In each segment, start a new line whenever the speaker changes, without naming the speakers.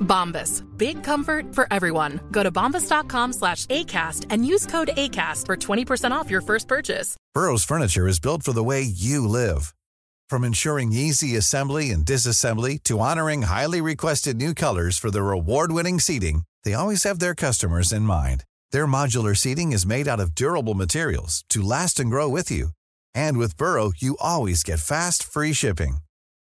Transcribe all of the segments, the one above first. Bombas. Big comfort for everyone. Go to bombas.com slash ACAST and use code ACAST for 20% off your first purchase.
Burrow's furniture is built for the way you live. From ensuring easy assembly and disassembly to honoring highly requested new colors for their award-winning seating, they always have their customers in mind. Their modular seating is made out of durable materials to last and grow with you. And with Burrow, you always get fast, free shipping.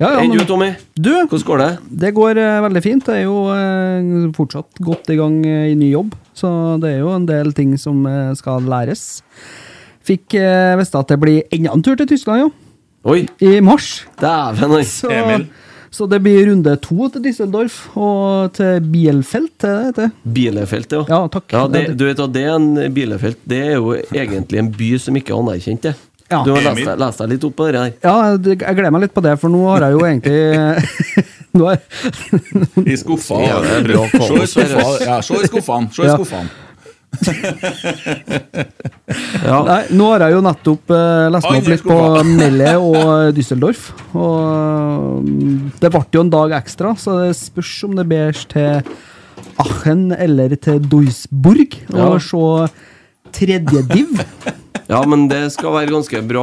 Ja, ja,
Enn du,
men
Tommy?
du,
Hvordan går det?
det går eh, veldig fint. Det er jo eh, fortsatt godt i gang eh, i ny jobb, så det er jo en del ting som eh, skal læres. Fikk eh, visste at det blir enda en tur til Tyskland, jo.
Oi,
I mars.
dæven, altså.
Så,
Emil.
så det blir runde to til Düsseldorf og til Bielfeldt, er det det heter.
Bielefeltet, ja.
Ja, takk.
Ja, det,
Ja, det-
du vet at det er en bilefelt Det er jo egentlig en by som ikke er anerkjent, det.
Ja.
Du har lest
Emil.
deg, lest deg litt opp på det der.
Ja, det- jeg gleder meg litt på det, for nå har jeg jo egentlig Nå er-
I skuffa.
Ja, det er bra
se i
kombo,
skuffa.
Sverre.
Ja, se i skuffene. Se i
Ja.
skuffene.
Nei, nå har jeg jo nettopp eh, lest meg opp
Andre
litt på
skuffa.
Melle og Düsseldorf. Og mm, det ble jo en dag ekstra, så det spørs om det bæres til Aachen eller til Duisburg
Ja.
å se tredje div.
Ja, men det skal være ganske bra.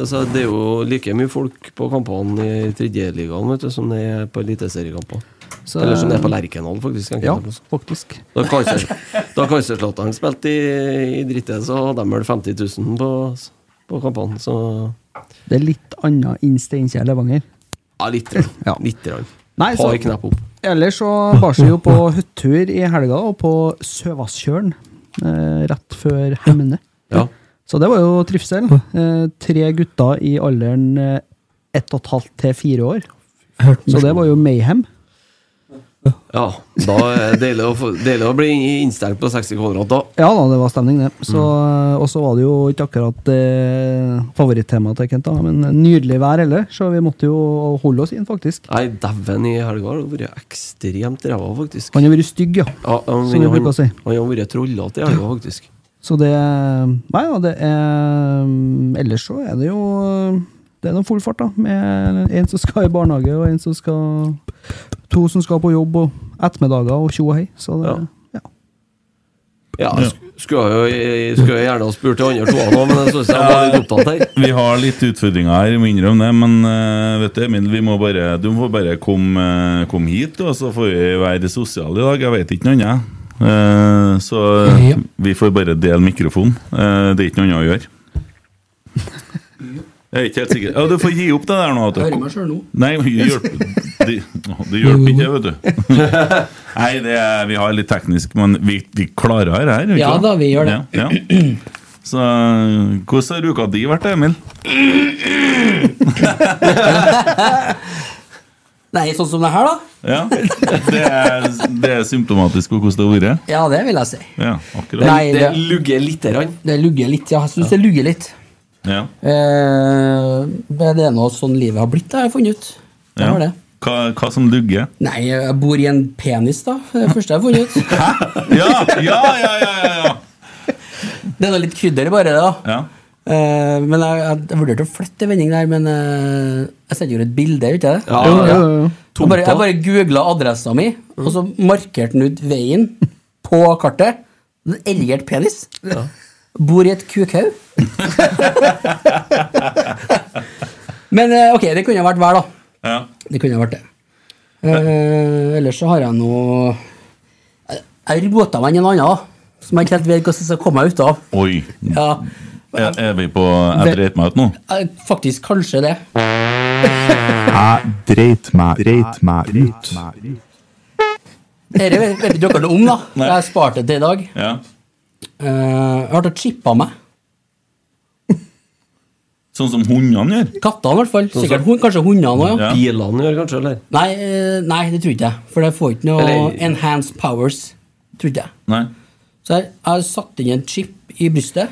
Altså, det er jo like mye folk på kampene i tredjeligaen vet du, som det er på eliteseriekamper.
Så-
Eller som det er på Lerkendal, faktisk. enkelte
Ja,
plasser.
faktisk.
Da Kaiser- Da Kaiserslatteren spilte i, i drittet, så hadde de vel 50 000 på, på kampene. Så
Det er litt annet enn Steinkjer Levanger.
ja, litt. grann. Litt grann.
Nei,
Par
så-
knepp opp.
Ellers så bar seg jo på hyttetur i helga og på Søvasskjølen eh, rett før Hemne.
Ja.
Så det var jo trivsel. Eh, tre gutter i alderen eh, ett og et halvt til fire år. Så det var jo mayhem.
Ja, da er det deilig å, få, deilig å bli innstengt på 60 kvadrat, da.
Ja da, det var stemning, det. Så, Og så var det jo ikke akkurat eh, favorittemaet til Kent, da, men nydelig vær heller, så vi måtte jo holde oss inn, faktisk.
Nei, dæven, i helga har det vært ekstremt ræva, faktisk.
Han har vært stygg, ja.
Ja, han,
Som vi
han,
bruker å si.
han har vært trollete i helga, faktisk.
Så det Nei da, det er eh, Ellers så er det jo eh, Det er noe full fart, da. Med en som skal i barnehage, og en som skal To som skal på jobb, og ettermiddager og tjo og hei. Så det, ja.
Ja, jeg sk- skulle jo jeg skulle gjerne ha spurt de andre to nå, men jeg synes jeg var litt opptatt her.
Vi har litt utfordringer her, jeg må innrømme det. Men eh, vet du, Emil, vi må bare, du må bare komme eh, komme hit, du, og så får vi være sosiale i dag. Jeg vet ikke noe annet. Eh, så eh,
Ja.
vi får bare dele mikrofonen. Eh, det er ikke noe annet å gjøre. Jeg er ikke helt sikker. Ja, du får gi opp det der nå. vet du.
Jeg hører meg selv nå.
Nei, det hjelper, det, det hjelper ikke, vet du. Nei, det er, vi har litt teknisk, men vi, vi klarer det her. ikke
Ja da, vi gjør det.
Ja, ja. Så hvordan har uka di vært, Emil?
Nei, sånn som det her, da?
Ja, Det er, det er symptomatisk for hvordan det har vært.
Ja, det vil jeg si.
Ja, akkurat.
Nei, det- Det
lugger lite grann.
Det lugger litt, ja. Jeg syns det lugger litt.
Ja.
Eh, men det er nå sånn livet har blitt, det har jeg funnet ut. Det
Ja.
var det.
Hva, hva som lugger?
Nei, jeg bor i en penis, da. Det er det første jeg har funnet ut.
Ja, ja, ja, ja, ja, ja.
Det er da litt krydder i bare det, da.
Ja.
Eh, men jeg, jeg, jeg vurderte å flytte en vending der, men eh, jeg sendte jo et bilde, gjorde jeg det?
Ja, Jo, ja, ja, ja.
Jeg bare, jeg bare googla adressa mi, og så markerte den ut veien på kartet. En erigert penis. Bor i et kukhaug. men eh, ok, det kunne ha vært hver, da.
Ja.
Det kunne ha vært det. Eh, ellers så har jeg noe Jeg- Jeg rota meg inn i en annen, da. Som jeg ikke helt vet hvordan jeg skal komme meg ut av.
Oi.
Ja,
Er, er vi på Jeg dreit meg ut nå?
eh, faktisk kanskje det.
Jeg dreit meg, dreit meg ut.
Dette vet vet ikke dere noe om, da. Jeg har spart det til i dag.
Ja.
Eh, jeg har tatt chippa meg.
Sånn som hundene gjør?
Kattene, i hvert fall.
Sånn
Sikkert
som-
hund, kanskje hundene òg, ja.
Ja.
Bilene gjør kanskje, eller?
Nei, eh, nei, det tror ikke jeg. For det får ikke noe
Eller-
enhanced powers. Tror ikke jeg.
Nei.
Så jeg, jeg har satt inn en chip i brystet,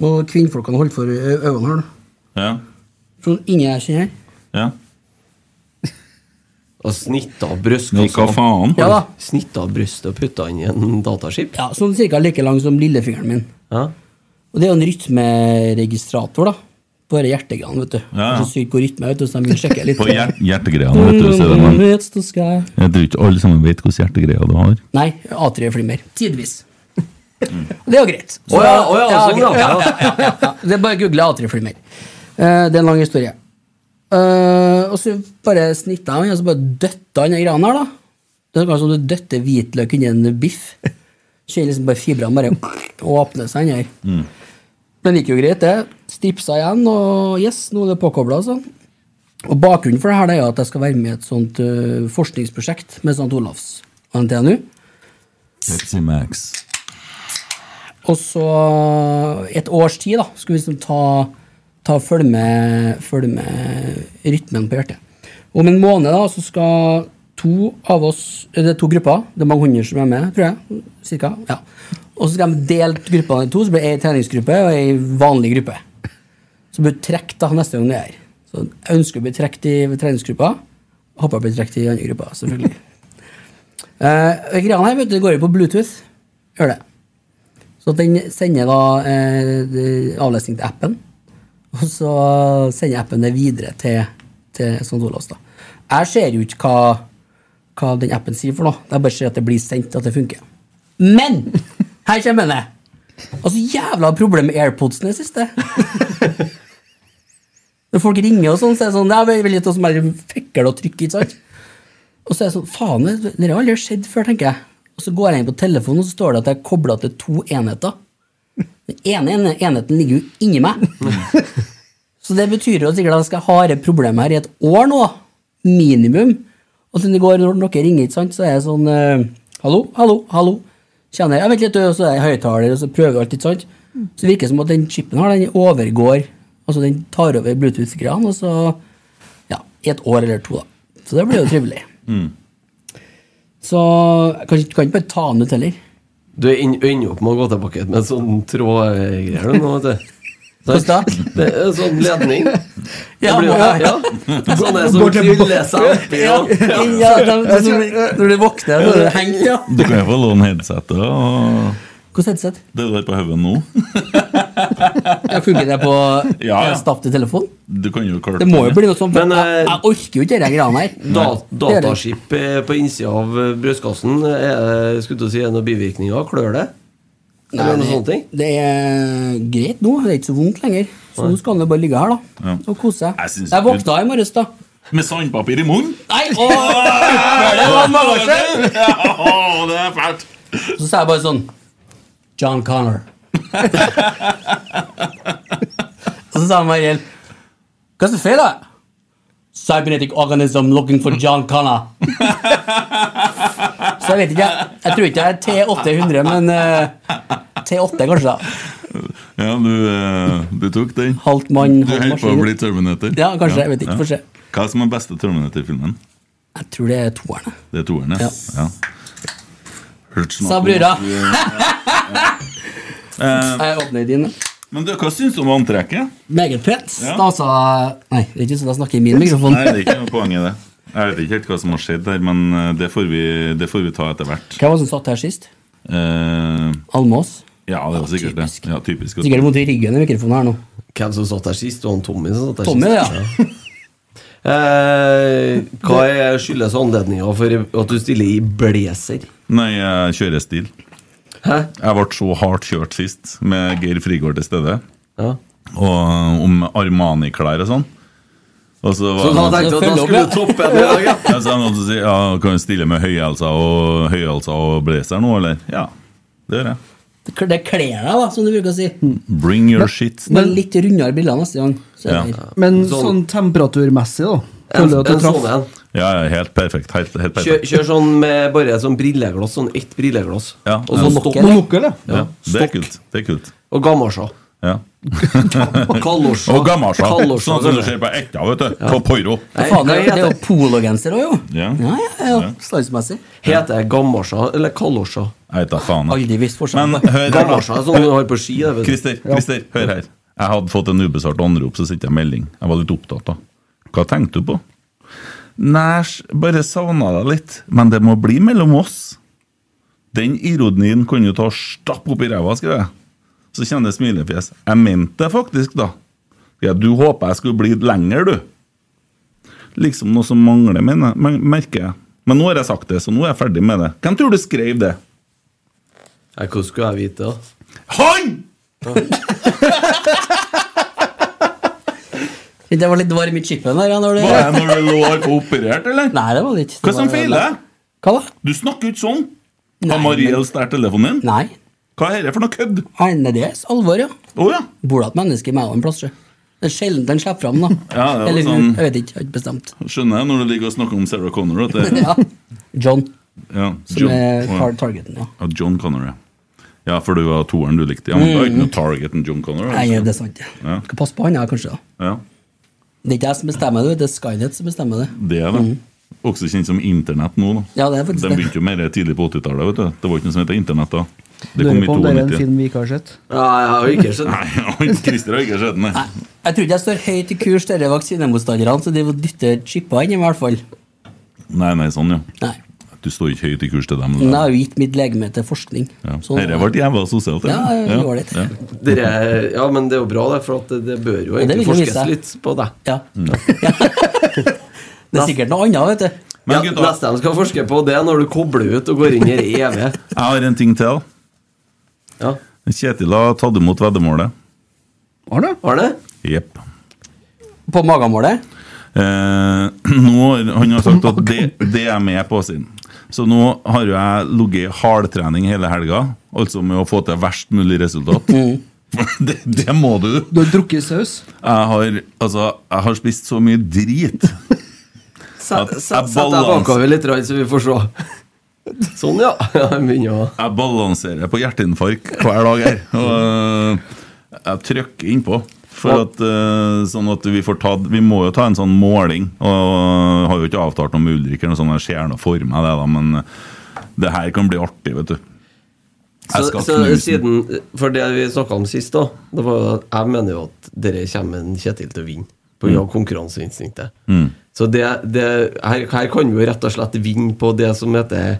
og kvinnfolkene holdt for ø- øynene her. da.
Ja.
Sånn inni jeg kjenner her.
ja.
Og snitt av bryst.
Nei, hva faen?
Ja da.
Snitt av bryst og putta inn i en dataskip?
Ja, sånn cirka like lang som lillefingeren min.
Ja.
Og det er jo en rytmeregistrator, da. På dette hjertegreiene, vet du. Det
Ja, ja.
er Så sykt hvor rytme er, vet du, så de vil sjekke litt.
På hjer hjertegreiene, vet du. Så er det, men
It's the sky.
jeg tror ikke alle sammen vet hvordan hjertegreia du har.
Nei, A3-flimmer. Tidvis. Det er jo greit. Så-
Å ja, å ja, sånn,
greit.
ja.
ja, ja, ja. Det er bare å google A3-flimmer. Eh, det er en lang historie. Eh, og så bare snitta han, og så bare døtta han de greiene her, da. Det er akkurat som du døtter hvitløk inni en biff. Kjenner liksom bare fibrene bare åpner seg inni her.
Mm.
Men det gikk jo greit, det. Stripsa igjen, og yes, nå er det påkobla, altså. Og bakgrunnen for det her det er jo at jeg skal være med i et sånt eh, forskningsprosjekt med St. Olavs og NTNU.
Pepsi Max.
Og så et års tid da, skulle vi liksom ta, ta følge, med, følge med rytmen på hjertet. Om en måned da, så skal to av oss, eller det er to grupper, det er mange hundre som er med, tror jeg, cirka, ja. Og så skal de dele gruppene i to, så blir det en treningsgruppe og en vanlig gruppe. Så blir du trekt da neste gang det er. Så jeg ønsker å bli trekt i treningsgruppa, Håper jeg blir trukket i andre gruppa, selvfølgelig. uh, Greiene her vet du, går jo på Bluetooth. Gjør det. Så den sender da eh, det- avlesning til appen, og så sender appen det videre til, til St. Olavs. da. Jeg ser jo ikke hva, hva den appen sier for noe. Jeg bare ser at det blir sendt, at det funker. Men! Her kommer det! Altså, jævla problem med airpodsene i siste. Når folk ringer og sånn, så er det sånn Jeg vil ikke som bare fikler og trykker, ikke sant? Og så er det sånn Faen, det det har aldri skjedd før, tenker jeg. Og så går jeg inn på telefonen, og så står det at jeg er kobla til to enheter. Den ene ene- enheten ligger jo inni meg. Så det betyr jo sikkert at jeg skal ha harde problemer her i et år nå. Minimum. Og siden det går når noen ringer, ikke sant, så er jeg sånn eh, Hallo, hallo, hallo. Kjenner jeg, jeg vet litt, og så er jeg høyttaler, og så prøver jeg alt, ikke sant. Så det virker det som at den chipen her, den overgår Altså den tar over Bluetooth-greiene, og så Ja, i et år eller to, da. Så det blir jo trivelig.
Mm.
Så jeg kan, ikke- kan ikke bare ta den ut heller.
Du er inn- ender opp med å gå tilbake med en sånn trådgreier du nå, vet du.
Hvordan da?
Det er en sånn ledning.
Ja,
Det blir jo-
ja.
ja. Sånn er det som
Går til-
kryller seg oppi.
Ja, ja, da- da- når du våkner, så er det hengt, ja.
Du kan jo få låne headsetet og
Hvordan headset?
Det du har på hodet nå.
Jeg funker det på
Ja, eh, ja.
stapp til telefon?
Du kan jo klart
Det må jo bli noe sånt. for jeg, jeg orker jo ikke disse greiene her.
Da,
Det er det.
dataskip eh, på innsida av eh, brystkassen, er det- skulle du si er det noen bivirkninger? Klør det?
Nei,
Eller noen
det-
sånne ting?
Det er eh, greit nå. Det er ikke så vondt lenger. Så nå skal han jo bare ligge her, da.
Ja.
Og kose seg.
synes-
Jeg våkna i morges, da.
Med sandpapir i munnen?
Nei, åh, det var mange år siden!
Åh, det er fælt.
Så sa jeg bare sånn John Connor. og så sa han meg igjen Hva er det som feiler? Cybernetic organism looking for John Connor. så jeg vet ikke. Jeg, jeg tror ikke jeg er T800, men eh, T8 kanskje, da.
Ja, du, eh, du tok den.
Halvt mann,
Du
halvt
holdt på å
maskin.
bli Terminator.
Ja, kanskje, jeg vet ikke, får se.
Hva som er beste Terminator-filmen?
Jeg tror det er toeren.
Det er toeren, ja. ja. Hørt snakk
Sa
om
brura.
at du- Eh,
Jeg åpner din. da.
Men du, hva syns du om antrekket?
Meget pent.
Ja.
Stasa Nei, det er ikke sånn jeg snakker i min mikrofon.
Nei, det er ikke noe poeng i det. Jeg vet ikke helt hva som har skjedd her, men eh, det får vi, det får vi ta etter hvert.
Hvem var det som satt her sist?
Eh,
Almås?
ja, det var sikkert det. Ja, typisk. også.
Sikkert vondt i ryggen i mikrofonen her nå.
Hvem som satt der sist? Det var han Tommy som satt der
Tommy,
sist.
ja.
Eh, hva er skyldes anledninga for at du stiller i blazer?
Nei, jeg kjører stil. Jeg ble så hardt kjørt sist, med Geir Frigård til stede. Og eh, om Armani-klær og sånn. Og så var
Så da tenkte
det noen-
jeg at da skulle du toppe det i dag, ja.
Ja, så er det noen som sier ja, kan du stille med høyhalsa og, høyhalsa og blazer nå, eller? Ja, det gjør jeg.
Det kl- det kler deg, da, som du bruker å si.
Bring your shit.
Men litt rundere bilder neste gang. så er det-
Men sånn temperaturmessig, da. Føler du at du traff?
Ja, ja, helt perfekt. Helt, helt
Kjør,
perfekt.
kjør sånn med bare sånn brilleglass, sånn ett brilleglass.
Ja,
og så
ja.
stopp.
Monokkel, ja.
Ja, det er
Stokk.
kult. Det er kult.
Og gammasja.
Ja.
Kalosja.
Og gammasja.
Kalosja,
Sånn som du
kanskje.
ser på Ekta, vet du. På Poiro.
Hva faen, det, er- det er jo pologenser òg, jo.
Ja.
Ja, ja, ja. Slagsmessig.
Heter det gammasja eller kalosja?
Jeg vet da faen.
Aldri visst forskjell.
Men hør her,
Gammasja
da.
er sånn du har på ski. det vet du.
Christer, Christer, hør her. Jeg hadde fått en ubesvart anrop, så sendte jeg melding. Jeg var litt opptatt, da. Hva tenkte du på? Nei, s- bare savna deg litt. Men det må bli mellom oss. Den ironien kan du ta og stappe opp i ræva, skrev jeg. Så kjenner jeg smilefjes. Jeg mente det faktisk, da. Ja, du håpa jeg skulle bli lenger, du. Liksom noe som mangler, mener, men- merker jeg. Men nå har jeg sagt det, så nå er jeg ferdig med det. Hvem tror du skrev det?
Nei, Hvordan skulle jeg vite det?
Han!
Det var litt varm i chipen der. ja, Når det,
Var det når du lå på operert, eller?
Nei, det var det ikke.
Hva som
Det var-
feiler?
Hva da?
Du snakker ikke sånn!
Nei,
Har Marie
men-
Elst stjålet telefonen din?
Nei.
Hva er dette for noe kødd?
Nei, nei, det er alvor, ja.
Å ja.
Bor det et menneske i meg og en plass, sjø? Det er sjelden den slipper fram, da.
Ja, det var
Eller
sånn-
Jeg vet ikke, jeg har ikke bestemt.
Skjønner jeg når du ligger og snakker om Sarah Connor. At det,
Ja. John,
ja,
som
John,
er
Å,
tar- targeten. ja.
ja. Ja, John Connor, ja. Ja, for det var toeren du likte. Ja, men det var ikke noe target enn John Connor.
Mm. Nei,
altså.
det er sant. ja.
Ja.
Skal passe på han, ja, kanskje. da.
Ja,
Det er ikke jeg som bestemmer det, det er Skynet som bestemmer det.
det er det. Også kjent som Internett nå, da.
Mm. Ja, det er faktisk
De
det.
begynte jo mer tidlig på 80-tallet. vet du. Det var ikke noe som het Internett da. Det kom
Lurer
i
på om det er en
92.
film vi ikke har sett.
Ja, jeg har jo ikke skjønt
Nei, han Christer har ikke sett den, nei.
Jeg tror ikke jeg står høyt i kurs dere vaksinemotstanderne, så de dytter chipper inn i hvert fall.
Nei, nei, sånn, ja.
Nei.
Du står ikke høyt i kurs til dem.
Men jeg har jo gitt mitt legeme til forskning.
Ja.
Så-
Dette ble jævla sosialt.
Ja,
eller?
det var litt.
Dere- ja, men det er jo bra, det, for at det, det bør jo
Ja, det
egentlig
vil jo
forskes
vise seg.
litt på deg.
Mm.
Det er sikkert noe annet, vet du.
Ja, neste de skal forske på, det er når du kobler ut og går inn i det evige.
Jeg har en ting til.
Ja.
Kjetil har tatt imot veddemålet.
Har det?
Har det?
Jepp.
På magamålet?
Eh, nå, har- han har sagt at det, det er med på sin. Så nå har jo jeg ligget i hardtrening hele helga, altså med å få til verst mulig resultat.
Mm.
det, det må du.
Du har drukket saus?
Jeg har, altså, jeg har spist så mye drit.
Sett
jeg
sett- sett deg
balans-
bakover litt, så vi får se. Sånn, ja. Jeg begynner å
Jeg balanserer på hjerteinfarkt hver dag her. Og øh, jeg trykker innpå. For at, øh, sånn at vi, får ta, vi må jo ta en sånn måling. Og jeg har jo ikke avtalt noe med Ulrik, eller noe sånt, jeg ser noe for meg det, da, men eh, det her kan bli artig, vet du. Jeg
Så,
skal
så
knuse den.
siden, for det vi snakka om sist, da det var, jo at Jeg mener jo at dere kommer en Kjetil til å vinne pga. av
Mm.
konkurranseinstinktet.
Mm.
Så det, det, her, her kan vi jo rett og slett vinne på det som heter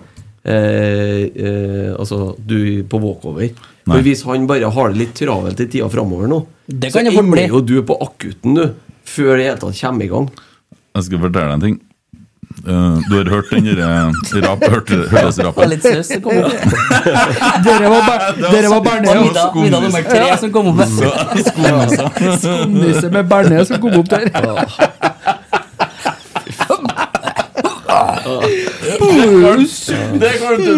eh, eh, Altså, du på walkover.
Nei.
For hvis han bare har det litt travelt i tida framover nå,
Det
så
kan det fort bli.
jo du på akutten, du. Før det hele tatt kommer i gang.
Jeg skal fortelle deg en ting. Eh, du har hørt den derre rap, hørt,
Det var litt saus som kom opp.
Dere var, ber- dere var
Det var
bearnés.
middag, middag nummer tre som kom opp.
Skumnisse med bearnés som kom opp der.
Det går ikke!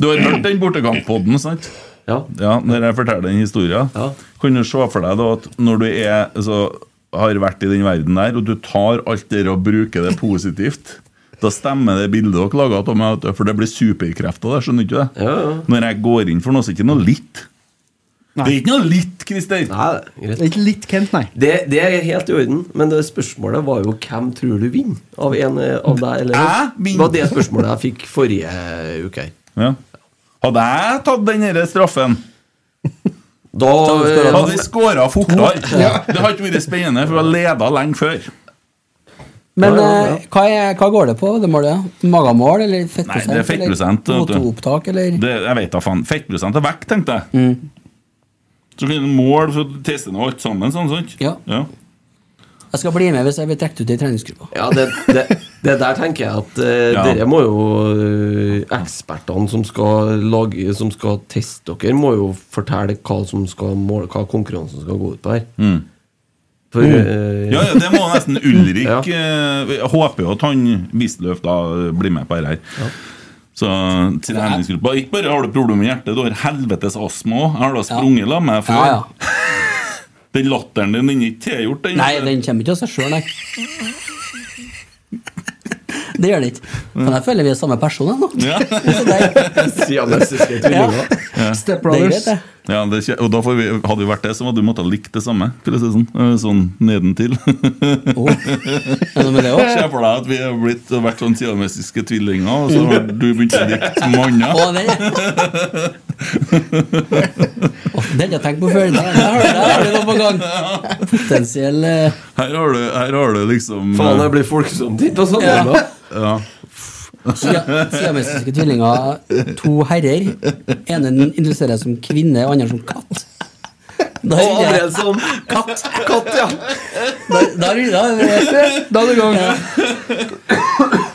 Du har hørt den bortekampodden, sant?
Ja.
Når jeg forteller den historien, kan du se for deg da at når du er, altså, har vært i den verden der, og du tar alt det og bruker det positivt da stemmer det bildet dere laget av meg, vet du, for det blir superkrefter der. Skjønner du ikke det? Når jeg går inn for noe, så er det ikke noe litt. Det er ikke noe litt, Christer!
Ikke litt Kent, nei.
Det, det er helt i orden, men det spørsmålet var jo hvem tror du vinner? Av en eh, av deg eller
Jeg
Det var det spørsmålet jeg fikk forrige uke her.
Ja. Hadde jeg tatt den her straffen
Da eh,
hadde vi skåra fortere. Det hadde ikke vært spennende, for vi har leda lenge før.
Men eh, hva, er, hva går det på? Det målet? Magamål eller
Nei,
fettprosent?
det er fettprosent.
Eller
vet du.
O2-opptak, eller
Det, jeg vet da faen. Fettprosent er vekk, tenkte jeg.
Mm.
Så kan du måle så tester du alt sammen, sånn, sant?
Ja. Jeg skal bli med hvis jeg blir trukket ut i treningsgruppa.
Ja, det, det, det der tenker jeg at eh,
Ja.
dere må jo eh, Ekspertene som skal lage Som skal teste dere, må jo fortelle hva som skal måle, hva konkurransen skal gå ut på her.
Mm.
For
Mm.
eh,
Ja, ja, det må nesten Ulrik eh, Jeg håper jo at han Wisløff da blir med på dette her. Så treningsgruppa Ikke bare har du problemer med hjertet, du har helvetes astma òg. Jeg har da sprunget la meg før.
Ja,
Den latteren din den er ikke tilgjort, den.
Nei, den kommer ikke av seg sjøl, nei. Det gjør det ikke. Men jeg føler vi er samme person ennå.
Ja.
Siamesiske tvillinger.
Ja.
Stepbrothers. Det er greit,
Ja, det skje- og da får vi, hadde jo vært det, så hadde vi måttet ha likt det samme. For å si det sånn, Eh, sånn nedentil.
det med det også?
Se for deg at vi har blitt, har vært sånn siamesiske tvillinger, og så har du begynt å dikte manner.
Å, den Å, Den har jeg tenkt på før. Der der har du- der har du noe på gang. Potensiell eh,
Her har du, her har du liksom
Faen,
eh,
det blir folksomt hit og sånn,
Ja.
da.
Ja.
sia- siamesiske tvillinger, to herrer. Ene interesserer seg som kvinne, andre som katt. Da
Og
er
andre
det-
som katt. Katt, ja.
Da da er det da er det-
Da er det i gang.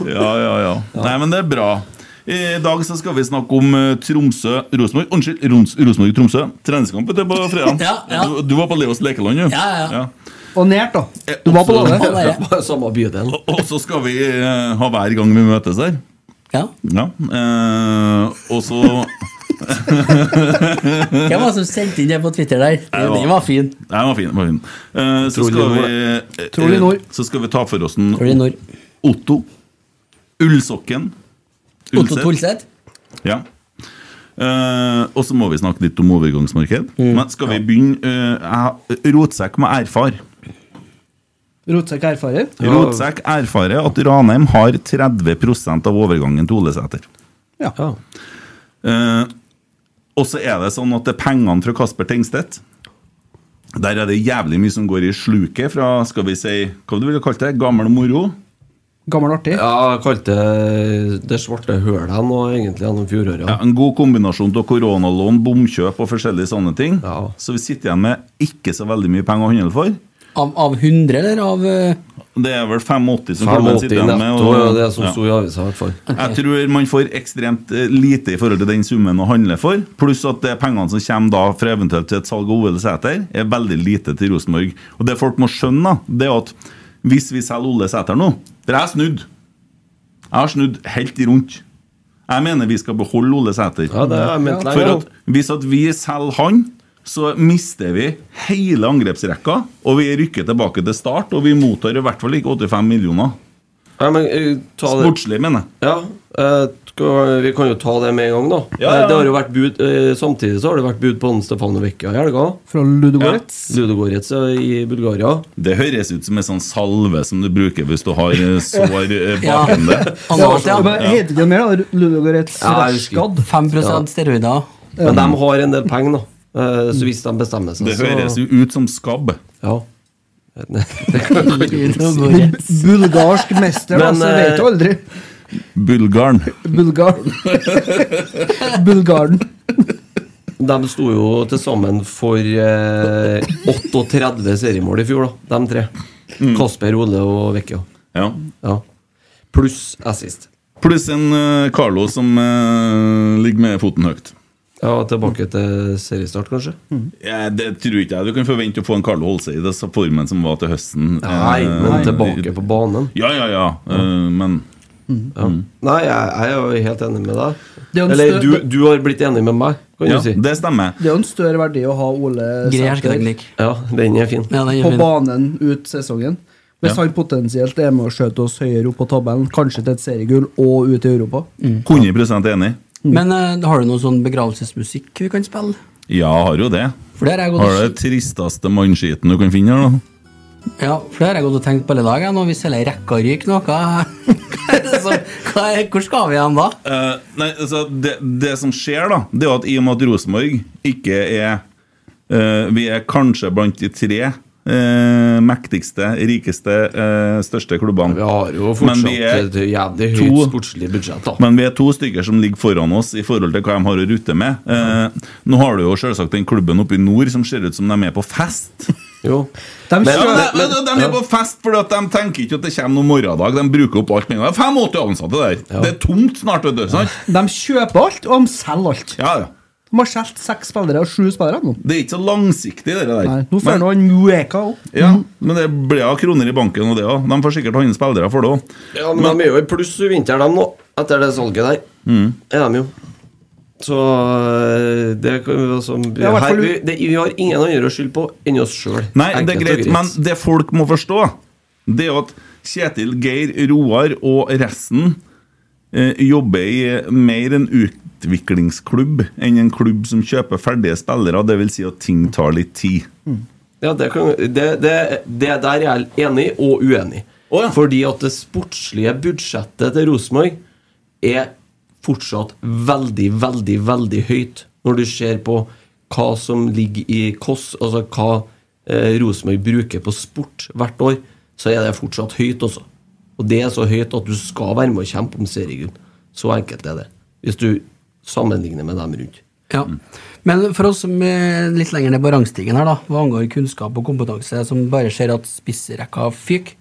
ja, ja, ja. Nei, men det er bra. I dag så skal vi snakke om eh, Tromsø-Rosenborg. Unnskyld, Roms- Rosenborg-Tromsø. Treningskamp vet du, på fredag.
Ja, ja.
Du, du var på Leos lekeland, du. ja.
Og nært, da. Du var på
Også-
laget.
Samme bydel.
Og og så skal vi eh, ha hver gang vi møtes her.
Ja.
eh, og så
Hvem var det som sendte inn det på Twitter der?
Jeg var-
Den var fin.
Nei, den var fin. den Var fin. Eh, så,
Trolig
skal
nord,
vi, eh,
Trolig nord.
så skal vi ta for oss en
Trolig nord.
Otto. Ullsokken.
Otto Tolseth.
Ja. Eh, og så må vi snakke litt om overgangsmarked.
Mm.
Men skal vi begynne eh, jeg- Rotsekk må erfare.
Rotsekk erfarer.
Rotsekk erfarer at Ranheim har 30 av overgangen til Olesæter.
Ja.
Eh, og så er det sånn at det er pengene fra Kasper Tengstedt Der er det jævlig mye som går i sluket fra skal vi si, hva du ville kalt det, gammel moro.
Gammel artig?
Ja, jeg kalte det det svarte hølet nå, egentlig, gjennom fjoråret.
Ja, en god kombinasjon av koronalån, bomkjøp og forskjellige sånne ting. Så vi sitter igjen med ikke så veldig mye penger å handle for.
Av, av 100, eller av eh,
Det er vel 85 som
85
klubben sitter igjen med.
netto, ja, det som sto i
ja.
avisa, i hvert fall.
Jeg tror man får ekstremt eh, lite i forhold til den summen å handle for. Pluss at det pengene som kommer da fra eventuelt et salg av Ole Sæter, er veldig lite til Rosenborg. Og det folk må skjønne, da, det er at hvis vi selger Ole Sæter nå For jeg har snudd. Jeg har snudd helt rundt. Jeg mener vi skal beholde Ole Sæter.
det har jeg ment lenge
for
nå.
at hvis at vi selger han, så mister vi hele angrepsrekka, og vi rykker tilbake til start, og vi mottar i hvert fall ikke 85 millioner.
Ja, men, eh, ta det-
Sportslig, mener jeg.
Ja, eh, skal- vi kan jo ta det med en gang, da.
Ja, ja, ja.
Eh, Det har jo vært bud, eh, samtidig så har det vært bud på han Stefano Vecchia i helga.
Fra Ludogorets?
Ja. Ludogorets ja, i Bulgaria.
Det høres ut som en sånn salve som du bruker hvis du har eh, sår eh, bakom
Ja.
deg.
Ja, men Heter ikke det mer, da? Ludogorets
Ja, jeg husker.
Rashkad?
5
Ja.
steroider?
Men de har en del penger, da. Eh, Så hvis de bestemmer seg,
Det
så
høres jo ut som skabb.
Ja. Det kan jeg ikke si.
Bu- Bulgarsk mester,
Men,
altså. Vet du
eh,
aldri.
Bulgaren.
Bulgar. Bulgaren.
De sto jo til sammen for eh, 38 seriemål i fjor, da, de tre.
Mm.
Kasper, Ole og Vecchia.
Ja.
Ja. Pluss assist.
Pluss en eh, Carlo som eh, ligger med foten høyt.
Ja, Tilbake til seriestart, kanskje?
Mm. Ja, det tror ikke jeg du kan forvente å få en Carlo Holse i det så formen som var til høsten.
Nei,
Eh,
men tilbake på banen.
Ja, ja, ja. eh, men
Ja.
Mm.
Nei, jeg, jeg er jo helt enig med deg.
Det er jo en
Eller
stø-
du, du har blitt enig med meg, kan
ja,
du si.
det stemmer.
Det er jo en større verdi å ha Ole
Grei
Sæter
hersketeknikk.
Ja, den er fin.
Ja, den
på
er fin.
banen ut sesongen. Hvis
Ja.
han potensielt er med å skjøte oss høyere opp på tabellen, kanskje til et seriegull og ut i Europa.
Mm.
Mm.
100 enig.
Men eh, har du noe sånn begravelsesmusikk vi kan spille?
Ja, har jo det.
For det har jeg gått
Har
og
du det tristeste mannskiten du kan finne her, da?
Ja, for det har jeg gått og tenkt på hele dagen. Når vi selger rekka ryk nå, hva, hva er det som, hva er, hvor skal vi hen da?
Eh, nei, altså det, det som skjer, da, det er jo at i og med at Rosenborg ikke er eh, Vi er kanskje blant de tre eh, mektigste, rikeste, eh, største klubbene.
Vi har jo
Men
fortsatt
vi
eh,
er
et jævlig høyt
to-
sportslig budsjett, da.
Men vi er to stykker som ligger foran oss i forhold til hva de har å rutte med. Eh, nå har du jo selvsagt den klubben oppe i nord som ser ut som de er på fest.
Jo.
De
Men-
Ja,
skjøter-
men, men, de er på fest fordi at de tenker ikke at det kommer noen morgendag. De bruker opp alt med en gang. 85 ansatte der. Det er tomt snart, vet du. Sant?
De kjøper alt, og de selger alt.
Ja, ja.
De har solgt seks spillere og sju spillere nå.
Det er ikke så langsiktig, det der.
Nei, nå
Men-
får nå han Mueka opp.
Ja, men det blir av kroner i banken og det òg. De får sikkert handle spillere for det òg.
Ja, men, de er jo i pluss i vinter, de nå, etter det salget der.
Mm.
Er de jo. Så øh, det kan vi altså
Ja, i hvert
her,
fall-
vi, det, vi har ingen andre å skylde på enn oss sjøl.
Nei, det er greit, men det folk må forstå, det er at Kjetil, Geir, Roar og resten eh, jobber i eh, mer en utviklingsklubb enn en klubb som kjøper ferdige spillere. Det vil si at ting tar litt tid.
Ja, det, kan, det, det, det der er jeg enig og uenig.
Å, ja.
Fordi at det sportslige budsjettet til Rosenborg er fortsatt veldig, veldig, veldig høyt når du ser på hva som ligger i KOS, altså hva eh, Rosenborg bruker på sport hvert år, så er det fortsatt høyt, altså. Og det er så høyt at du skal være med og kjempe om seriegull. Så enkelt er det. Hvis du sammenligner med dem rundt.
Ja. Men for oss som er litt lenger ned på rangstigen her, da, hva angår kunnskap og kompetanse, som bare ser at spissrekka fyker,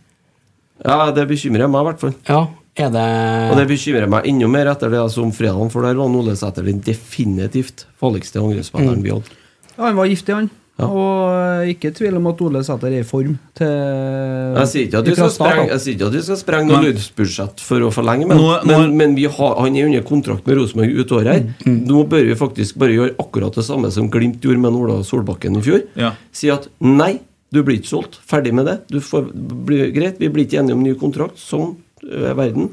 Ja, det bekymrer meg i hvert fall.
ja, er det
Og det bekymrer meg enda mer etter det som fredagen, for der var Ole Sæter den definitivt farligste angrepsspilleren
Mm.
vi hadde.
Ja, han var giftig, han.
Ja.
Og eh, ikke tvil om at Ole Sæter er i form til
Jeg sier ikke at vi
fra
skal
start,
sprenge,
da.
jeg sier ikke at vi skal sprenge noe
Men-
lønnsbudsjett for å forlenge, men,
Nå- nå-
men, men vi har, han er under kontrakt med Rosenborg ut året
Mm.
her. Nå bør vi faktisk bare gjøre akkurat det samme som Glimt gjorde med Ola Solbakken i fjor.
Ja.
Si at nei, du blir ikke solgt. Ferdig med det. Du får, blir, greit, vi blir ikke enige om ny kontrakt, sånn er verden,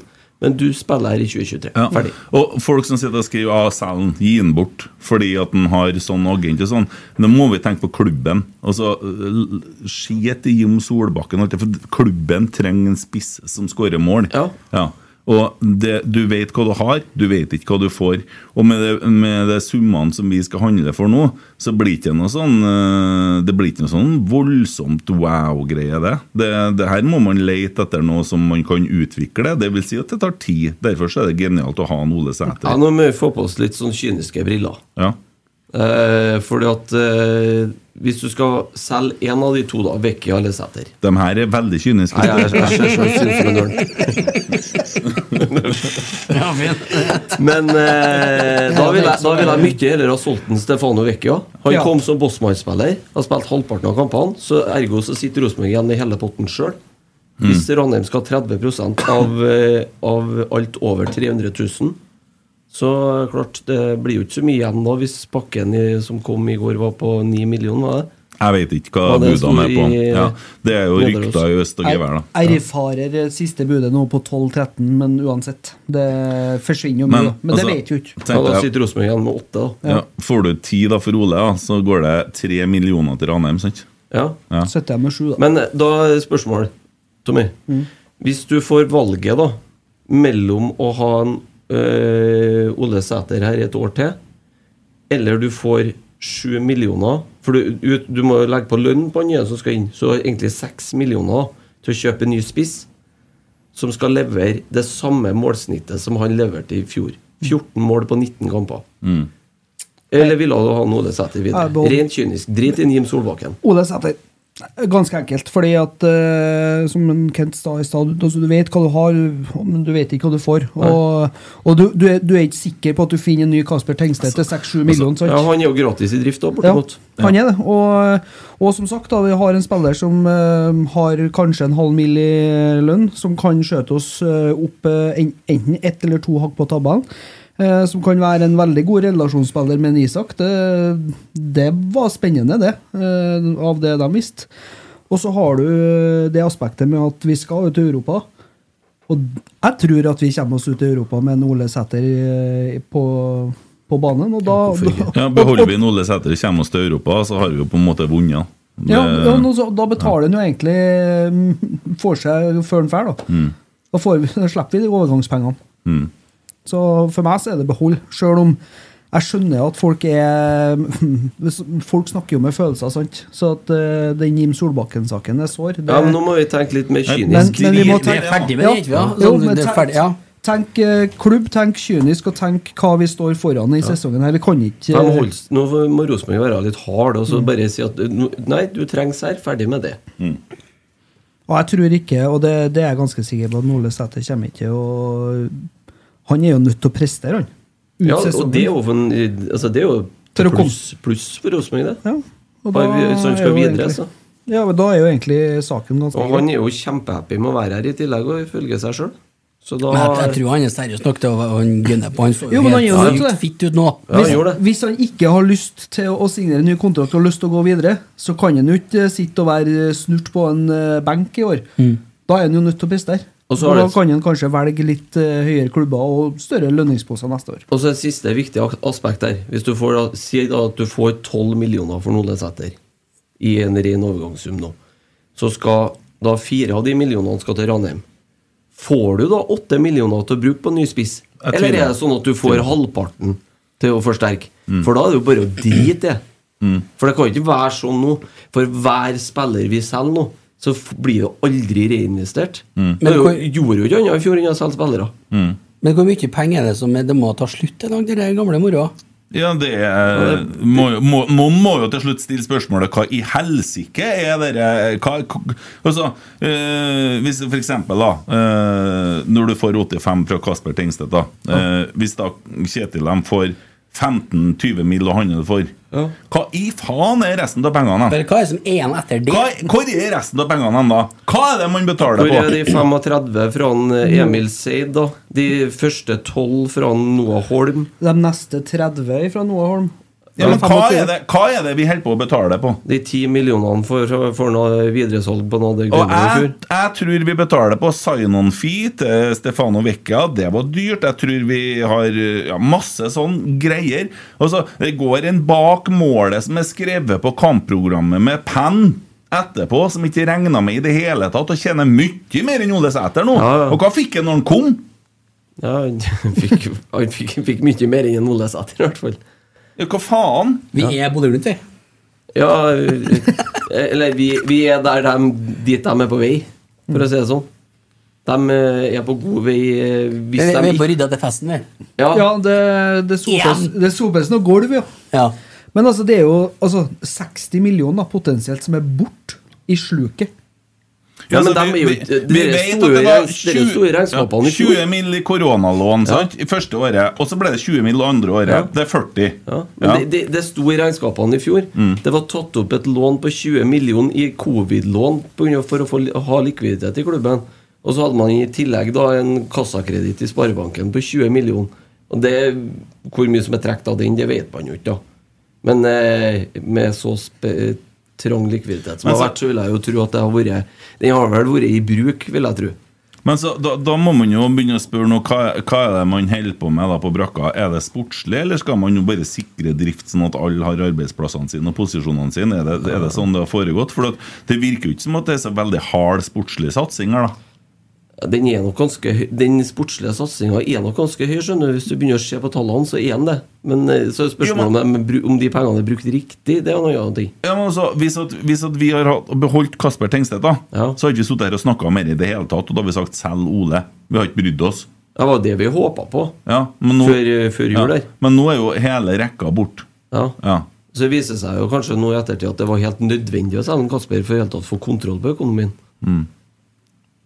men du spiller her i 2023.
Ja.
Ferdig.
Og folk som sitter og skriver av salen, gi den bort fordi at den har sånn agent og sånn. Da må vi tenke på klubben. Altså, øh, Skit i Jim Solbakken. og alt det, For klubben trenger en spiss som skårer mål.
Ja.
Og det, du vet hva du har, du vet ikke hva du får. Og med det, med det summene som vi skal handle for nå, så blir det ikke noe sånn eh, Det blir ikke noe sånn voldsomt wow-greie, det. det. Det her må man lete etter noe som man kan utvikle. Det vil si at det tar tid. Derfor så er det genialt å ha en Ole
Ja,
Sæter.
nå må vi få på oss litt sånn kyniske briller.
Ja.
Eh, fordi at eh, hvis du skal selge én av de to, da, Vicky eller Sæter
De her er veldig kyniske.
Nei, jeg- jeg- jeg- jeg synes det er
Ja, fint.
Men eh, da vil jeg, da vil jeg mye heller ha solgt en Stefano Vecchio. Han
Ja.
kom som bossmannsspiller, har spilt halvparten av kampene, så ergo så sitter Rosenborg igjen i hele potten sjøl. Hvis Ranheim skal ha 30 av, eh, av alt over 300 000, så eh, klart det blir jo ikke så mye igjen da hvis pakken i, som kom i går, var på 9 millioner, var det?
Jeg vet ikke hva
Ja, det sto
budene er på.
i-
Ja, det er jo
Nidaros.
rykter i øst og gevær, da.
Jeg erfarer eh, siste budet nå på 12-13, men uansett. Det forsvinner jo mye, men, men det vet vi jo ikke.
tenkte jeg-
Rosenborg igjen med åtte, da.
Ja. Får du ti da for Ole, ja, så går det tre millioner til Ranheim, sant?
Ja.
Ja.
Sitter jeg med sju, da.
Men eh, da er det spørsmål, Tommy.
Mm.
Hvis du får valget da mellom å ha en øh, Ole Sæter her i et år til, eller du får sju millioner For du, ut, du må jo legge på lønn på han nye som skal inn, så egentlig seks millioner til å kjøpe en ny spiss som skal levere det samme målsnittet som han leverte i fjor. 14 mål på 19 kamper.
Mm.
Eller ville du ha en Ole Sæter videre?
Jeg behold-
Rent kynisk. Drit i Jim Solbakken.
Ole Sæter. Ganske enkelt. Fordi at eh, som en Kent sa i stad, altså, du vet hva du har, men du vet ikke hva du får.
Nei.
Og, og du, du, er, du er ikke sikker på at du finner en ny Kasper Tengstedt til 6-7 millioner. sant?
Altså, Ja, han er jo gratis i drift, da, bortimot.
Ja, han er det. Og, og som sagt, da, vi har en spiller som eh, har kanskje en halv mil i lønn, som kan skjøte oss eh, opp eh, en, enten ett eller to hakk på tabellen. eh, som kan være en veldig god relasjonsspiller med en Isak. Det, det var spennende, det, eh, av det de visste. Og så har du eh, det aspektet med at vi skal ut til Europa. Og jeg tror at vi kommer oss ut til Europa med en Ole Sæter eh, på, på banen. Og da,
Ja, Beholder vi en Ole Sæter, kommer oss til Europa, så har vi jo på en måte vunnet. Det-
Ja, ja nå så, Da betaler han jo egentlig mm, for seg før han drar, da.
Mm,
Da, får vi, da slipper vi de overgangspengene.
mm.
Så for meg så er det behold, sjøl om jeg skjønner at folk er Folk snakker jo med følelser, sant. Så at eh, den Jim Solbakken-saken er sår. det-
Ja, men nå må vi tenke litt mer kynisk.
Men- men vi må tenke- Ja. Jo, men
Sånn det er
tenk-
ferdig, ja.
Tenk eh, klubb, tenk kynisk, og tenk hva vi står foran i sesongen her. Vi kan ikke
Nei, men hold, nå må Rosenborg være litt hard og så
Mm.
bare si at nå- Nei, du trengs her. Ferdig med det.
Og jeg tror ikke, og det, det er jeg ganske sikker på, at Ole Sæter kommer ikke og Han er jo nødt til å prestere, han. Ut
Ja, og
sesongen.
det er jo, en, altså, det er jo til pluss, pluss for Rosenborg, det.
og
Bare vi-
da
hvis han
er
skal
jo
videre,
egentlig-
så.
Ja, men da er jo egentlig saken ganske
Og han er jo kjempehappy med å være her i tillegg, og ifølge seg sjøl. Så da
Men jeg, jeg tror han er seriøs nok til å å gunne på. Han så
Jo,
jo,
men han gjør
helt
jo det.
sykt fitt ut nå.
hvis, hvis han ikke har lyst til å signere en ny kontrakt og lyst til å gå videre, så kan han jo ikke sitte og være snurt på en eh, benk i år. Da er han jo nødt til å prestere.
Og
Og
så har
da
det-
kan han kanskje velge litt eh, høyere klubber og større lønningsposer neste år.
Og så et siste viktig ak- aspekt der. Hvis du får, da- si da at du får 12 millioner for Ole Sæter i en ren overgangssum nå, så skal da fire av de millionene skal til Ranheim. Får du da 8 millioner til å bruke på en ny spiss?
Jeg
Eller
tviler.
er det sånn at du får
Tviler.
halvparten til å forsterke? For da er det jo bare å drite i det.
Mm.
For det kan jo ikke være sånn nå. For hver spiller vi selger nå, så f- blir det jo aldri reinvestert.
Mm.
Det er jo, gjorde
Men
jo ikke annet i fjor enn å selge spillere.
Mm.
Men hvor mye penger er det som er- Det må ta slutt en gang, det der gamle moroa.
Ja, det er må, må, Noen må jo til slutt stille spørsmålet Hva i helsike er dere hva, hva- Altså, eh, hvis for eksempel da eh, Når du får 85 fra Kasper Tengstedt da eh, Hvis da Kjetil dem får 15-20 mil å handle for Hva i faen er resten av pengene? da?
Men hva er det som er igjen etter det?
Hva, hvor er resten av pengene hen, da? Hva er det man betaler
Hvor
på?
er de 35 fra han eh, Emil Seid, da? De første 12 fra han Noah Holm?
De neste 30 fra Noah Holm.
Ja, men hva er, det, hva er det vi holder på å betale på?
De 10 millionene for, for noe videresalg på noe av det
Og
grønne i
jeg,
fjor?
jeg tror vi betaler på sign-on-fee til Stefano Vecchia. Det var dyrt. Jeg tror vi har ja, masse sånn greier. Altså, det går en bak målet som er skrevet på kampprogrammet med penn etterpå, som ikke regna med i det hele tatt, og tjener mye mer enn Ole Sæter nå. Og hva fikk han når han kom?
Ja, han fikk, han fikk, fikk mye mer enn Ole Sæter, i hvert fall.
Ja, hva faen?
Vi er Bodø-Glimt, vi.
Ja, eh, eller vi, vi er der dem, dit de er på vei, for å si det sånn. De eh, er på god vei eh, hvis
Vi-
de
vi er på
ikke-
rydda til festen, vi.
Ja.
Ja, det, det, sopes,
Igjen.
det sopes noe gulv, ja. Men altså, det er jo altså, 60 millioner potensielt som er borte i sluket.
Ja, men
altså,
dem er
vi-
jo
vi-
ikke- det
vi
er
vet at
store
det var
regns- det er store
20
regnskapene i
ja,
fjor.
20 mill. i koronalån sant? i første året, og så ble det 20 mill. andre året.
Ja.
Det er 40.
Men
Ja.
Det,
Mm.
det, det sto i regnskapene i fjor. Det var tatt opp et lån på 20 millioner i covid-lån på grunn av- for å få, li- ha likviditet i klubben. Og så hadde man i tillegg da en kassakreditt i Sparebanken på 20 millioner. Og det, Hvor mye som er trukket av den, det vet man jo ikke. da Men eh, med så spe, eh, trang likviditet som
Men
har
så-
vært, så vil jeg jo tro at det har vært Den har vel vært i bruk, vil jeg tro.
Men så, da, da må man jo begynne å spørre nå, hva, hva er det man holder på med da på brakka. Er det sportslig, eller skal man jo bare sikre drift sånn at alle har arbeidsplassene sine og posisjonene sine? Er det, er det sånn det har foregått? For at det virker jo ikke som at det er så veldig hard sportslig satsing her, da.
Ja, Den, er nok ganske, høy- den sportslige satsinga er nok ganske høy, skjønner du. Hvis du begynner å se på tallene, så er den det. Men eh, så er spørsmålet om, de bru- om de pengene er brukt riktig, det er noe annet. ting.
Ja, men altså, hvis, at, hvis at vi har hatt- beholdt Kasper Tengstedt, da, så har ikke vi sittet her og snakka mer i det hele tatt. Og da har vi sagt 'selg Ole'. Vi har ikke brydd oss.
Det var det vi håpa på
ja, men nå,
før, eh, før jul
ja,
der.
Men nå er jo hele rekka bort.
Ja.
Ja.
Så det viser seg jo kanskje nå i ettertid at det var helt nødvendig å selge Kasper for i hele tatt å få kontroll på økonomien.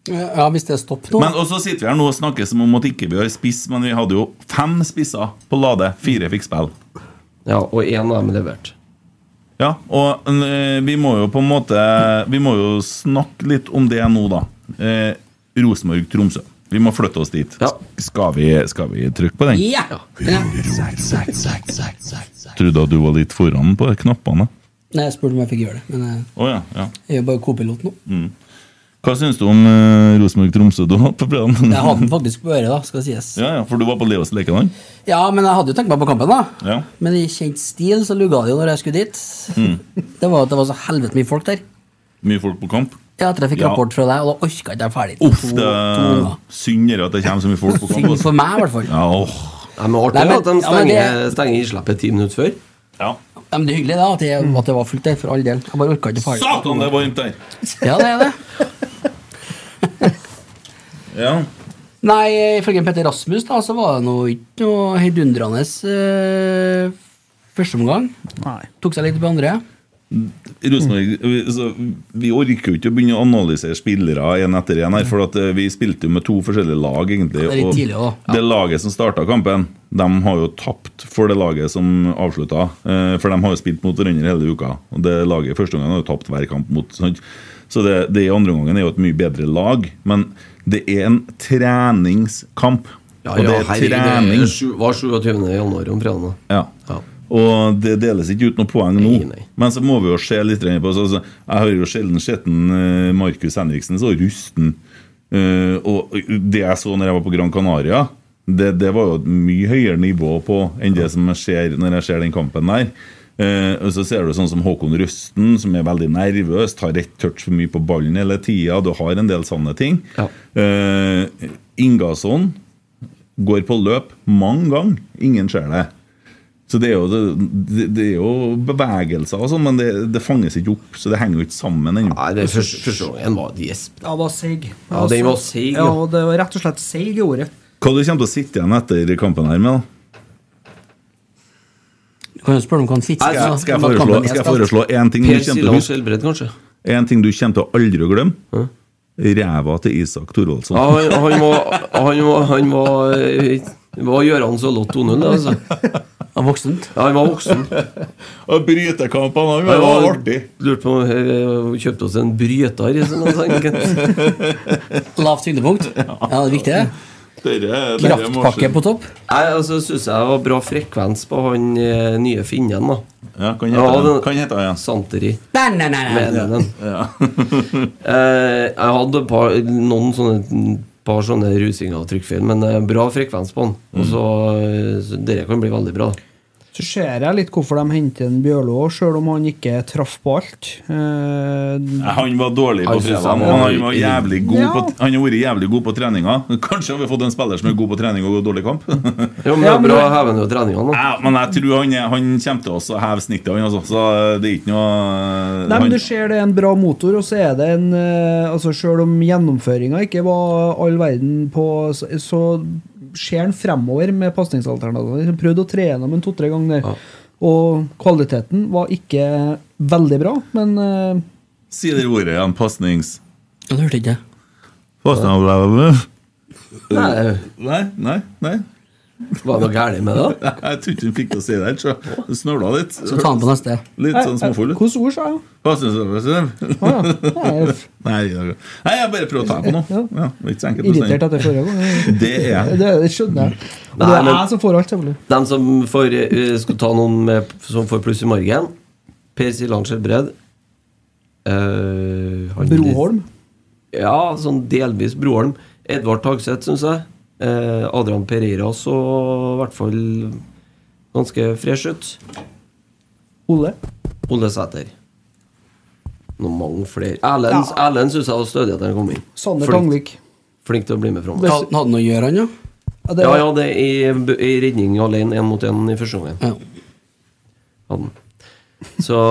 Ja, hvis det er stopp nå.
Men og så sitter vi her nå og snakker som om at ikke vi har spiss, men vi hadde jo fem spisser på Lade. Fire fikk spille.
Ja, og én av dem leverte.
Ja, og eh, vi må jo på en måte Vi må jo snakke litt om det nå, da. Eh, Rosenborg-Tromsø. Vi må flytte oss dit. Skal, vi, skal vi trykke på den?
Ja!
Trodde at du var litt foran på knappene.
Nei, jeg spurte om jeg fikk gjøre det, men eh,
Å ja, ja.
jeg er jo bare co-pilot nå.
Mm. Hva syns du om eh, Rosenborg-Tromsø du har på planen?
Jeg hadde den faktisk på øret, da, skal sies.
ja, ja, for du var på Leos lekeland?
Ja, men jeg hadde jo tenkt meg på kampen, da.
Ja.
Men i kjent stil så lugga det jo når jeg skulle dit.
Mm.
Det var at det var så helvete mye folk der.
Mye folk på kamp?
Ja, etter jeg fikk
Ja.
rapport fra deg, og da orka ikke jeg ferdig.
Uff,
To-
det
to
er
unger.
synd dere at det kommer så mye folk på kamp.
Synd
altså.
for meg, i hvert fall.
Ja, åh.
Nei, men artig
Nei, men-
at de
ja, men
stenger,
det-
stenger innslippet ti minutter før.
Ja.
Ja, men det er hyggelig da at, jeg, at det var fullt der, for all del. Jeg bare orka ikke ferdig.
Satan, det er varmt der!
Ja, det er det.
Ja.
Nei, ifølge Petter Rasmus da, så var det noe, ikke noe heidundrende eh, første omgang. Tok seg litt på andre.
Rosenborg vi, så, vi orker jo ikke å begynne å analysere spillere én etter én her, for at eh, vi spilte jo med to forskjellige lag, egentlig.
Ja, det er litt tidlig også,
og det laget som starta kampen, de har jo tapt for det laget som avslutta. eh, For de har jo spilt mot hverandre hele uka. Og det laget i første omgang har jo tapt hver kamp mot. Sant? Så det, det i andre omgangen er jo et mye bedre lag, men det er en treningskamp.
Ja,
og det
ja,
er
herregud,
trening.
det er sju- var 27. januar om fredagen. da.
Ja. Og det deles ikke ut noen poeng nå. Men så må vi jo se litt på så, så, Jeg har jo sjelden sett en, eh, Markus Henriksen så rusten. Eh, og det jeg så når jeg var på Gran Canaria, det, det var jo et mye høyere nivå på enn det som skjer når jeg ser den kampen der. Eh, og så ser du sånn som Håkon Røsten, som er veldig nervøs, tar rett touch for mye på ballen hele tida. Du har en del sanne ting. Eh, Ingasson går på løp mange ganger. Ingen ser det. Så det er jo, det, det er jo bevegelser og sånn, men det, det fanges ikke opp. Så det henger jo ikke sammen ennå. Nei,
det er første- første gangen var det gjesp.
Ja, det var seig.
Ja, den var seig, ja.
Ja, og det var rett og slett seig i ordet.
Hva du kommer til å sitte igjen etter kampen her med, da?
Du kan jo spørre om hva han fikk.
Skal
altså,
jeg, skal jeg, foreslå, skal jeg foreslå én ting, du
Per
kommer til å
Silas
huske?
Skjelbred, kanskje?
En ting du kommer til å aldri å glemme? Ræva til Isak Thorvaldsson.
Ja, han, han var, han var, han var, eh, var Gjøran Sølott 2-0, det, altså.
Han voksen?
Ja, han var voksen.
Og brytekampene
Han var Lurte på om eh, vi kjøpte oss en bryter. sånn, altså. Som han tenker.
Lavt tyngdepunkt. Ja, det er viktig, det. Kraftpakke på topp.
Nei, altså syns jeg det var bra frekvens på han eh, nye finnen, da.
Ja, hva heter han? Hva heter han?
Santeri.
Nei, nei, nei, nei.
Mener den. Eh, jeg hadde et par, noen sånne par sånne
Mm.
rusinger og trykkfeil, men eh, bra frekvens på den. Og så, eh, så Dere kan bli veldig bra.
Så ser jeg litt hvorfor de henter en Bjørlo, sjøl om han ikke traff på alt. Eh,
Nei, Han var dårlig på
Han synes
fredag,
han
men
var-
han, var jævlig god
Ja.
på, han har vært jævlig god på treninga. Kanskje har vi fått en spiller som er god på trening og går dårlig kamp?
Jo, men det er bra å heve ned treningene.
Ja, men jeg tror han, er- han kommer til også å heve snittet, han altså. Så det er ikke noe eh,
Nei, men
han,
du ser det er en bra motor, og så er det en eh, Altså, sjøl om gjennomføringa ikke var all verden på Så, så ser han fremover med pasningsalternativene. Han prøvde å tre gjennom en to-tre ganger der. Og kvaliteten var ikke veldig bra, men eh,
Si det ordet igjen. Pasnings...
Ja, det hørte ikke jeg.
Nei. Nei, nei, nei.
Var det noe gærent med det?
da? Jeg tror ikke hun fikk til å si det. så Du snøvla litt.
Så ta den på neste.
Litt sånn småfull. ut.
Hvilke ord sa jeg?
Pasningsalternativ. Nei, jeg nei, jeg bare prøver å ta på noe. Ja, det er ikke så enkelt å si.
Irritert etter forrige gang.
Det er jeg.
Det, det skjønner jeg. Og det
Nei,
er
men-
jeg som får alt, selvfølgelig.
De som får, eh, skal ta noen med, som får pluss i margen Per Silan Skjelbred. Eh, han-
Broholm.
Ja, sånn delvis Broholm. Edvard Tagseth, syns jeg. Eh, Adrian Pereira så i hvert fall ganske fresh ut.
Ole.
Ole Sæter. Noen mange flere. Erlend, Erlend syns jeg var stødig at han kom inn.
Sander
Flink-
Tangvik.
Flink til å bli med framover.
Han hadde noe å gjøre, han, ja.
Ja,
Ja, ja, det er i, i redning alene, én mot én i første omgang. Hadde han. Så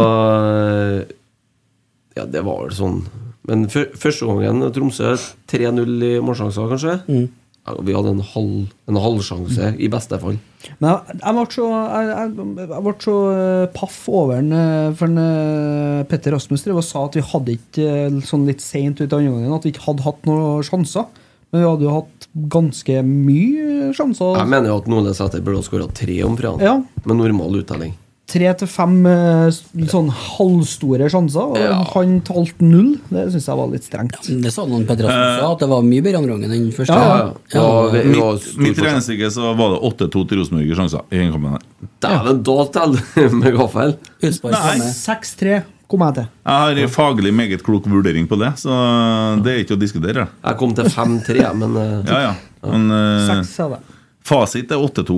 Ja, det var vel sånn. Men fø- første omgangen eh, Tromsø 3-0 i målsjanser, kanskje.
Mm.
Ja, vi hadde en halv En halvsjanse, i beste fall.
Men jeg, jeg ble så, jeg, jeg, jeg ble så eh, paff over den, eh, for den, eh, Petter Rasmus drev og sa at vi hadde ikke eh, sånn litt seint ut i andre gangen at vi ikke hadde hatt noen sjanser. Men vi hadde jo hatt ganske mye sjanser.
Jeg mener jo at Nordnes Sæter burde ha skåra tre om fredagen,
Ja.
med normal uttelling.
Tre til fem eh, s- sånn halvstore sjanser, og han talte null. Det syns jeg var litt strengt.
Det sa noen Petter
Eh,
Rasmus også, at det var mye bedre andre gangen enn første.
Ja, ja.
Mitt, mitt regnestykke så var det 8-2 til Rosenborg i sjanser. i en kamp.
Dæven, da teller det med gaffel!
Nei.
6-3 kom jeg til.
Jeg har en faglig meget klok vurdering på det, så det er ikke å diskutere.
Jeg kom til 5-3, jeg, men eh,
Ja, ja. Men eh,
Seks, sa jeg.
fasit er 8-2.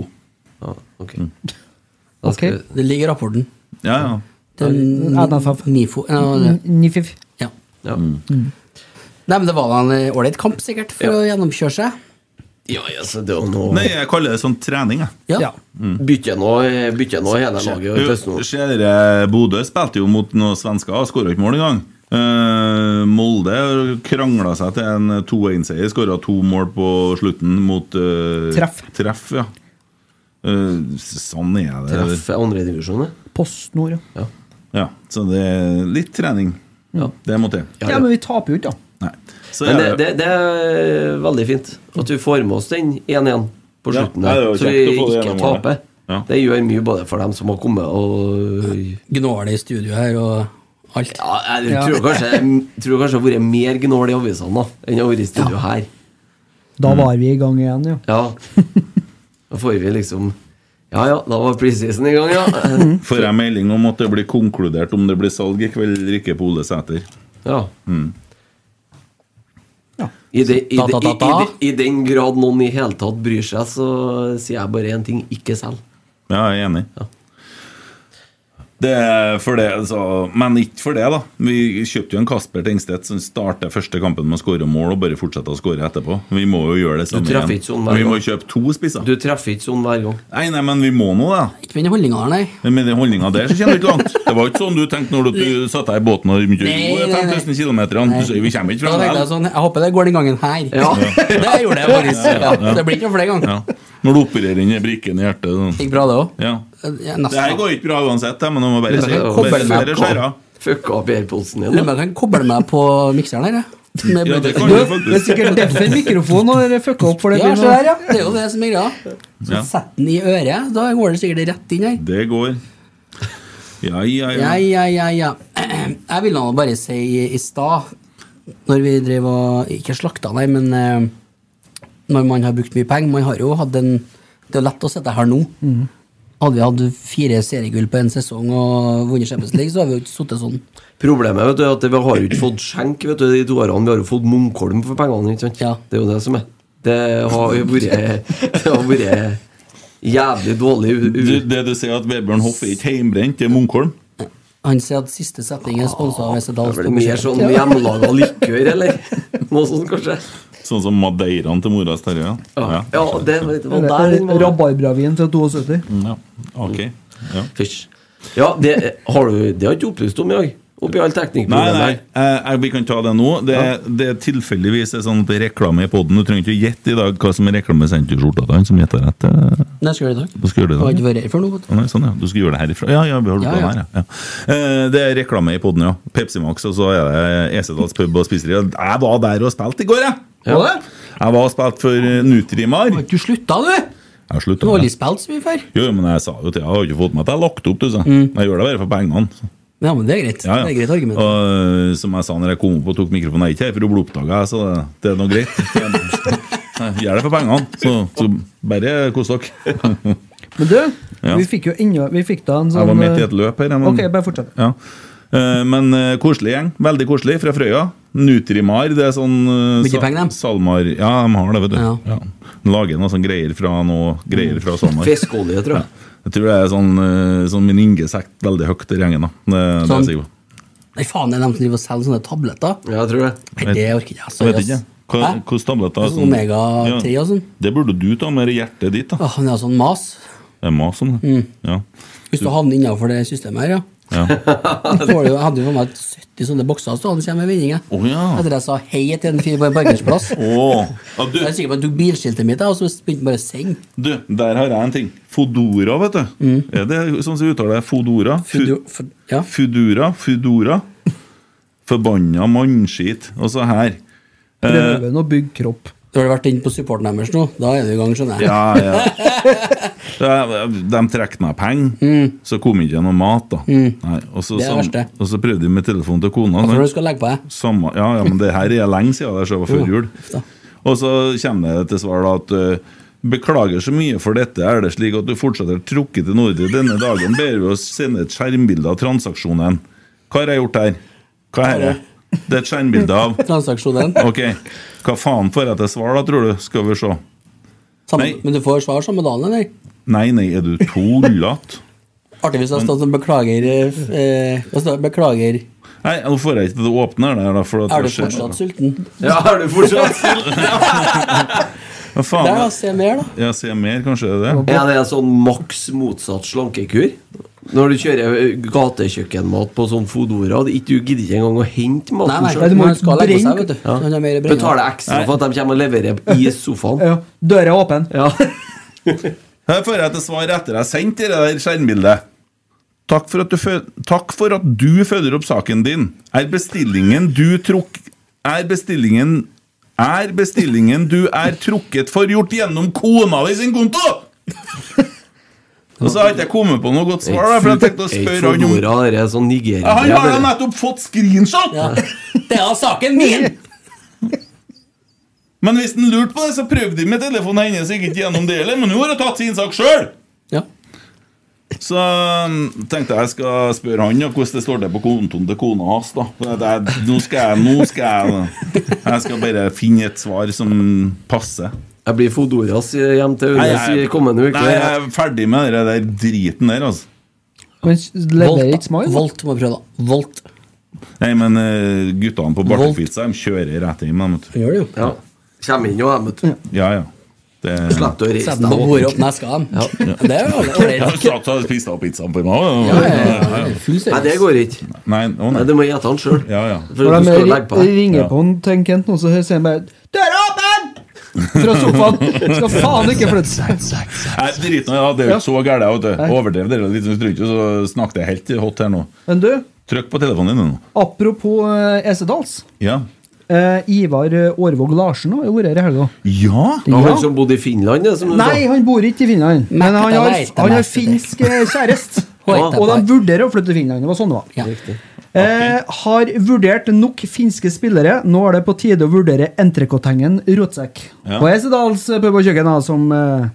Mm.
Det ligger i rapporten.
Ja, ja.
Det er
NFF.
Ni- Nifo. Ja, det-
Nifif.
Ja. Nei, men det var da en eh, ålreit kamp, sikkert, for å gjennomkjøre seg.
Ja, ja, så det er jo noe
Nei, jeg kaller det sånn trening, jeg.
Ja.
Bytte nå, bytte nå hele laget. og teste
Du, Ser dere, Bodø spilte jo mot noen svensker og skåra ikke mål engang. Eh, Molde krangla seg til en 2-1-seier, skåra to mål på slutten mot eh,
Treff.
treff ja. Eh, sånn er det.
Treff er andredivisjon, det.
PostNord, ja.
Ja, så det er litt trening. Det må til.
ja. Men vi taper jo ikke, da.
Så
Men det,
er
det, det er veldig fint at du får med oss den 1-1 på
Ja,
slutten.
nei,
der,
det er jo
så vi
kjekt å få det
ikke
gjennom målet.
taper. Det gjør mye både for dem som har kommet og
Gnål i studio her og alt.
ja, Jeg tror kanskje jeg tror kanskje det har vært mer gnål i avisene da enn det har vært i studio her. Mm.
Da var vi i gang igjen, ja.
Ja Da får vi liksom Ja ja, da var preseason i gang, ja.
Mm.
Får jeg melding om at det blir konkludert om det blir salg i kveld eller ikke på Ole Sæter?
ja.
Mm.
I, de, i,
Da, da,
de, i,
da, da.
i, de, I den grad noen i hele tatt bryr seg, så sier jeg bare én ting ikke selg.
Ja, jeg er enig. Det er for det, altså, men ikke for det, da. Vi kjøpte jo en Kasper Tengstedt som starter første kampen med å skåre mål og bare fortsetter å skåre etterpå. Vi må jo gjøre det
Du
samme
treffer ikke sånn
igjen.
hver
Vi må
gang.
kjøpe to spisser.
Du treffer ikke sånn hver gang.
Nei, nei, men vi må nå det.
Ikke med den holdninga der, nei.
Men Med den holdninga der så kommer du ikke langt. Det var ikke sånn du tenkte når du, du satte deg i båten og begynte
Nei,
å gå
nei, nei.
5000 km. Du sier vi kommer ikke
Da
fram
tenkte jeg
der.
sånn, jeg håper det går den gangen her.
Ja.
det gjorde jeg faktisk.
Ja, ja, ja.
Ja, Det blir ikke flere ganger.
Ja. Når du opererer inn i brikken i hjertet. sånn.
Gikk bra, det òg.
Ja. Det her
Nesten.
går ikke bra uansett, men jeg må bare si
Kobber
bare-
meg
bare
på.
skjer av.
Fucka opp airpodsen
Lurer
din.
på om jeg kan koble meg på mikseren her, jeg. Med
Ja, det
Bluetooth.
kan du
Det er
faktisk.
sikkert derfor mikrofonen har fucka opp. for det
Ja,
blir
se
noe-
der, ja. Det er jo det som er greia. Så
Ja.
Sett den i øret, da går det sikkert rett inn her.
Det går. Ja, ja, ja.
Ja, ja, ja, ja. Jeg ville nå bare si i stad, når vi drev og Ikke slakta, nei, men eh, når man har brukt mye penger Man har jo hatt en Det er lett å sitte her nå.
Mhm.
Hadde vi hatt fire seriegull på en sesong og vunnet Champions League, så hadde vi jo ikke sittet sånn.
Problemet vet du, er at vi har jo ikke fått skjenk vet du, de to årene. Vi har jo fått Munkholm for pengene. ikke sant?
Ja.
Det er jo det som er. Det har jo vært Det har vært Jævlig dårlig u... u
Du- Det du sier at Vebjørn Hoff er ikke heimbrent, det er Munkholm?
Han sier at siste setning er sponsa av Westerdals.
det er vel mer sånn hjemmelaga likør, eller?
Noe sånt, kanskje?
Sånn som Madeiraen til mora Terje? Ja.
Ja, det, det var der den var.
Rabarbravin fra 72.
Ja, ok. Ja.
Fysj. Ja, det har du Det har jeg ikke opplyst om i dag. Oppi all
Nei,
teknikkproblemet
nei,
her.
eh, eh, vi kan ta det nå. Det,
Ja.
det er tilfeldigvis er sånn at det er reklame i poden. Du trenger ikke å gjette i dag hva som er reklamesendt i skjorta. Det er han som gjetter rett. eh.
Nei, skal gjøre det i dag.
Du skal gjøre det i dag.
Jeg har ikke vært her før nå, vet du.
Å, Nei, sånn, ja. Du skal gjøre det herifra? Ja, ja, vi har
Ja,
lukka
ja.
den her, ja. ja. Eh, Det er reklame i poden, ja. Pepsi Max, og så er det Esedals pub og spiseri. Jeg var der og spilte i går, jeg!
Var det?
Jeg var og spilte for eh, Nutrimar. Har
ikke du slutta, du?
Jeg har
Du
slutta. ja.
har aldri spilt så mye før.
Jo, men jeg sa jo til Jeg har ikke fått med at jeg har lagt opp, du sa.
Mm.
Jeg gjør det bare for pengene. så.
Ja, men det er greit.
Ja, ja.
Det er greit argument.
Og, eh, som jeg sa når jeg kom opp og tok mikrofonen, jeg er ikke her for å bli oppdaga, så det, det er nå greit. Jeg gjør det for pengene, så, så bare kos dere.
Men du,
Ja.
vi fikk jo ennå Vi fikk da en sånn
Jeg var midt i
eh,
et løp her. jeg, Men,
Ok, bare fortsett.
ja. Eh, men eh, koselig gjeng. Veldig koselig. Fra Frøya. Nutrimar. Det er sånn eh,
Mye
sa-
penger,
Salmar Ja, de har det, vet du. Ja. Lager noe sånn greier fra noe greier fra Salmar.
Fiskeolje, tror jeg.
Ja. Jeg tror det er sånn, eh, sånn min Inge sagt veldig høyt i gjengen, da. Det, det er
Sånn.
jeg sikker på.
Nei, faen, det er dem som driver og selger sånne tabletter.
Ja, jeg tror det.
Nei, det orker ikke jeg.
Jeg vet
Sorry,
ikke.
ass.
Hva,
Hæ?
hvordan tabletter
Sånn omega-3 og sånn.
Det burde du ta med hjertet ditt, da.
Åh, men det er sånn mas.
Det er mas om det.
Mm.
Ja.
Hvis du havner innenfor det systemet her, ja.
Ja.
Da får du- Jeg hadde jo for meg 70 sånne bokser stående hjemme i vendinga.
Å, ja.
Etter jeg sa hei til en fyr på en parkeringsplass.
Åh, du...
Jeg er sikker på at jeg tok bilskiltet mitt, jeg, og så begynte jeg bare å sende.
Du, der har jeg en ting. Fodora, vet du.
Mm.
Er det sånn som vi uttaler det? Fodora? Fudu, Fudora? Fudora? Forbanna mannskit. Og så her. Eh,
Prøven å bygge kropp.
Da har du vært inne på supporten deres nå. Da er du i gang, skjønner jeg.
ja, ja. De, de trekk meg penger, så kom ikke noe mat, da.
Mm.
Nei, og, så,
Det er
sam-
verste.
og så prøvde jeg med telefonen til kona.
Jeg
sant?
tror du skal legge på deg.
Samme, ja, ja, men det her er lenge siden det skjedde før jul. Og så kommer det til svar da at eh, Beklager så mye for dette. Er det slik at du fortsatt har trukket til Nordre denne dagen? Ber vi oss sende et skjermbilde av transaksjonen. Hva har jeg gjort her? Hva er det? Det er et skjermbilde av
Transaksjonen.
Ok. Hva faen får jeg til svar, da, tror du? Skal vi se.
Samme, men du får svar samme dagen, eller?
Nei, nei, er du tullete?
Artig hvis det hadde stått som beklager eh, eh, hva står det? Beklager.
Nei, nå får jeg ikke til å åpne her, da, for at
Er du
det skjer-
fortsatt sulten?
Ja, er du fortsatt sulten?
Hva faen?
Der, da. Se mer, da.
Ja, se mer, kanskje det er det?
Er det en sånn maks motsatt slankekur? Når du kjører eh, gatekjøkkenmat på sånn Fodora, og ikke- du gidder ikke engang å hente
Nei,
maten
nei,
selv.
du må skal legge på seg, vet du.
Ja.
Han har mer å brenne.
Betaler ekstra for at de kommer og leverer i sofaen.
Ja, Døra er åpen.
Her får jeg til svar etter jeg har sendt det der skjermbildet. Takk for, at du fø- Takk for at du følger opp saken din. Er bestillingen du trukk... Er bestillingen Er bestillingen du er trukket for, gjort gjennom kona di sin konto?! Og så har ikke jeg kommet på noe godt svar, da, for jeg tenkte å spørre han om
Fodora, det er sånn Nigeria.
Han har da nettopp fått screenshot!
Det er saken min!
Men hvis han lurte på det, så prøvde jeg med telefonen hennes sikkert gjennom det heller, men hun har jo tatt sin sak sjøl!
Ja.
Så um, tenkte jeg skal spørre han ja, hvordan det står til på kontoen til kona hans. da det, det, Nå skal jeg nå skal jeg, jeg skal bare finne et svar som passer.
Jeg blir Fodoras eh, hjem til
Nei,
Ørnes i
jeg-
kommende uke.
Nei, jeg er ferdig med det der driten der, altså.
Men leverer ikke smile?
Volt må prøve, da. Volt.
Nei, men eh, guttene på Bartelpizza de kjører rett hjem. de, vet du.
Gjør det jo.
Ja. Kommer inn jo, jeg, vet du.
Ja, ja. Det,
Slapp å reise
Sett den på bordet opp neska dem. Det er jo
Jeg
ålreit.
har satt og spist av pizzaen på meg.
Ja, ja, ja, ja. Full
Nei, det
service.
går ikke.
Nei, å nei.
Nei, Du må gjette han sjøl.
Ja, ja.
For
Når
du
de
skal jo legge på
ri-
deg.
ringer
Ja.
på en til en Kent nå, så sier han bare 'Døra er åpen!' Fra sofaen. Skal faen ikke flytte seg.
Nei, driten, ja, det er jo ikke så gærent. vet du. Overdrev dere litt, sånn så tror jeg ikke så snakket jeg helt hot her nå.
Men du,
Trykk på telefonen din nå.
apropos eh, Esedals.
Ja.
Eh, Ivar eh, Aarvåg Larsen har jo vært her i helga.
Ja!
Ja, han som bodde i Finland, det, som du
Nei, han bor ikke i Finland, men han har,
Merket deg,
han har
merket deg.
finsk eh, kjæreste.
Merket deg.
Og de vurderer å flytte til Finland. Det var sånn det var.
Ja.
Eh, har vurdert nok finske spillere. Nå er det på tide å vurdere entrecôtengen Rotsekk.
Ja.
På Esedals pub og kjøkken, da, som eh,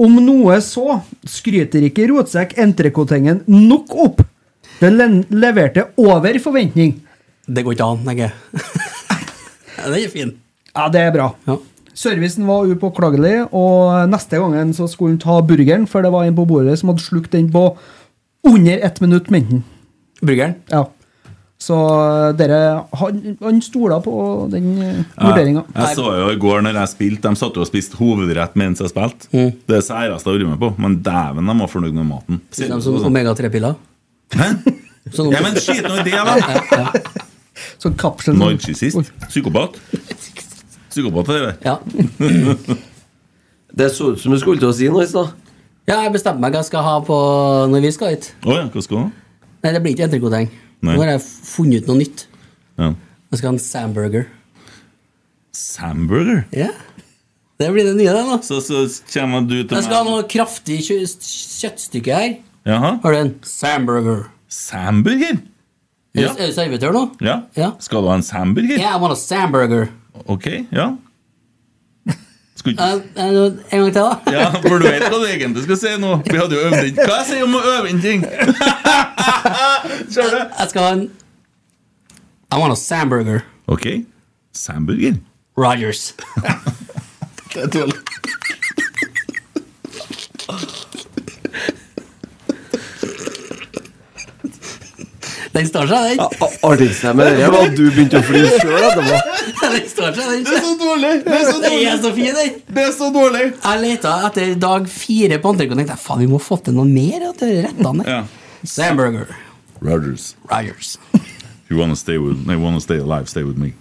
Om noe så skryter ikke Rotsekk entrecôtengen nok opp. Den len- leverte over forventning.
Det går ikke an, tenker jeg. Ja, Den er fin.
Ja, det er bra.
Ja.
Servicen var upåklagelig, og neste gangen så skulle han ta burgeren, for det var en på bordet som hadde slukt den på under ett minutt, mente han.
Burgeren?
Ja. Så eh, dere, han, han stola på den eh,
Jeg,
vurderinga.
jeg
liksom
så jo i går når jeg spilte, de satt jo og spiste hovedrett mens jeg spilte.
Mm.
Det er det særeste jeg har vært med på, men dæven, de var fornøyd med maten.
De som Sånn omega-3-piller? Hæ?
Ja, men skit nå i det, da!
Sånn kapsel
Narsissist. Psykopat. Psykopat er det.
Ja.
Det så ut som du skulle til å si noe i stad.
Ja, jeg bestemte meg hva jeg skal ha på når vi skal hit.
Å ja, hva skal du ha?
Nei, det blir ikke entrecôteng.
Nei.
Nå har jeg funnet ut noe nytt.
Ja.
Jeg skal ha en samburger.
Samburger?
Ja. Det blir det nye, det nå.
Så, så kommer du til
Jeg skal ha
meg
noe kraftig kjø- kjøttstykke her.
Jaha?
Har du en samburger?
Samburger?
Er
Ja.
du- Er du servitør nå?
Ja. Skal du ha en samburger?
Yeah, I want a samburger.
Ok, ja. Skulle
Eh, eh, en gang til, da.
Ja, for du vet hva du egentlig skal si nå. Vi hadde jo øvd inn Hva jeg sier om å øve inn ting? Skjønner
Jeg skal ha en I want a samburger.
Ok. Samburger?
Rogers.
Det er tull.
Den står seg, den.
Artigste med det var at du begynte å flire sjøl etterpå.
den står seg, den.
Det er så dårlig! Det er så
Den
dårlig!
er så fin, den.
Det er så dårlig!
Jeg leta etter dag fire på Antrikon. Tenkte jeg, faen, vi må få til noe mer. At det er rettene.
Ja.
Samburger.
Rogers,
Rogers.
you wanna stay, with, they wanna stay alive, stay with me.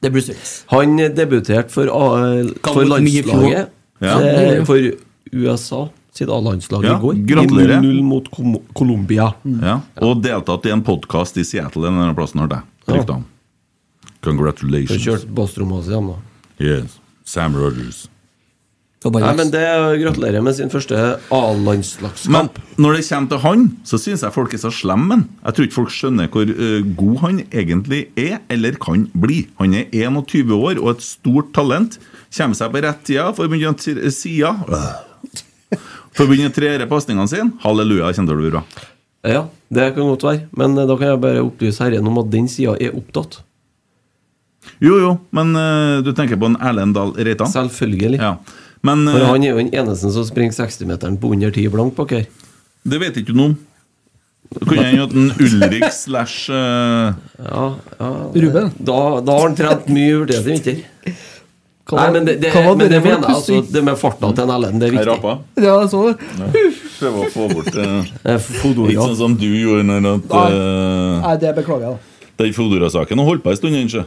Det er Bruce Willis.
Han debuterte for, A- for
mye fjor.
landslaget
Ja.
eh, For USA sitt A-landslag
Ja,
i går. I
gratulerer.
0-0 mot Kom- Colombia.
Ja. Og deltatt i en podkast i Seattle, en eller annen plass når det er. Rykte om.
Han
Congratulations.
kjørte basstromma si, han da.
Yes. Sam Rogers.
Nei, men det Gratulerer med sin første
Men
A-landslagskamp.
når det kommer til han, så syns jeg folk er så slemme. men Jeg tror ikke folk skjønner hvor eh, god han egentlig er, eller kan bli. Han er 21 år og et stort talent. Kommer seg på rett tida, får begynne å tre- sida Øh. Får begynne å treere pasningene sine. Halleluja, det kommer til å bli bra.
Ja, det kan godt være. Men eh, da kan jeg bare opplyse herren om at den sida er opptatt.
Jo, jo, men eh, du tenker på en Erlend Dahl Reitan?
Selvfølgelig.
Ja. Men
For
eh,
han er jo den eneste som springer 60-meteren på under 10 blank bak her.
det vet ikke du noe om. Det Kunne hende at en Ulrik slash eh,
Ja, ja.
Ruben?
Da, da har han trent mye vurdert i vinter. Nei, men det, det,
hva var
men det
dere for
mener jeg, altså,
pussing?
det med farta til en Ellen, det er
Jeg
viktig.
rapa.
Ja, jeg så det.
Prøve å få bort eh,
Eh, Fodora.
Litt sånn som du gjorde når at, eh,
Nei, det beklager jeg, da.
den Fodora-saken har holdt på en stund, ikke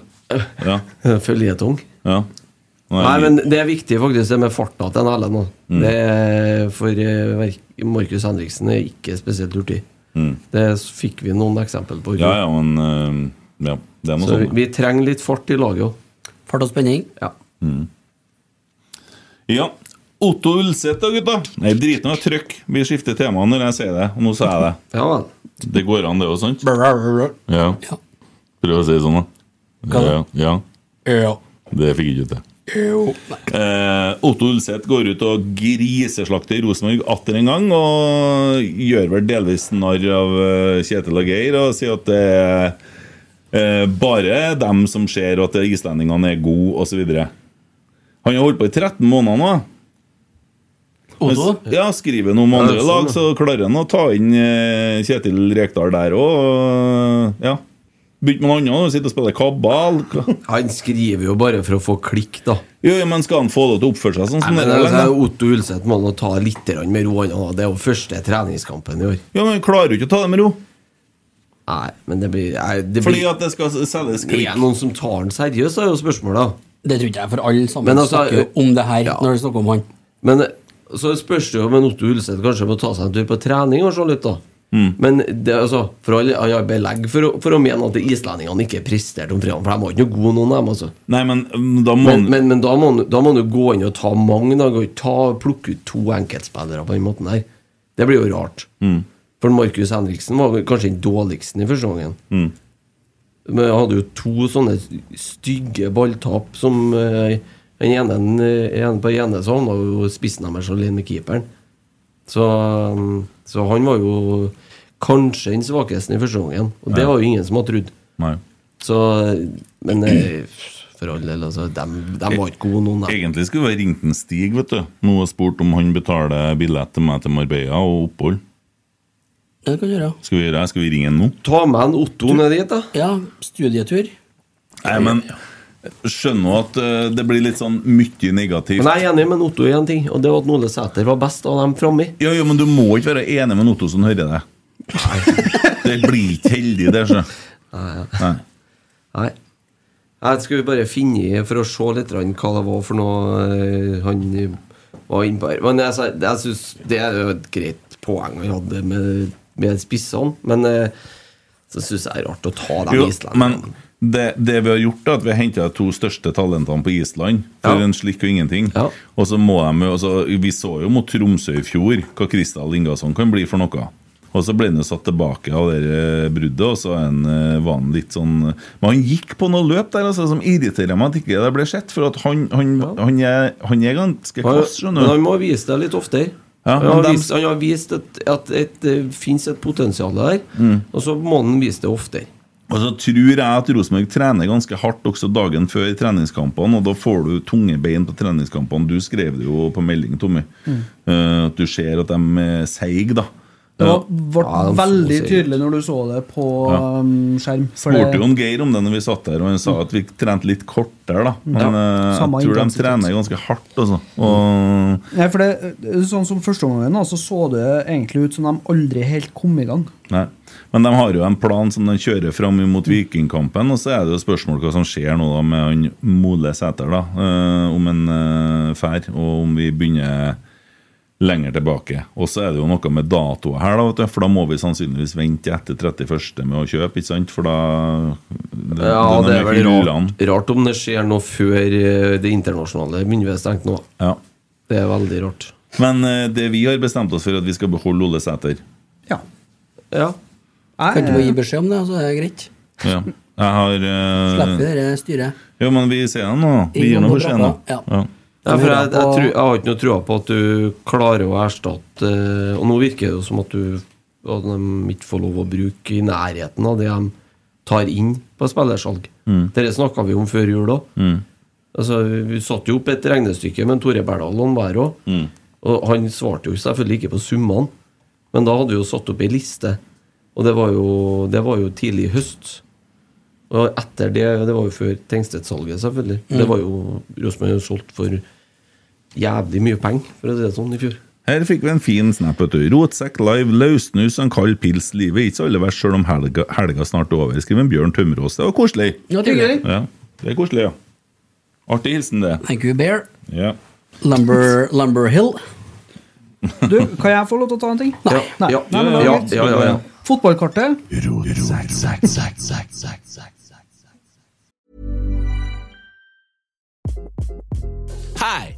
Ja.
Føljetong.
ja.
eh, Nei, men det er viktig faktisk det med farta til en Ellen. da.
Mm.
Det er- For eh, verk- Markus Henriksen er ikke spesielt hurtig.
Mm.
Det fikk vi noen eksempel på. i
Ja,
går.
ja, men eh, Ja, det er noe
Så vi,
sånt.
vi trenger litt fart i laget òg.
Fart og spenning.
Ja.
Ja. Otto Ulseth, da, gutta. Nei, drit nå i trykk. Vi skifter tema når jeg sier det, og nå sa jeg det.
ja vel.
Det går an, det òg, sant?
Ja.
Ja. Prøv å si det sånn, da.
Hva da?
Ja. ja. Det fikk jeg ikke til. Eh, Otto Ulseth går ut og griseslakter Rosenborg atter en gang. Og gjør vel delvis narr av eh, Kjetil og Geir og sier at det er eh, bare dem som ser at islendingene er gode, osv. Han har holdt på i 13 måneder nå.
Otto?
Men s- Ja, Skriver han om
Ja,
andre
sånn,
lag,
ja.
så klarer han å ta inn eh, Kjetil Rekdal der òg. Ja. Begynte med noe annet, nå, sitter og spiller kabal. Hva-
Han skriver jo bare for å få klikk, da.
Jo, jo, men skal han få lov til å oppføre seg sånn som
Nei,
det
men
der?
altså,
da?
Otto Ulseth må nå ta litt grann med ro. han da. Det er jo første treningskampen i år.
Ja, men klarer jo ikke å ta det med ro.
Nei, men det blir, nei, det
Fordi
blir
at det skal selges
Er
klikk.
det noen som tar han seriøst, er jo spørsmålet. da.
Det tror ikke jeg, for alle sammen
Men altså,
snakker jo om det her
ja.
når de snakker om han.
Men så spørs det jo om en Otto Ulseth kanskje må ta seg en tur på trening og se litt, da.
Mm.
Men det, er altså, for alle, jeg har belegg for, å- for å mene at islendingene ikke presterte om fredagen, for de var ikke noe gode, noen av dem. altså.
Nei, men mm, da må
Men,
han-
men, men da, må du, da må du gå inn og ta mange da, gå- ta, Plukke ut to enkeltspillere på den måten her Det blir jo rart
Mm.
For Markus Henriksen var vel kanskje den dårligsten i første gangen
Mm.
Men han hadde jo to sånne stygge balltap Som eh, den ene, eh, en på den ene så han var jo spissen av meg alene med keeperen så, mm, så han var jo kanskje den svakeste i første gangen Og det var jo ingen som hadde trodd
Nei.
så, men eh, for all del. Altså, de, var ikke gode, noen. da.
Egentlig skulle vi ha ringt en Stig vet du Nå og spurt om han betaler billett til meg til Marbella og opphold.
Det kan du gjøre.
Skal vi gjøre det? Skal vi ringe han nå?
Ta med en Otto ned dit, da.
Ja, studietur.
Nei, men skjønner at eh, det blir litt sånn mye negativt.
Men jeg er enig med Otto i en ting, og det var at Ole Sæter var best av dem framme.
Ja, ja, men du må ikke være enig med Otto som hører deg. Det blir ikke heldig, det. Så. Nei.
Nei. Nei, skal vi bare finne i for å se litt grann hva det var for noe eh, han var inne på her. Men jeg, sa- jeg syns det er jo et greit poeng han hadde med, med spissene, men eh, så syns jeg det er rart å ta dem
Jo,
islendingene.
men det, det vi har gjort, er at vi har henta de to største talentene på Island. For
Ja.
en slikk og ingenting. Og så må de, jo- altså, Vi så jo mot Tromsø i fjor hva Kristal Ingasson kan bli for noe. Og så ble han jo satt tilbake av det eh, bruddet, og så er han, eh, var han litt sånn Men han gikk på noe løp der altså, som irriterer meg at ikke det ble sett. For at han, han, han, er, han er ganske
Han-
kvass, skjønner
Men han
du.
må vise det litt oftere.
Ja,
han, har
men dem-
vist, han har vist at, at et, det fins et potensial der,
Mm.
og så må han vise det oftere.
Og så tror jeg at Rosenborg trener ganske hardt også dagen før treningskampene, og da får du tunge bein på treningskampene. Du skrev det jo på melding, Tommy.
Mm.
Eh, at du ser at de er seige, da.
Det var,
Eh,
ble veldig tydelig når du så det på
Ja.
um, skjerm. for det- Mm.
Spurte jo en Geir om det når vi satt der, og han sa at vi trente litt kortere, da. Men
Ja.
eh,
Samme
jeg tror de
intensitet.
trener ganske hardt, altså. Og
Nei, for det, er sånn som første omgangen, da, så så det egentlig ut som de aldri helt kom i gang.
Nei. Men de har jo en plan som de kjører fram mot Vikingkampen. Og så er det jo spørsmål hva som skjer nå da med han Mole Sæter, da. eh, om en uh, fær, og om vi begynner lenger tilbake. Og så er det jo noe med datoer her, da, vet du, for da må vi sannsynligvis vente etter 31. med å kjøpe, ikke sant? For da det,
Ja,
den
det er
med
vel
hyllene.
rart, rart om det skjer noe før eh, det internasjonale begynner vi å stenge nå.
Ja.
Det er veldig rart.
Men eh, det vi har bestemt oss for, er at vi skal beholde Ole Sæter.
Ja.
Kan ikke bare gi beskjed om det, så er det greit.
Ja. Jeg har eh,
Slipper vi det styret.
Ja, men vi ser den nå. Vi
Ingen
gir noe
må
for
dra
seg nå.
på. Ja.
Ja, for jeg, jeg, tror, jeg har ikke noe trua på at du klarer å erstatte eh, Og nå virker det jo som at du at de ikke får lov å bruke i nærheten av det de tar inn på spillersalg.
Mm.
Dette snakka vi om før jul òg.
Mm.
Altså, vi satte jo opp et regnestykke med Tore Berdal og Bærå.
Mm.
Og han svarte jo selvfølgelig ikke på summene, men da hadde vi jo satt opp ei liste. Og det var jo, det var jo tidlig i høst. Og etter det Det var jo før Tengstedt-salget, selvfølgelig.
Mm.
Det var jo Rosenborg har solgt for jævlig mye penger, for å si det sånn, i fjor.
Her fikk vi en fin snap. vet du. Rotsekk live, løssnus og en kald pils. Livet er ikke så alle verst sjøl om helga, helga snart er over. Skriver en Bjørn Tømmerås. Det var koselig.
Ja, det er gøy.
Ja, det er koselig, ja. Artig hilsen, det.
Thank you, Bear.
Ja.
Lumber, Lumber Hill.
Du, kan jeg få lov til å ta en ting? Nei. Nei.
Ja.
Nei, men det var
Ja,
greit.
ja, ja, ja.
Fotballkartet.
Hi,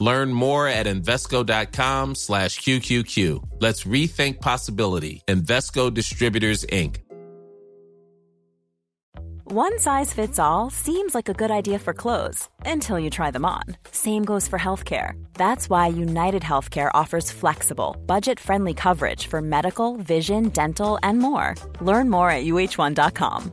Learn more at Invesco.com slash QQQ. Let's rethink possibility. Invesco Distributors, Inc.
One size fits all seems like a good idea for clothes until you try them on. Same goes for healthcare. That's why United Healthcare offers flexible, budget friendly coverage for medical, vision, dental, and more. Learn more at uh1.com.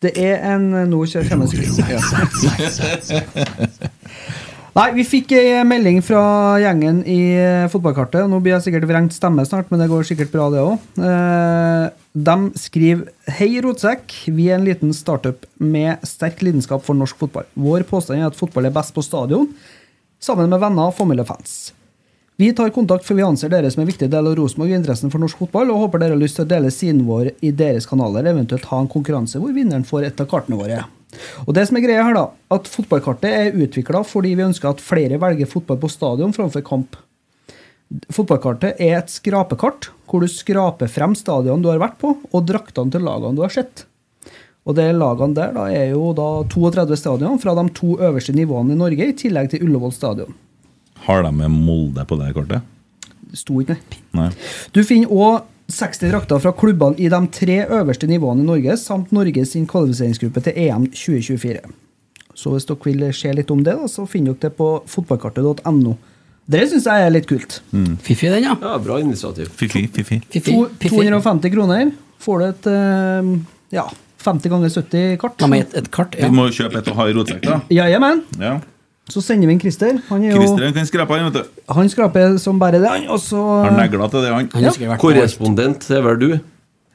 Det er en eh, Nå kommer en skrift. Nei, vi fikk ei melding fra gjengen i eh, fotballkartet. Nå blir jeg sikkert vrengt stemme snart, men det går sikkert bra, det òg. De skriver Hei, Rotsekk. Vi er en liten startup med sterk lidenskap for norsk fotball. Vår påstand er at fotball er best på stadion. sammen med venner og familiefans. Vi tar kontakt for vi anser dere som en viktig del av Rosenborg og interessen for norsk fotball, og håper dere har lyst til å dele siden vår i deres kanaler, eventuelt ha en konkurranse hvor vinneren får et av kartene våre. Og det som er greia her, da, at fotballkartet er utvikla fordi vi ønsker at flere velger fotball på stadion framfor kamp. Fotballkartet er et skrapekart, hvor du skraper frem stadion du har vært på, og draktene til lagene du har sett. Og det lagene der da, er jo da 32 stadion fra de to øverste nivåene i Norge, i tillegg til Ullevål stadion.
Har de med Molde på det kortet?
Sto ikke det.
Nei.
Du finner òg 60 drakter fra klubbene i de tre øverste nivåene i Norge, samt Norges sin kvalifiseringsgruppe til EM 2024. Så hvis dere vil se litt om det, da, så finner dere det på fotballkartet.no. Det syns jeg er litt kult.
Fiffig, den, ja.
ja bra initiativ.
Fifi, fifi.
To, 250 kroner får du et eh, ja, 50 ganger 70 kart.
La meg et, et kart.
Vi må jo kjøpe et og ha i rotsekk, da.
Ja, ja, men.
Ja.
Så sender vi inn Christer. Han, er jo,
Christer han kan skrape, han, vet du.
han skraper som bare det, han. Og så
Har negla til det, han.
Ja. sikkert vært på
Korrespondent det er vel du?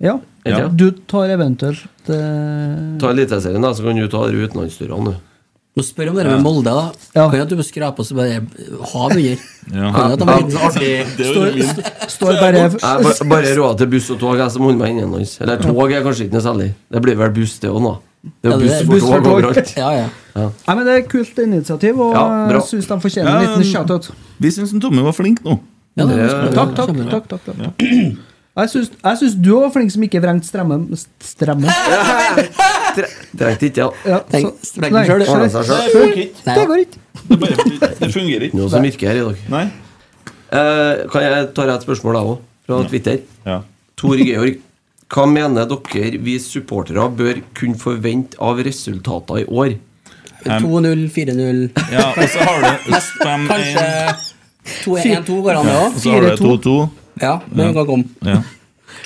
ja.
Ja.
Du tar eventuelt eh,
Ta Eliteserien, da, så kan du ta de utenlandsturene, du.
Må spørre om det der med Molde, da. Kan jeg at du må skrape og så bare hav under?
Ja.
Kan jeg at de
Ja.
har en artig-
Det var
står-
min.
st- Står bare
Jeg ba- bare råd til buss og tog, jeg som holder meg innenlands. Eller tog er kanskje ikke noe særlig. Det blir vel buss, det òg, da. Det er jo buss for tog overalt.
Ja, ja.
Ja.
Nei, men Det er et kult initiativ, og
Ja, bra.
jeg syns de fortjener en
Ja,
liten shout-out.
Vi syns Tommy var flink nå.
Ja, det var-
Takk, takk. takk, takk, takk. Jeg syns- Jeg syns du var flink som ikke vrengte stremme Stremme?
Trengte ikke, ja.
Ja,
Tenk-
så-
streng
nei,
selv,
sorry.
Ordnet seg selv. Det
Sorry.
funker
Det går ikke.
Det fungerer
Noe som virker her i dag.
Nei.
Eh, kan jeg ta et spørsmål, jeg òg, fra Twitter?
Ja.
Tor Georg, hva mener dere vi supportere bør kunne forvente av resultater i år?
2-0, 4-0
Ja, og så har du
Nest- Kanskje 2-1-2 går an, det
Ja,
òg.
og så har du 2-2.
Ja, men
Ja.
kan komme.
Ja.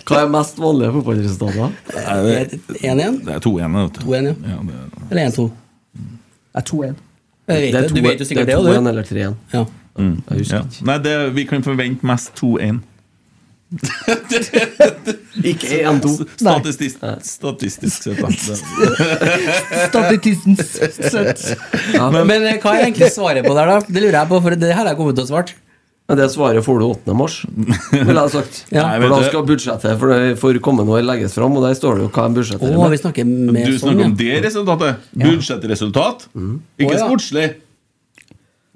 Hva er mest vanlige fotballresultater?
Nei, det-
1-1
Det er 2-1, vet du.
2-1, ja.
Ja, det-
eller 1-2?
Jeg er 2-1.
Jeg vet
Det er
jo- Du
to-
vet jo
det
sikkert det
er
òg,
to igjen
du.
eller tre igjen.
Ja.
Mm.
Jeg husker
Ja. Nei, det, vi kan forvente mest 2-1.
Ikke 1-2.
Statistisk, statistisk sett, da.
Statististen søtt.
Men, men eh, hva er egentlig svaret på der, da? Det lurer jeg på, for det her har jeg kommet til å svare.
Men det svaret får du 8. mars, ville jeg sagt.
Ja.
Nei,
For da
vet du-
skal budsjettet for, for kommende år legges fram, og der står det jo hva en budsjetter
Å, vi
med.
snakker med
Du
sånn,
snakker om
ja. Mhm.
det resultatet. Budsjettresultat. Ikke
Å, ja.
sportslig.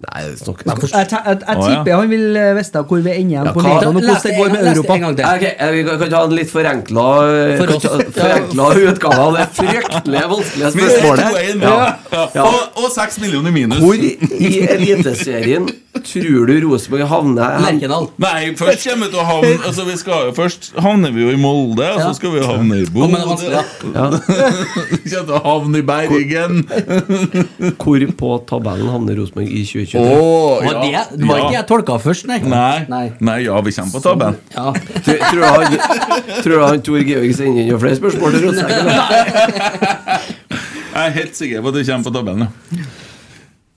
Nei, det
Nei,
snakker
for-
Jeg, te- jeg,
Å,
jeg
ja.
tipper han vil eh, vite hvor vi ender igjen
Ja,
på
hva-
ligaen, og
Les det
hvordan det
en
går
gang-
med
les det en
Europa.
gang til.
Ok, eh, Vi kan kan ta en litt forenkla eh,
For
kan
oss.
ta- forenkla utgave av det fryktelig vanskelige
Men det er
spørsmålet.
2-1,
Ja.
ja.
Ja.
Og, og 6 millioner i minus.
Hvor i Eliteserien tror du Rosenborg havner? hen?
Lerkendal.
Nei, først kommer vi til å havne altså vi skal, jo- Først havner vi jo i Molde, og
Ja.
så skal vi jo havne i
Å, men det er
Bodø.
vanskelig, da.
Vi kommer til å havne i Bergen.
Hvor på tabellen havner Rosenborg i 2023?
Åh,
Var
ja,
det, det var ikke
ja.
jeg tolka først, nei.
Nei. Nei, ja, vi kommer på tabben.
Ja.
Tror tror du han, tror du han Tor Georg sender inn noen flere spørsmål til Rosenborg?
Jeg er helt sikker på at vi kommer på tabellen. ja.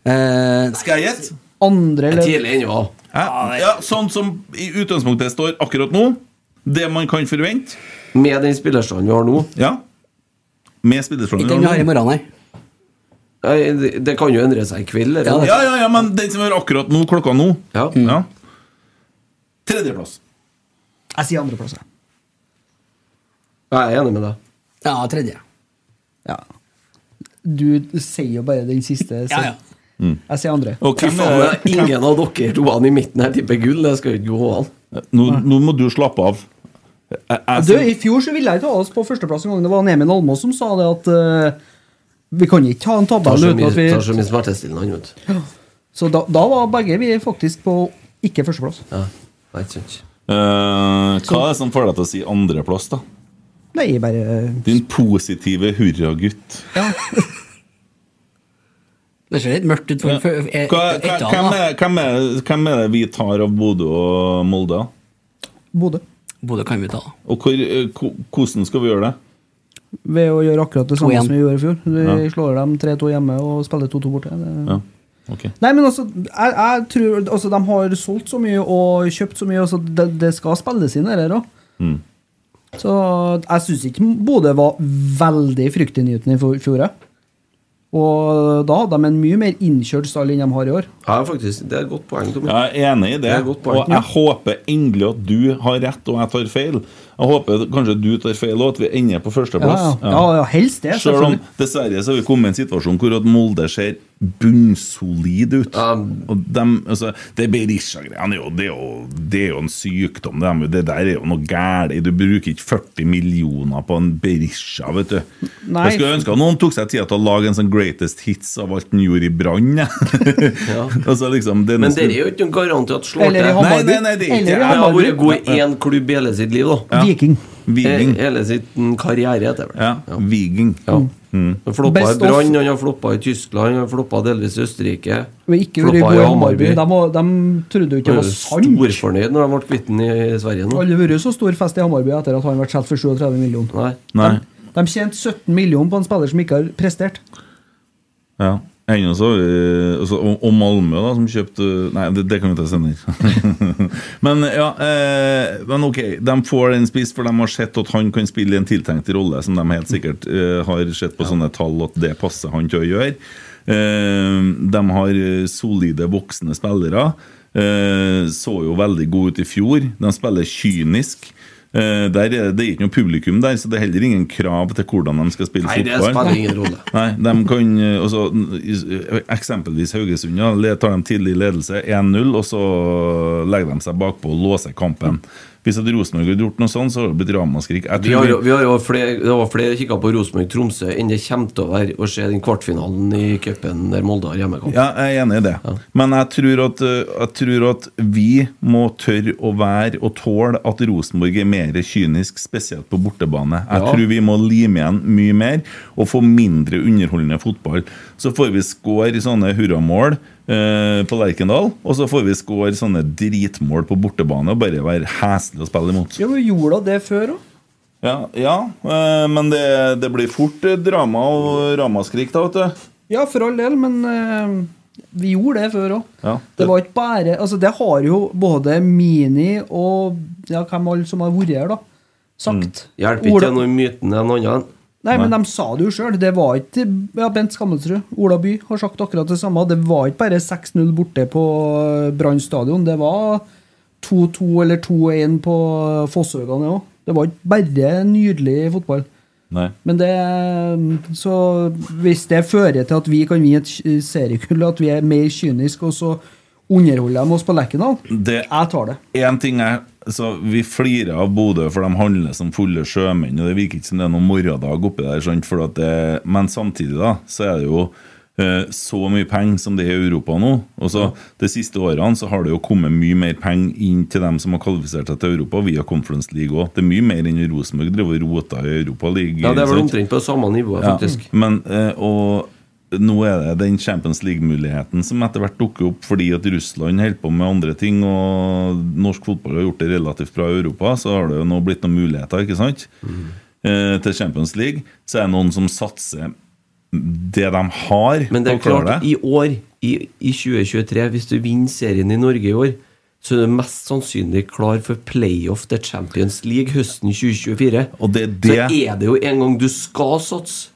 Eh,
Skal jeg gjette?
Andre eller
Tidlig ennå.
Hæ? Ja, sånn som i utgangspunktet står akkurat nå. Det man kan forvente.
Med den spillerstanden vi har nå
Ja. Med spillerstrålen.
ikke den vi har i morgen, nei.
Nei, Det det kan jo endre seg i kveld. eller?
Ja, det-
Ja, ja, ja, men den som er akkurat nå, klokka nå. Mm.
Ja.
Ja. Tredjeplass.
Jeg sier andreplass. jeg.
Jeg er enig med deg.
Ja, tredje.
Ja. Du sier jo bare den siste. så-
Ja, ja.
Jeg sier andre.
Og
Fy
hvem
faen,
er,
det er ingen av dere toene i midten her tipper gull. Det skal jo ikke gå an.
nå, nå må du slappe av. Jeg, jeg,
Du, I fjor så ville jeg ikke ha oss på førsteplass en gang. Det var en Emil Almås som sa det at eh, vi kan ikke ha en
Tar
tabell
så
uten
mye,
at vi
tar så mye smertestillende han, vet du.
Så da, da var begge vi faktisk på ikke førsteplass.
Ja, det er ikke sant.
Eh, hva er det som får deg til å si andreplass, da?
Nei, bare
Din positive hurragutt.
Det ser litt mørkt ut for, for
Hva- hva-
et,
Hvem er- hvem er hvem er det vi tar av Bodø og Molde? da?
Bodø.
Bodø kan vi ta.
Og hvor, eh, ko- hvordan skal vi gjøre det?
Ved å gjøre akkurat det samme
2-1.
som vi gjorde i fjor. Vi slår dem 3-2 hjemme og spiller 2-2 borte. Det-
Ja. ok.
Nei, men altså, jeg, jeg tror altså, De har solgt så mye og kjøpt så mye, altså, det, det skal spilles inn, det der òg. Så jeg syns ikke Bodø var veldig fryktinngytende i fjor. jeg. Og da hadde de en mye mer innkjørt stall enn de har i år.
Ja, faktisk. Det er et godt poeng, Tommy.
Jeg er enig i det.
er et godt poeng.
og jeg håper endelig at du har rett og jeg tar feil. Jeg håper kanskje du tar feil og at vi ender på førsteplass.
Ja, ja. Ja, ja, helst det,
Selv om
selvfølgelig.
dessverre så har vi kommet i en situasjon hvor at Molde ser bunnsolid ut. og dem, altså, det Berisha-greiene er jo- det er jo- det er jo en sykdom. Det, er- det der er jo noe galt. Du bruker ikke 40 millioner på en Berisha, vet du.
Nei.
Jeg skulle ønske at noen tok seg tida til å lage en sånn greatest hits av alt han gjorde i Brann. jeg. altså, liksom, det er
Men
nesten-
dere er jo ikke noen garant til at slår
Eller i
til.
Hammarby. Nei, nei, nei, det er ikke- Eller i
Jeg har
Hammarby.
vært god i én klubb i hele sitt liv, da.
Ja. Viking.
Viking. Hele sin karriere, heter det vel.
Ja. Viking.
Ja. Han floppa i
Best of-
Brann, han har floppa i Tyskland, han har floppa delvis i Østerrike.
Men ikke vært
Floppa
gode
i
i Hammarby. De, var- de trodde jo
Han
ikke det
er jo
var sant.
storfornøyd når de ble kvitt den i Sverige nå.
Aldri vært så stor fest i Hammarby etter at han ble solgt for 37 millioner.
Nei.
De tjente 17 millioner på en spiller som ikke har prestert.
Ja. Ennå så eh, altså, og, og Malmö, da, som kjøpte Nei, det, det kan vi ta senere. men ja, eh, men ok, de får den spiss, for de har sett at han kan spille i en tiltenkt rolle, som de helt sikkert eh, har sett på sånne tall at det passer han til å gjøre. Eh, de har eh, solide voksne spillere. Eh, så jo veldig gode ut i fjor. De spiller kynisk. Eh, der er, det er ikke noe publikum der, så det er heller ingen krav til hvordan de skal spille
Nei, det
fotball.
spiller ingen rolle.
Nei, de kan eh, også, eh, Eksempelvis Haugesund ja, le- tar de tidlig ledelse 1-0, og så legger de seg bakpå og låser kampen. Hvis at Rosenborg hadde gjort noe sånn, så hadde det blitt ramaskrik. Jeg
Vi har, jo-
tror-
vi har jo flere, det var flere kikka på Rosenborg-Tromsø enn det kommer til å være å se den kvartfinalen i cupen der Molde har hjemmekamp.
Ja, jeg er enig i det. Men jeg tror, at, eh, jeg tror at vi må tørre å være og tåle at Rosenborg er mer kynisk, spesielt på bortebane. Jeg
Ja.
tror vi må lime igjen mye mer og få mindre underholdende fotball. Så får vi score sånne hurramål eh, på Lerkendal, og så får vi score sånne dritmål på bortebane og bare være heslige å spille imot.
Ja, men Gjorde hun det før òg?
Ja, ja eh, men det, det blir fort eh, drama og ramaskrik da, vet du.
Ja, for all del, men eh, vi gjorde det før òg.
Ja.
Det var ikke bare Altså, det har jo både Mini og ja, hvem alle som har vært her, da, sagt.
Mm. Hjelper
Ola-
ikke noe i myten en annen.
Nei, men de sa det jo sjøl. Det var ikke ja, Bent Skammelsrud, Ola By, har sagt akkurat det samme. Det var ikke bare 6-0 borte på eh, Brann stadion. Det var 2-2 eller 2-1 på Fosshaugane òg. Det var ikke bare nydelig fotball.
Nei.
Men det Så hvis det fører til at vi kan vinne et sk- seriekull, at vi er mer kyniske, og så underholder de oss på Lerkendal,
Det,
jeg tar det.
En ting er så Vi flirer av Bodø, for de handler som fulle sjømenn. Og Det virker ikke som det er noen morgendag oppi der. Sant? For at det, men samtidig da, så er det jo eh, så mye penger som det er i Europa nå. Og så De siste årene så har det jo kommet mye mer penger inn til dem som har kvalifisert seg til Europa via Conference League òg. Det er mye mer enn Rosenborg driver og roter i Europa League.
Ja, det er vel
sant?
omtrent på samme nivå, faktisk.
Ja, men, eh, og nå er det den Champions League-muligheten som etter hvert dukker opp fordi at Russland holder på med andre ting, og norsk fotball har gjort det relativt bra i Europa, så har det jo nå blitt noen muligheter, ikke sant?
Mhm.
Eh, til Champions League. Så er det noen som satser det de har.
Men det er
på å klare
klart,
det.
i år, i, i 2023, hvis du vinner serien i Norge i år, så er du mest sannsynlig klar for playoff til Champions League høsten 2024.
Og det er
Så
det-
er det jo en gang du skal satse.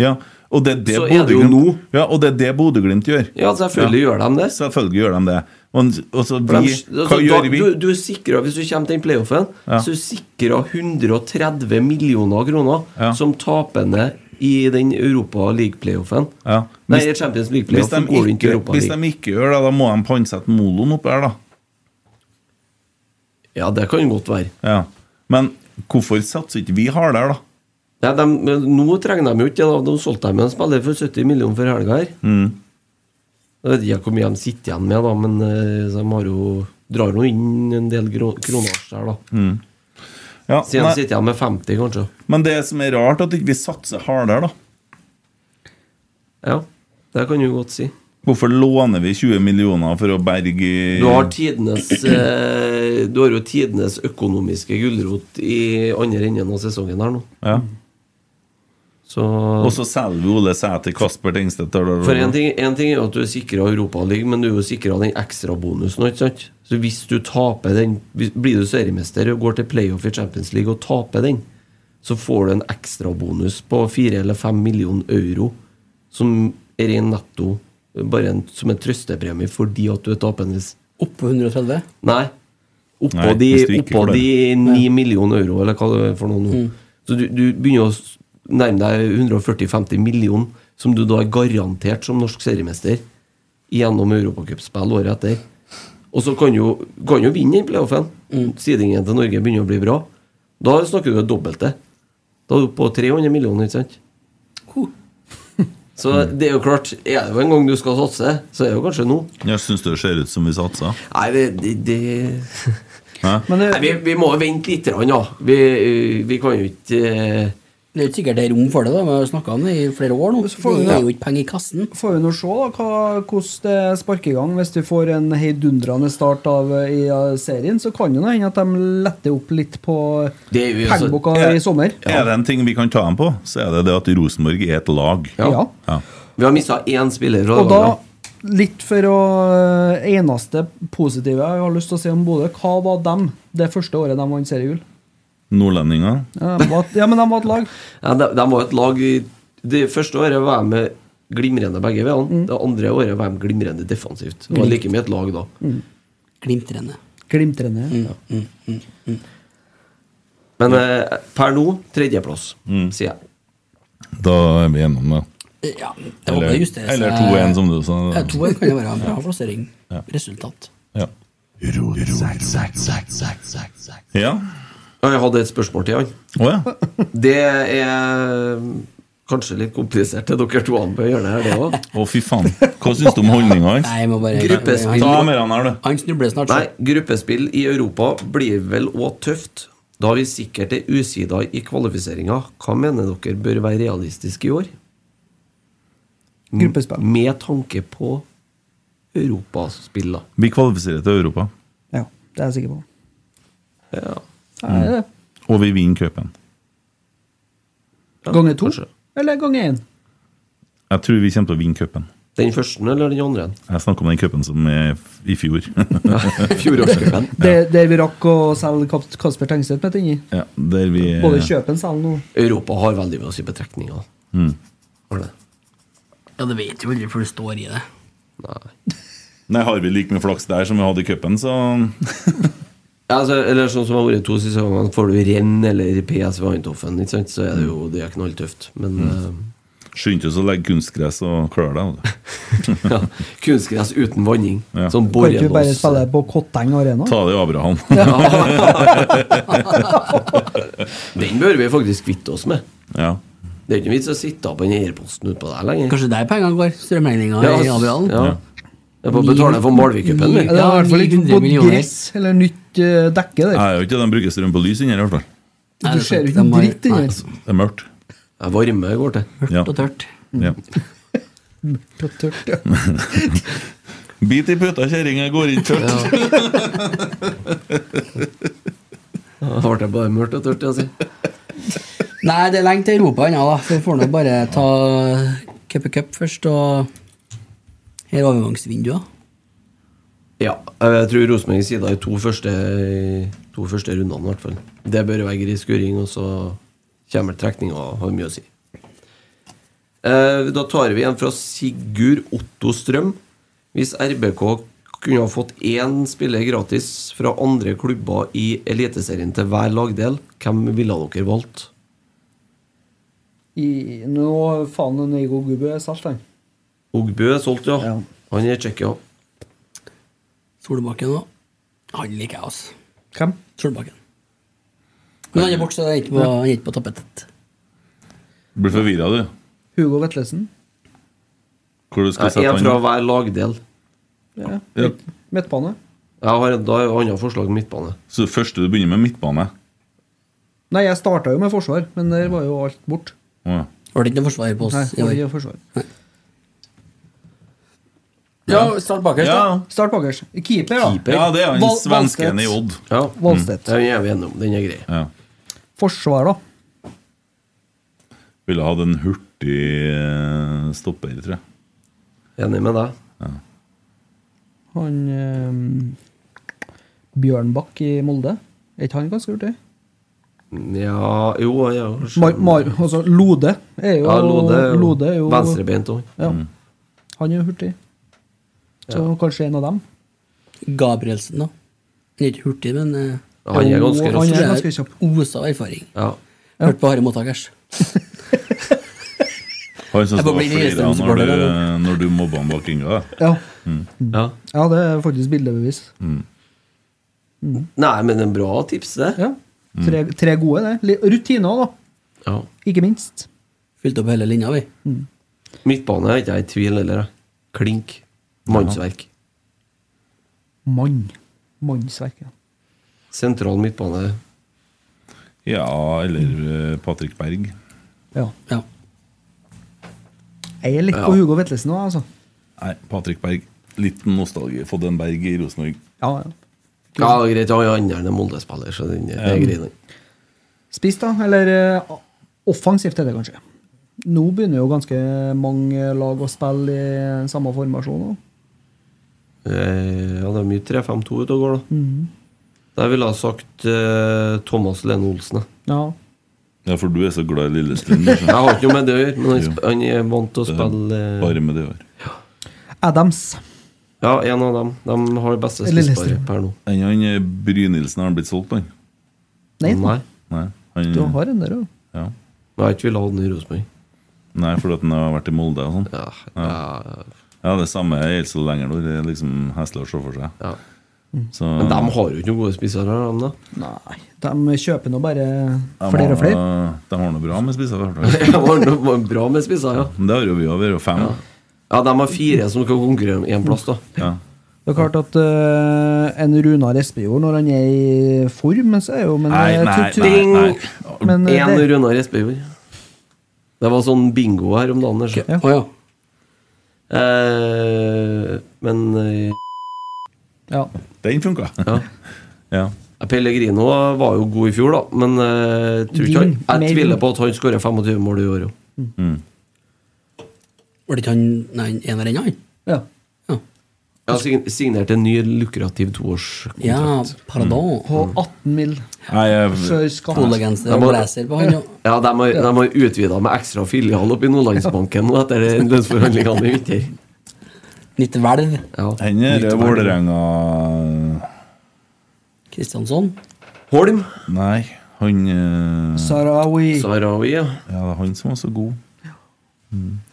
Ja, og det er det
Så er det jo
Bodø-Glimt- Ja, og det er det Bodø-Glimt gjør.
Ja, selvfølgelig gjør de det.
Selvfølgelig gjør de det. Og, og så
For
vi,
de- altså,
hva
da,
gjør vi?
Du, du er sikret, hvis du kommer til den playoffen,
Ja.
så er du sikra 130 millioner kroner
Ja.
som tapende i den Europa League-playoffen.
Ja.
Nei,
Hvis-
i Champions
Hvis de
League-playoffen går du ikke i
ikke,
Europa
hvis
League.
de ikke gjør det, da må de pantsette moloen oppi her, da.
Ja, det kan godt være.
Ja. Men hvorfor satser ikke vi hardere, da?
Nei, de, men nå trenger de jo ikke det. da. De solgte dem en spiller for 70 millioner for helga her.
Mm.
Jeg vet ikke hvor mye de sitter igjen med, da, men eh, de har jo, drar nå inn en del gro- kronasj der, da.
Mm. Ja,
Siden
nei.
de sitter igjen med 50, kanskje.
Men det som er rart, at ikke vi satser hardere, da.
Ja, det kan du godt si.
Hvorfor låner vi 20 millioner for å berge
Du har tidenes eh, Du har jo tidenes økonomiske gulrot i andre enden av sesongen her nå.
Ja. Og
Så
så selger vi Ole Sæter, Kasper Tengstedt da, da, da, da.
For en ting, en ting er jo at du er sikra Europaligaen, men du er jo sikra den ekstra bonusen. Ikke sant? Så hvis du taper den hvis- Blir du seriemester og går til playoff i Champions League og taper den, så får du en ekstra bonus på fire eller fem millioner euro som ren netto bare en, som en trøstepremie fordi at du er tapen hvis
Oppå 130?
Nei. Oppå
Nei,
de,
hvis du
oppå
ikke får
de
det.
9 millioner euro, eller hva det er for noe nå.
Mm.
Så du, du begynner å s- nærme deg 140-50 millioner, som du da er garantert som norsk seriemester gjennom europacupspill året etter. Og så kan jo, kan jo vinne i playoffen. Sidingen til Norge begynner å bli bra. Da snakker du det dobbelte. Da er du på 300 millioner, ikke sant? Så det er jo klart, er det jo en gang du skal satse, så er det jo kanskje nå.
Jeg syns det ser ut som vi satsa.
Nei, det, det, det... Nei, vi, vi må jo vente litt, grann, da. Vi, vi kan jo ikke eh,
Det er ikke sikkert det er rom for det, da. Vi har snakka om det i flere år nå.
får vi
Det
det.
er jo ikke penger i kassen.
Får vi nå se da, hva, hvordan det sparker i gang. Hvis vi får en heidundrende start av eh, i eh, serien, så kan det nå hende at de letter opp litt på
Det er altså jo-
pengeboka
Ja.
i sommer.
Er det en ting vi kan ta dem på, så er det det at Rosenborg er et lag.
Ja.
Vi har mista én spiller. fra
Og
det
da,
laget.
litt for å eh, Eneste positive jeg har lyst til å si om Bodø, hva var dem det første året de vant seriegull?
Nordlendinger.
Ja, de var, ja, men de var et lag.
ja, de, de var et lag i- Det første året var de glimrende begge veiene.
Mm.
Det andre året var de glimrende defensivt. Det var like mye et lag da.
Mm.
Glimtrende.
Glimtrende.
Men eh, per nå tredjeplass, sier jeg.
Da er vi gjennom det.
Eh, Ja, det må
Eller,
bare justeres.
eller 2-1, som du sa.
Ja, 2-1 kan jo være en bra plassering. Resultat.
Ja.
Ja. Jeg hadde et spørsmål til han. Det er kanskje litt komplisert til dere to han på hjørnet her, det òg.
Å, fy faen. Hva syns du om holdninga hans?
Nei, jeg må bare-
Gruppespill
Ta med han her, du.
Han snubler snart.
Nei, gruppespill i Europa blir vel òg tøft. Da vi sikkert er usida i kvalifiseringa, hva mener dere bør være realistisk i år? M- Med tanke på europaspill, da.
Vi kvalifiserer til Europa.
Ja, det er jeg sikker på.
Ja.
Nei, det er det.
Og vi vinner cupen.
Ganger to? Eller ganger én?
Jeg tror vi kommer til å vinne cupen.
Den første eller den andre?
Jeg snakker om den cupen som er f- i fjor.
Fjorårscupen.
Der, der vi rakk å selge Kap- Kasper Tengstedt midt inni.
Ja, der vi
Både kjøpe en selge nå.
Europa har veldig mye å si på trekninga.
Mm.
Har det.
Ja, det vet jo aldri, for det står i det.
Nei, har vi like mye flaks der som vi hadde i cupen, så
Ja, altså, eller sånn som det har vært to siste gangene, får du renn eller PSV Eindhoven, ikke sant, så er det jo det er knalltøft. Men
Skyndte oss å legge kunstgress og klør deg.
eh, ja, kunstgress uten vanning.
Ja.
Sånn
Kan ikke vi bare
borrelås.
spille på Kotteng Arena?
Ta det i Abraham.
Den bør vi faktisk kvitte oss med.
Ja.
Det er ikke noe vits å sitte på den airposten utpå der lenger.
Kanskje der pengene går? Strømregninga
Ja, altså,
i Avialen?
ja. Det er på å betale for Malvik-cupen, vi.
Ja, det er i hvert fall ikke
900
på
millioner.
gress eller nytt eh, dekke der.
Jeg er jo ikke de bruker strøm på lys inni her, i hvert fall.
Nei, Du det altså. er ser jo sant. ikke De har- dritt inni her. Nei.
Det er mørkt.
Det er varme går til.
Ja.
og tørt.
Ja.
Mørkt og tørt, ja.
Bit i puta, kjerringa går inn tørt.
Da ble det bare mørkt og tørt, jeg sier.
Nei, det er lenge til Europa ennå, da. Vi får nå bare ta cup i cup først, og her er overgangsvinduet.
Ja, eh, jeg tror Rosenborg sida i to første, to første rundene, i hvert fall. Det bør være grei skuring, og så kommer trekninga og har mye å si. Eh, Da tar vi en fra Sigurd Otto Strøm. Hvis RBK kunne ha fått én spiller gratis fra andre klubber i Eliteserien til hver lagdel, hvem ville dere valgt?
I, nå faen en Igo Gubbe er solgt, han.
Ogbø er solgt, ja. Han er Tsjekkia.
Solbakken òg. Han liker jeg, altså.
Hvem?
Solbakken. Men han er borte, så han er ikke på,
Ja.
han er ikke på tapetet.
Blir forvirra, du.
Hugo Vetlesen.
Hvor du skal sette
Én
han?
Eh, fra hver lagdel.
Ja.
Ja.
Midtbane.
Jeg har et da har jeg et annet forslag om midtbane.
Så det første du begynner med midtbane?
Nei, jeg starta jo med forsvar, men der var jo alt bort.
Å, ja.
Var det ikke noe forsvar på oss?
Nei,
i år?
var ikke forsvar.
Ja, start bakerst, da.
Start bakerst. Keeper, da.
Ja, det er han
Val-
svensken
Valstedt.
i Odd.
Ja.
Valstedt.
Den er vi enige om. Den er grei.
Forsvar, da.
Ville hatt en hurtig eh, stopper, tror jeg.
Enig med deg.
Han eh, Bjørnbakk i Molde. Er ikke han ganske hurtig?
Ja Jo, ja, kanskje.
Mar, Mar, altså Lode er jo
Ja, Lode er jo
Lode er jo
venstrebeint også.
Ja. Han er jo hurtig. Så kanskje en av dem.
Gabrielsen, da. Han er ikke hurtig, men eh,
Han er ganske
han
rask.
er ganske kjapp. Osa av erfaring.
Ja.
Hørte på Harry Mottakers.
Han som står
Jeg bare
og
blir
flirer
irritert
når,
supporter,
du- eh, når du mobber han bak Inga.
Ja.
Mm.
ja, det er faktisk bildebevis.
Nei, men en bra tips, det. Mm.
Ja. Tre, tre gode, det. Litt Rutine òg, da.
Ja.
Ikke minst.
Fylte opp hele linja, vi.
Midtbane er ikke jeg i tvil heller. jeg. Klink. Mannsverk.
Mann. Mannsverk. Ja.
Sentral midtbane.
Ja, eller eh, Patrick Berg.
Ja. Jeg er litt
Ja.
på Hugo Vetlesen nå, altså.
Nei, Patrick Berg. Litt nostalgi. Fått en Berg i Rosenborg.
Ja, ja.
Ja, det er greit. Han andre er Molde-spiller, så den det er
Ja.
greit. den.
Spiss, da? Eller eh, offensivt er det kanskje. Nå begynner jo ganske mange lag å spille i samme formasjon. Også.
Eh, Ja, det er mye 3-5-2 ute og går, da.
Mhm.
Der ville jeg sagt eh, Thomas Lene Olsen. jeg.
Ja.
Ja, for du er så glad i Lillestrøm. du,
Jeg
så.
har ikke noe med det å gjøre, men han
Jo.
sp- han er vant til å
Det er
spille eh,
Bare med det å gjøre.
Adams.
eh, Ja, en av dem. De har det beste
Lillestrøm.
spissparet per nå.
Han, han eh, Brynildsen, har han blitt solgt, han?
Nei,
Nei.
Nei. Han,
du har en der òg.
Ja.
Jeg har ikke villet ha den i Rosenborg.
Nei, fordi at han har vært i Molde og sånn.
Ja,
ja. det samme er Elsel Lengerlor. Det er liksom heslig å se for seg. Så,
Men de har jo ikke noen gode spissere, har de da.
Nei, de kjøper nå bare
de
flere
har-
og flere.
De har noe bra med spisser. i hvert fall.
De har noe bra med spissere, ja.
Men Det har jo vi òg. Vi er jo fem.
Ja, de har fire som skal konkurrere om én plass, da.
Ja.
Det er klart at eh, en Runar Espejord, når han er i form, så er jo men,
Nei,
jeg
nei,
tror-
nei, nei.
Men, eh,
Én
det-
Runar Espejord. Det var sånn bingo her om dagen. altså. Okay. Eh, men eh,
Ja.
Den funka.
Ja.
ja.
Pellegrino var jo god i fjor, da, men eh, tror ikke
Din,
han,
mer
jeg tviler
din.
på at han skårer 25 mål i år. Jo.
Var det ikke han Nei, en av han?
Ja.
Jeg har sign- signert en ny lukrativ toårskontrakt.
Ja, pardon.
På 18 mil.
Nei, eh, jeg-
Før
Mm.
skatt.
Polegenser
De
og
har-
blazer på han, ja.
Ja, de har, de har utvida med ekstra filial oppe i Nordlandsbanken nå etter det lønnsforhandlingene i vinter.
Nytt hvelv.
Ja.
Han er
Nytt hvelv.
Vålerenga
Kristiansson.
Holm.
Nei, han eh,
Sarawi.
Sarawi, ja.
Ja, det er han som var så god.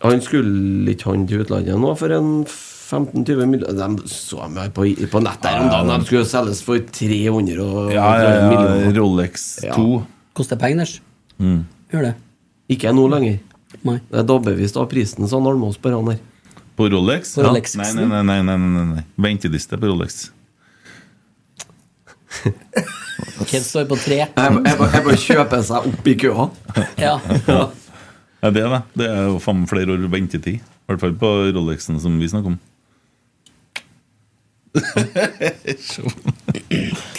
Han skulle ikke han til utlandet nå for en 15-20 millioner De så jeg meg på, på nettet her om dagen. De skulle jo selges for 300 og,
Ja, ja, ja,
millioner.
Rolex
Ja.
2.
Koster penger, Ners.
Mm.
Gjør det.
Ikke nå lenger.
Nei.
Det er dobbevis av prisen, sa Almås på han her.
På Rolex? Ja.
På Rolex.
Nei, nei, nei, nei, nei, nei, nei. Venteliste på Rolex.
Kid står på tre.
Jeg jeg bare jeg bare kjøper seg opp i køa.
Ja.
Ja, det er det. Det er jo faen meg flere år ventetid. I hvert fall på Rolexen som vi snakker om.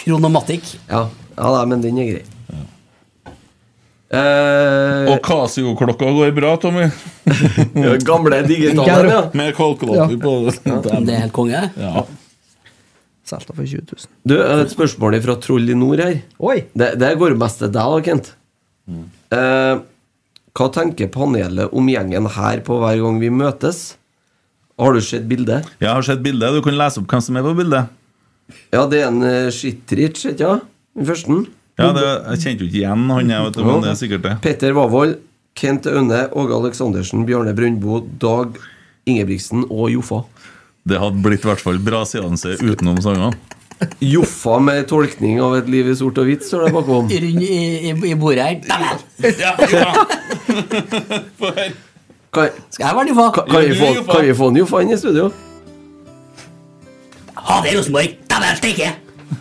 Kronomatikk.
Ja, ja nei, men den er grei. Eh,
Og Casio-klokka går bra, Tommy.
ja, gamle digitale, ja.
Med kalkulator
Ja.
på.
Det er helt konge.
Ja.
Solgt for 20 000.
Du, et spørsmål fra Troll i nord her.
Oi!
Det, det går mest til deg, da, Kent.
Mm.
Eh, hva tenker panelet om gjengen her på hver gang vi møtes? Har du sett bildet?
Jeg har sett bildet. Du kan lese opp hvem som er på bildet.
Ja, det er en uh, Shitrich, ikke sant? Den første.
Ja, det, Jeg kjente jo ikke igjen han, jeg, vet du, men det er sikkert det.
Petter Wavold, Kent Aune, Åge Aleksandersen, Bjarne Brøndbo, Dag Ingebrigtsen og Joffa.
Det hadde blitt i hvert fall bra seanse utenom sangene.
Joffa med tolkning av Et liv i sort og hvitt, står det bakom.
Rund i, i, i bordet her. Dæven!
Kan,
Skal jeg være nivå?
kan, vi få, kan vi få en Joffa inn i studio?
Ha det, Rosenborg! Dæven steike!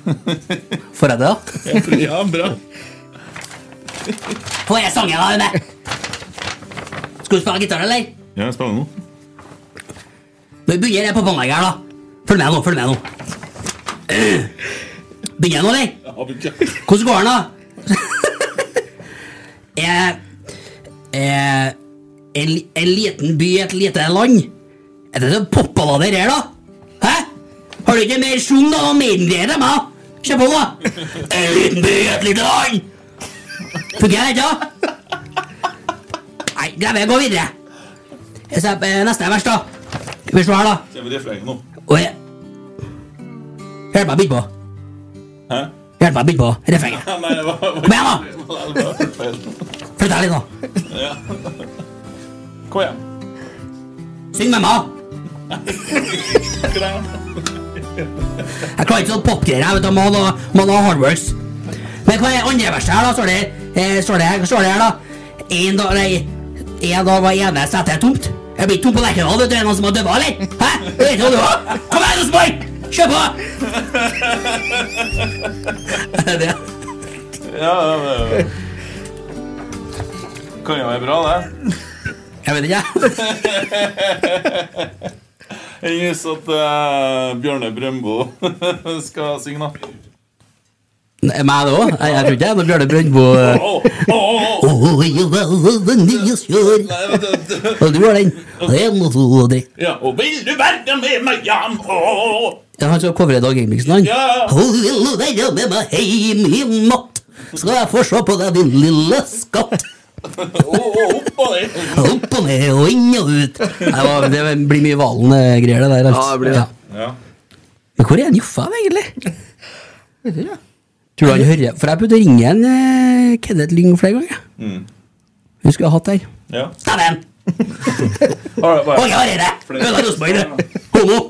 Får jeg det, da?
Ja, bra.
Får jeg sangen, da, Une? Skal du spille gitar, eller?
Ja, jeg spiller nå.
Nå begynner jeg på båndlegget her, da. Følg med nå, følg med nå. Begynner jeg nå, eller? Hvordan går den, da? jeg, jeg, en, li- en liten by, et lite land. Er det så popballader her, da? Hæ? Har du ikke mer sjung da? og Maiden-greier til meg? Kjør på, da. En liten by, et lite land. Funker det ikke? da? Nei, glem det. Gå videre. Jeg ser på eh, neste vers, da. Skal vi se her, da.
Kommer refrenget nå?
Oi. Hjelp meg bitte på.
Hæ?
Hjelp meg bitte på refrenget.
Nei, det var
Kom igjen, da! Flytt deg litt, nå.
Ja. Kom igjen.
Syng med meg! Jeg klarer ikke sånn popgreier. jeg, vet du, Må ha noe- må ha noe hardworks. Men hva er andre verset her, da? Står det, eh, står det, står det her, da? En dag, nei, en dag var ene setet tomt. Jeg blir ikke tom på Lerkendal, vet du. Er det noen som har døva, eller? Hæ? Jeg vet ikke hva du har. Kom igjen, Rosenborg! Kjør på! Er det det?
Ja, det, det. Kan jo være bra, det.
Jeg vet ikke,
Jeg gjetter at eh, Bjørne Brøndbo skal synge, da.
Nei, Meg det òg? Jeg jeg tror ikke det er noe Bjørne Brøndbo eh. Åh, jeg var den nye sjøen. Og du har den. En og to og tre.
Ja, og vil du være med meg hjem? Åh!
Ja, han skal covre Dag Ingebrigtsen, han.
Ja.
Hun vil du være med meg heim i natt, skal jeg få se på deg, din lille skatt. Opp og ned og inn og ut. Nei, hva- det blir mye Valen-greier, det der. altså.
Ja, det blir det.
Ja.
Men hvor er han Joffa, egentlig?
Vet ikke, jeg.
Tror du han hører For jeg prøvde å ringe en eh, Kenneth Lyng flere ganger.
Mm.
Hun skulle ha hatt der.
Ja.
Dæven!
Har du bare-
Oi, har jeg det?
Flere.
Ødela Rosenborg, det! Homo!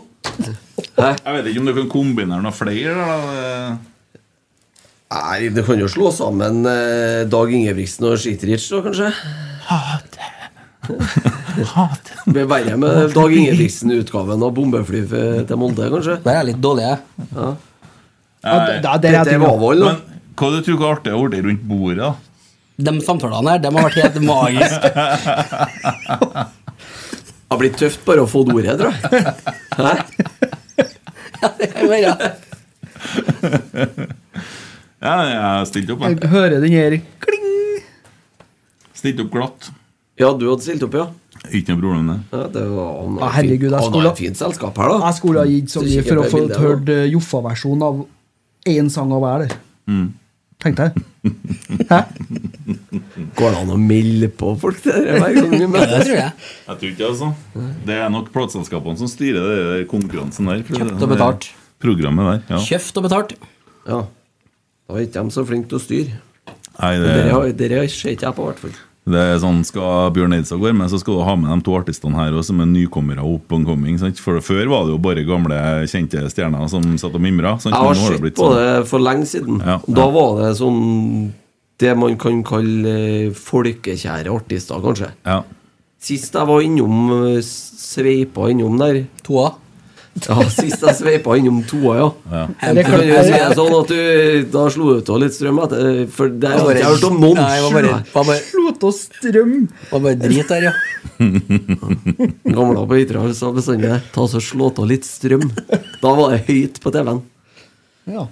Jeg vet ikke om du kan kombinere noen flere. da.
Nei, du kan jo slå sammen eh, Dag Ingebrigtsen og Shitrich, da, kanskje? Det blir verre med Dag Ingebrigtsen-utgaven av bombefly f- til Molde, kanskje?
Der er jeg litt dårlig, jeg.
Ja.
Nei.
da- der er Dette jeg var vel, da.
Men Hva du tror du er artig å ordne rundt bordet? da?
De samtalene her, de har vært helt magiske.
Det har blitt tøft bare å få ordet, tror jeg. Hæ?
Ja, jeg stilte opp.
Jeg
Jeg.
hører den her kling.
Stilte opp glatt.
Ja, du hadde stilt opp, ja?
Ikke noe problem med det.
Ja, det var han
Ah, herregud, jeg
han
skulle-
har et fint selskap her, da.
Jeg skulle ha gitt så
Så
mye
kikker
for å
jeg på
få
bildet her,
hørt eh, Joffa-versjonen av én sang av hver der. Tenkte jeg. Hæ?
Går det an å melde på folk det der hver gang vi møtes?
Jeg tror ikke altså. Det er nok plateselskapene som styrer det der konkurransen der. for
Kjøpt
det-
og betalt.
Programmet der, ja.
Kjøft og betalt.
Ja. Da er ikke de så flinke til å styre.
Nei,
Det
det,
har- det har- ser ikke jeg på, i hvert fall.
det er sånn, Skal Bjørn Eidsvåg være med, så skal du ha med de to artistene her også, som er nykommere og up and coming. Sant? For Før var det jo bare gamle, kjente stjerner som satt og mimra.
Jeg
sant?
har
Men nå det
sett
blitt
på
sånn.
det for lenge siden.
Ja,
Da var det sånn Det man kan kalle eh, folkekjære artister, kanskje.
Ja.
Sist jeg var innom eh, Sveipa innom der
Toa?
Ja, sist jeg sveipa innom toa, ja.
Det
Jeg
kan-
kan jo si det sånn at du Da slo du av litt strøm, etter, eh, for det har jeg ikke hørt om noen.
Nei, det var bare, var bare,
Slått av strøm.
var bare drit der, ja.
Gamla på Hitra sa bestandig Ta så slå av litt strøm. Da var det høyt på TV-en.
Ja.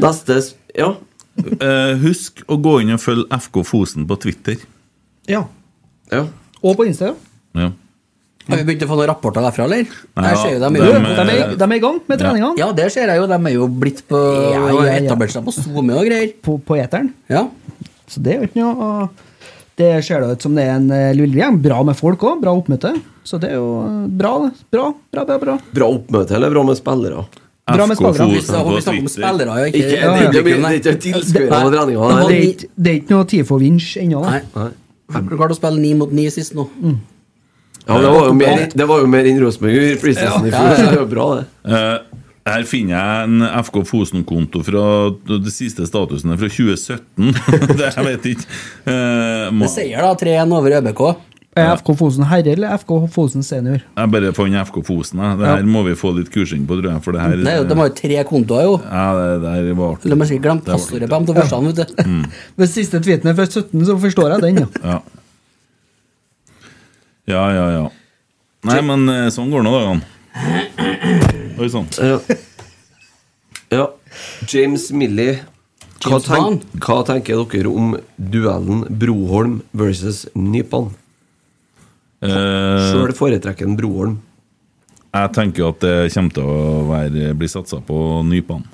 Neste s- Ja.
Eh, Husk å gå inn og følge FK Fosen på Twitter.
ja.
ja.
Og på Insta.
Ja.
Har vi begynt å få noen rapporter derfra, eller?
Nei,
Jeg ser
ja,
jo dem
Du,
jo.
dem,
de, er, de er i gang med treningene.
Ja, det ser jeg jo. De er jo blitt på
Ja, ja, ja.
Etablert seg på SoMe og greier.
På, på eteren.
Ja.
Så det er jo ikke noe å- Det ser da ut som det er en eh, lille gjeng. Bra med folk òg. Bra oppmøte. Så det er jo eh, bra. det. Bra, bra, bra. bra.
Bra oppmøte, eller bra med spillere?
Bra med
FK
spillere.
Vi
Fosen
snakker vi snakker
på
om
Twitter.
spillere, jo,
Ikke, det
ikke
er ikke,
publikum,
det er
nei.
ikke tilskuere på treninga.
Det,
nei.
er ikke- det er ikke noe TIFO-vinsj ennå. da.
Nei.
Nei.
Du klarte å spille ni mot ni sist nå.
Ja, det var jo mer, det var jo mer enn Rosenborg gjorde i preseason i fjor, så det er jo bra, det.
Eh, her finner jeg en FK Fosen-konto fra det siste statusen er fra 2017. det jeg vet ikke. Eh, må,
Det sier da 3-1 over ØBK.
Er FK Fosen herre eller FK Fosen senior?
jeg bare fant FK Fosen. Jeg. Det her må vi få litt kursing på, tror jeg. For det her
Det er jo- De har jo tre kontoer, jo.
ja, det, det her var artig.
De har sikkert glemt
Det var artig.
passordet på dem til første, han, vet du.
Hvis siste tweeten er fra 17, så forstår jeg den, ja.
Ja. ja, ja, ja. Nei, men eh, sånn går nå dagene. Oi sånn. sann.
Ja. ja. James Milley. Hva,
James
tenk, hva tenker dere om duellen Broholm versus Nypan?
Eh,
Sjøl foretrekker en Broholm.
jeg tenker at det kommer til å være, bli satsa på nypene.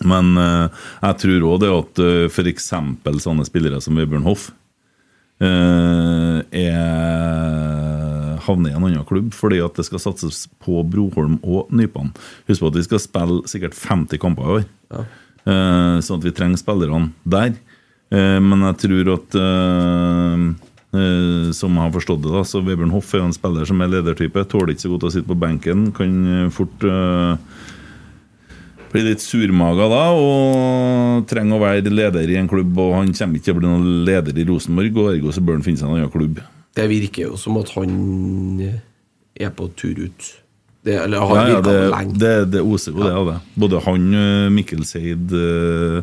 Men eh, jeg tror òg det at eh, for f.eks. sånne spillere som Vebjørn Hoff eh, er, havner i en annen klubb, fordi at det skal satses på Broholm og Nypan. Husk på at vi skal spille sikkert 50 kamper i år, Eh, sånn at vi trenger spillerne der. Eh, men jeg tror at eh, eh, som jeg har forstått det, da, så Vebjørn Hoff er jo en spiller som er ledertype. Tåler ikke så godt å sitte på benken. Kan eh, fort eh, blir litt surmaga da og trenger å være leder i en klubb. Og han kommer ikke til å bli noen leder i Rosenborg, og ergo så bør han finne seg en annen klubb.
Det virker jo som at han er på tur ut. Det, eller
Ja,
har
ja,
virket
det,
lenge.
det, det oser jo det av det. Både han, eh, Mikkel Seid eh,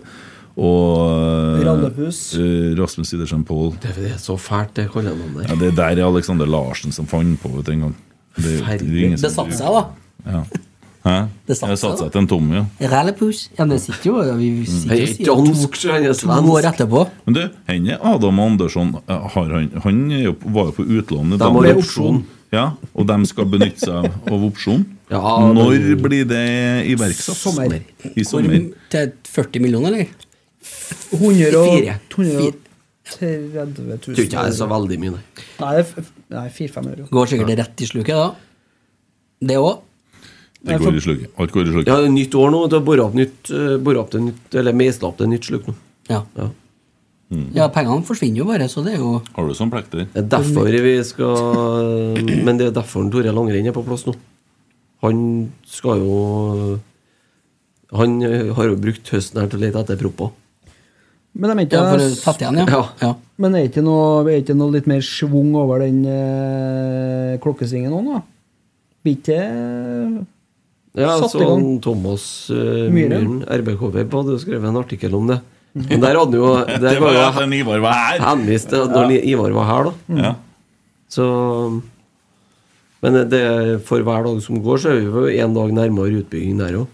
og eh,
Randepus.
eh, Rasmus Idersen Pål.
Det er- det er så fælt, det kallenavnet der.
Ja, det der er Alexander Larsen som fant på det en gang. Det, det, er ingen som-
Det satte seg, da.
Ja. Hæ? Det satte seg til en tom, ja.
Rallepus. Ja, det sitter jo Vi sitter
Hei,
jo sier to,
så han er
to år etterpå.
Men du, han er Adam Andersson eh, har han, han er jo, var jo på utlånet.
De
da.
har jo opsjon.
Ja, og de skal benytte seg av opsjon.
Ja,
Når
men-
blir det iverksatt?
Sommer.
I sommer.
Hvor- Til 40 millioner, eller?
100 og,
Fire.
230 000
Tror ikke jeg er så veldig mye, nei.
Nei, det er f- nei 400-500 euro.
Går sikkert rett i sluket, da. Det òg.
Det går i slugget. Alt går i slugget.
Ja, det er nytt år nå. Du har boret opp, nytt, eh, boret opp det nytt, eller meisla opp det nytt sluk nå.
Ja.
Mm.
Ja, pengene forsvinner jo bare, så det er jo
Har du sånn plekter?
Det er derfor vi skal Men det er derfor Tore Langrenn er på plass nå. Han skal jo Han har jo brukt høsten her til å lete etter propper.
Men de er ikke
Ja, for å tatt igjen, ja. Ja.
Men er ikke noe, er ikke noe litt mer schwung over den eh, klokkesvingen nå, da? Blir ikke
Ja,
Satt
så
i gang.
han Thomas eh, Myhren,
Myhren.
RBK-web, hadde skrevet en artikkel om det. Men der hadde jo der
Det var jo
jo
at en Ivar var her.
Henvist til at når
Ja.
Ivar var her, da.
Ja.
Så Men det, for hver dag som går, så er vi jo en dag nærmere utbygging der òg.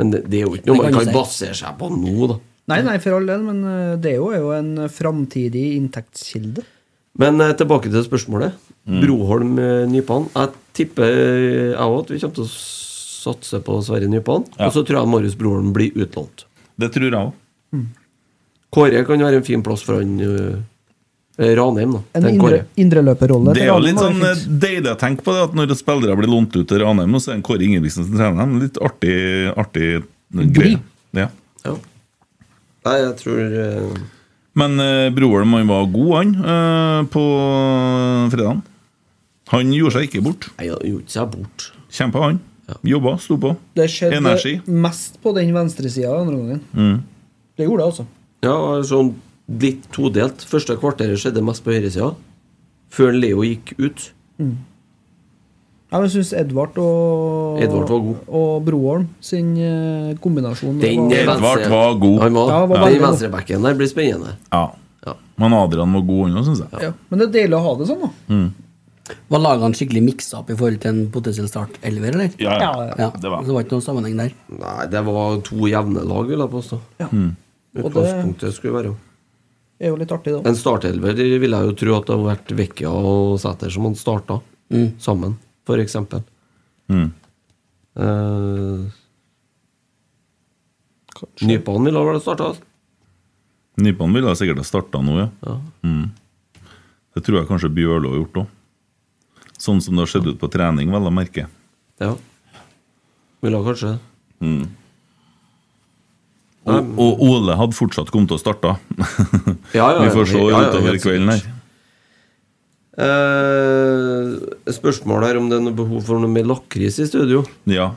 Men det, det er jo ikke noe
Mm. Det
man
kan
kan
du si.
basere seg på nå, da.
Nei, nei, for all del, men eh, det er jo, er jo en framtidig inntektskilde.
Men eh, tilbake til spørsmålet. Broholm eh, Nypan. Jeg tipper eh, jeg òg at vi kommer til å satse på Sverre Nypan.
Ja.
Og så tror jeg Marius Broholm blir utlånt.
Det tror jeg òg.
Kåre kan være en fin plass for han eh, Ranheim, da.
En
Tenk
indre-
Kåre.
indreløperrolle.
Det er
for
jo
Adam
litt
var
sånn eh,
fint.
deilig å tenke på det at når spillere blir lånt ut til Ranheim, så er det Kåre Ingebrigtsen som trener dem. Litt artig, artig greie. Ja.
Nei, jeg tror eh,
Men eh, Broholm han var god, han, eh, på fredagen. Han gjorde seg ikke bort.
Nei, han gjorde seg bort.
Kjempa, han. Jobba, sto på.
Det skjedde
Energi.
mest på den venstresida andre gangen.
Mm.
Det gjorde det, altså.
Ja, sånn litt todelt. Første kvarteret skjedde mest på høyresida. Før Leo gikk ut.
Mm. Ja, men Jeg syns Edvard og
Edvard var god.
Og Broholm sin eh, kombinasjon
Den
var-
venstre- Han var,
Ja, han var
den
veldig god.
venstrebacken der blir spennende.
Ja. Men Adrian var god, han òg, syns jeg.
Ja. Men det er deilig å ha det sånn, da.
Var lagene skikkelig miksa opp i forhold til en potensiell start 11, eller?
Ja, ja.
Det var. Så det var ikke noen sammenheng der.
Nei, det var to jevne lag, vil jeg påstå. Utgangspunktet skulle være
Det er jo litt artig, da.
En startelver vil jeg jo tro at det har vært Vekkia og Sæter som han starta
Mm.
sammen, for eksempel.
Mm.
Eh, Nypan ville vel ha starta?
Nypan ville sikkert ha starta nå, ja. Mm. Det tror jeg kanskje Bjørlo har gjort òg. Sånn som det har sett ut på trening, vel å merke.
Ja. Ville ha kanskje det.
Mm. Og, og Ole hadde fortsatt kommet til å starte.
Ja, ja, ja.
Vi får se
Ja, ja,
utover
helt
kvelden her.
Eh, spørsmål her om det er noe behov for noe mer lakris i studio.
Ja.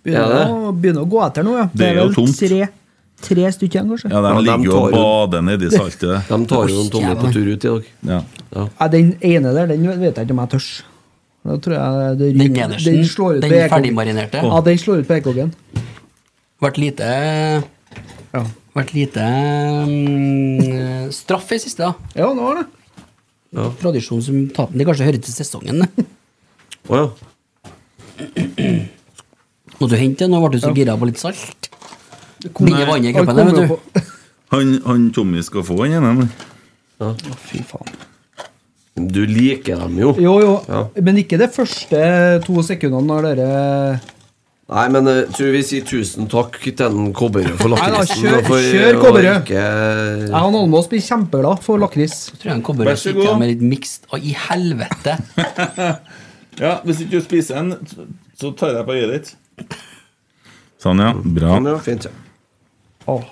Er det?
Begynner, å, begynner å gå etter nå, ja.
Det er jo
vel
tomt.
Tre, tre stykker igjen, kanskje.
Ja, De ligger jo og
tar jo-
bader nedi saltet.
De tar jo en tomme på tur ut i dag.
Ja.
Ja, den ene der, den vet jeg ikke om jeg tørs. Da tror jeg det ryker.
Den nedersten,
slår ut
den
på ekoggen.
ferdigmarinerte.
Ja, den slår ut på ekoggen.
Vært lite Vært lite mm, straff i siste, da.
Ja, nå har det.
Tradisjon som taper. Det kanskje hører til sesongen. det.
Å ja.
Måtte du hente den? Nå ble du så
Ja.
gira på litt salt. Binder vannet i kroppen, det, vet du.
Han, han Tommy skal få han ene.
Ja.
Fy faen.
Du liker dem jo.
Jo, jo, men ikke de første to sekundene når dere eh,
Nei, men jeg tror vi sier tusen takk til en Kobberød for
Nei da,
lakrisen.
kjør-
og for-
kjør
og
Kobberød.
ikke-
Jeg og Almås blir kjempeglad for lakris.
Tror jeg en kobber sitter med litt mixed Å, i helvete!
ja, hvis ikke du spiser en, så tar jeg på øyet ditt. Sånn, ja. Bra.
Sånn, ja, fint, ja.
Åh.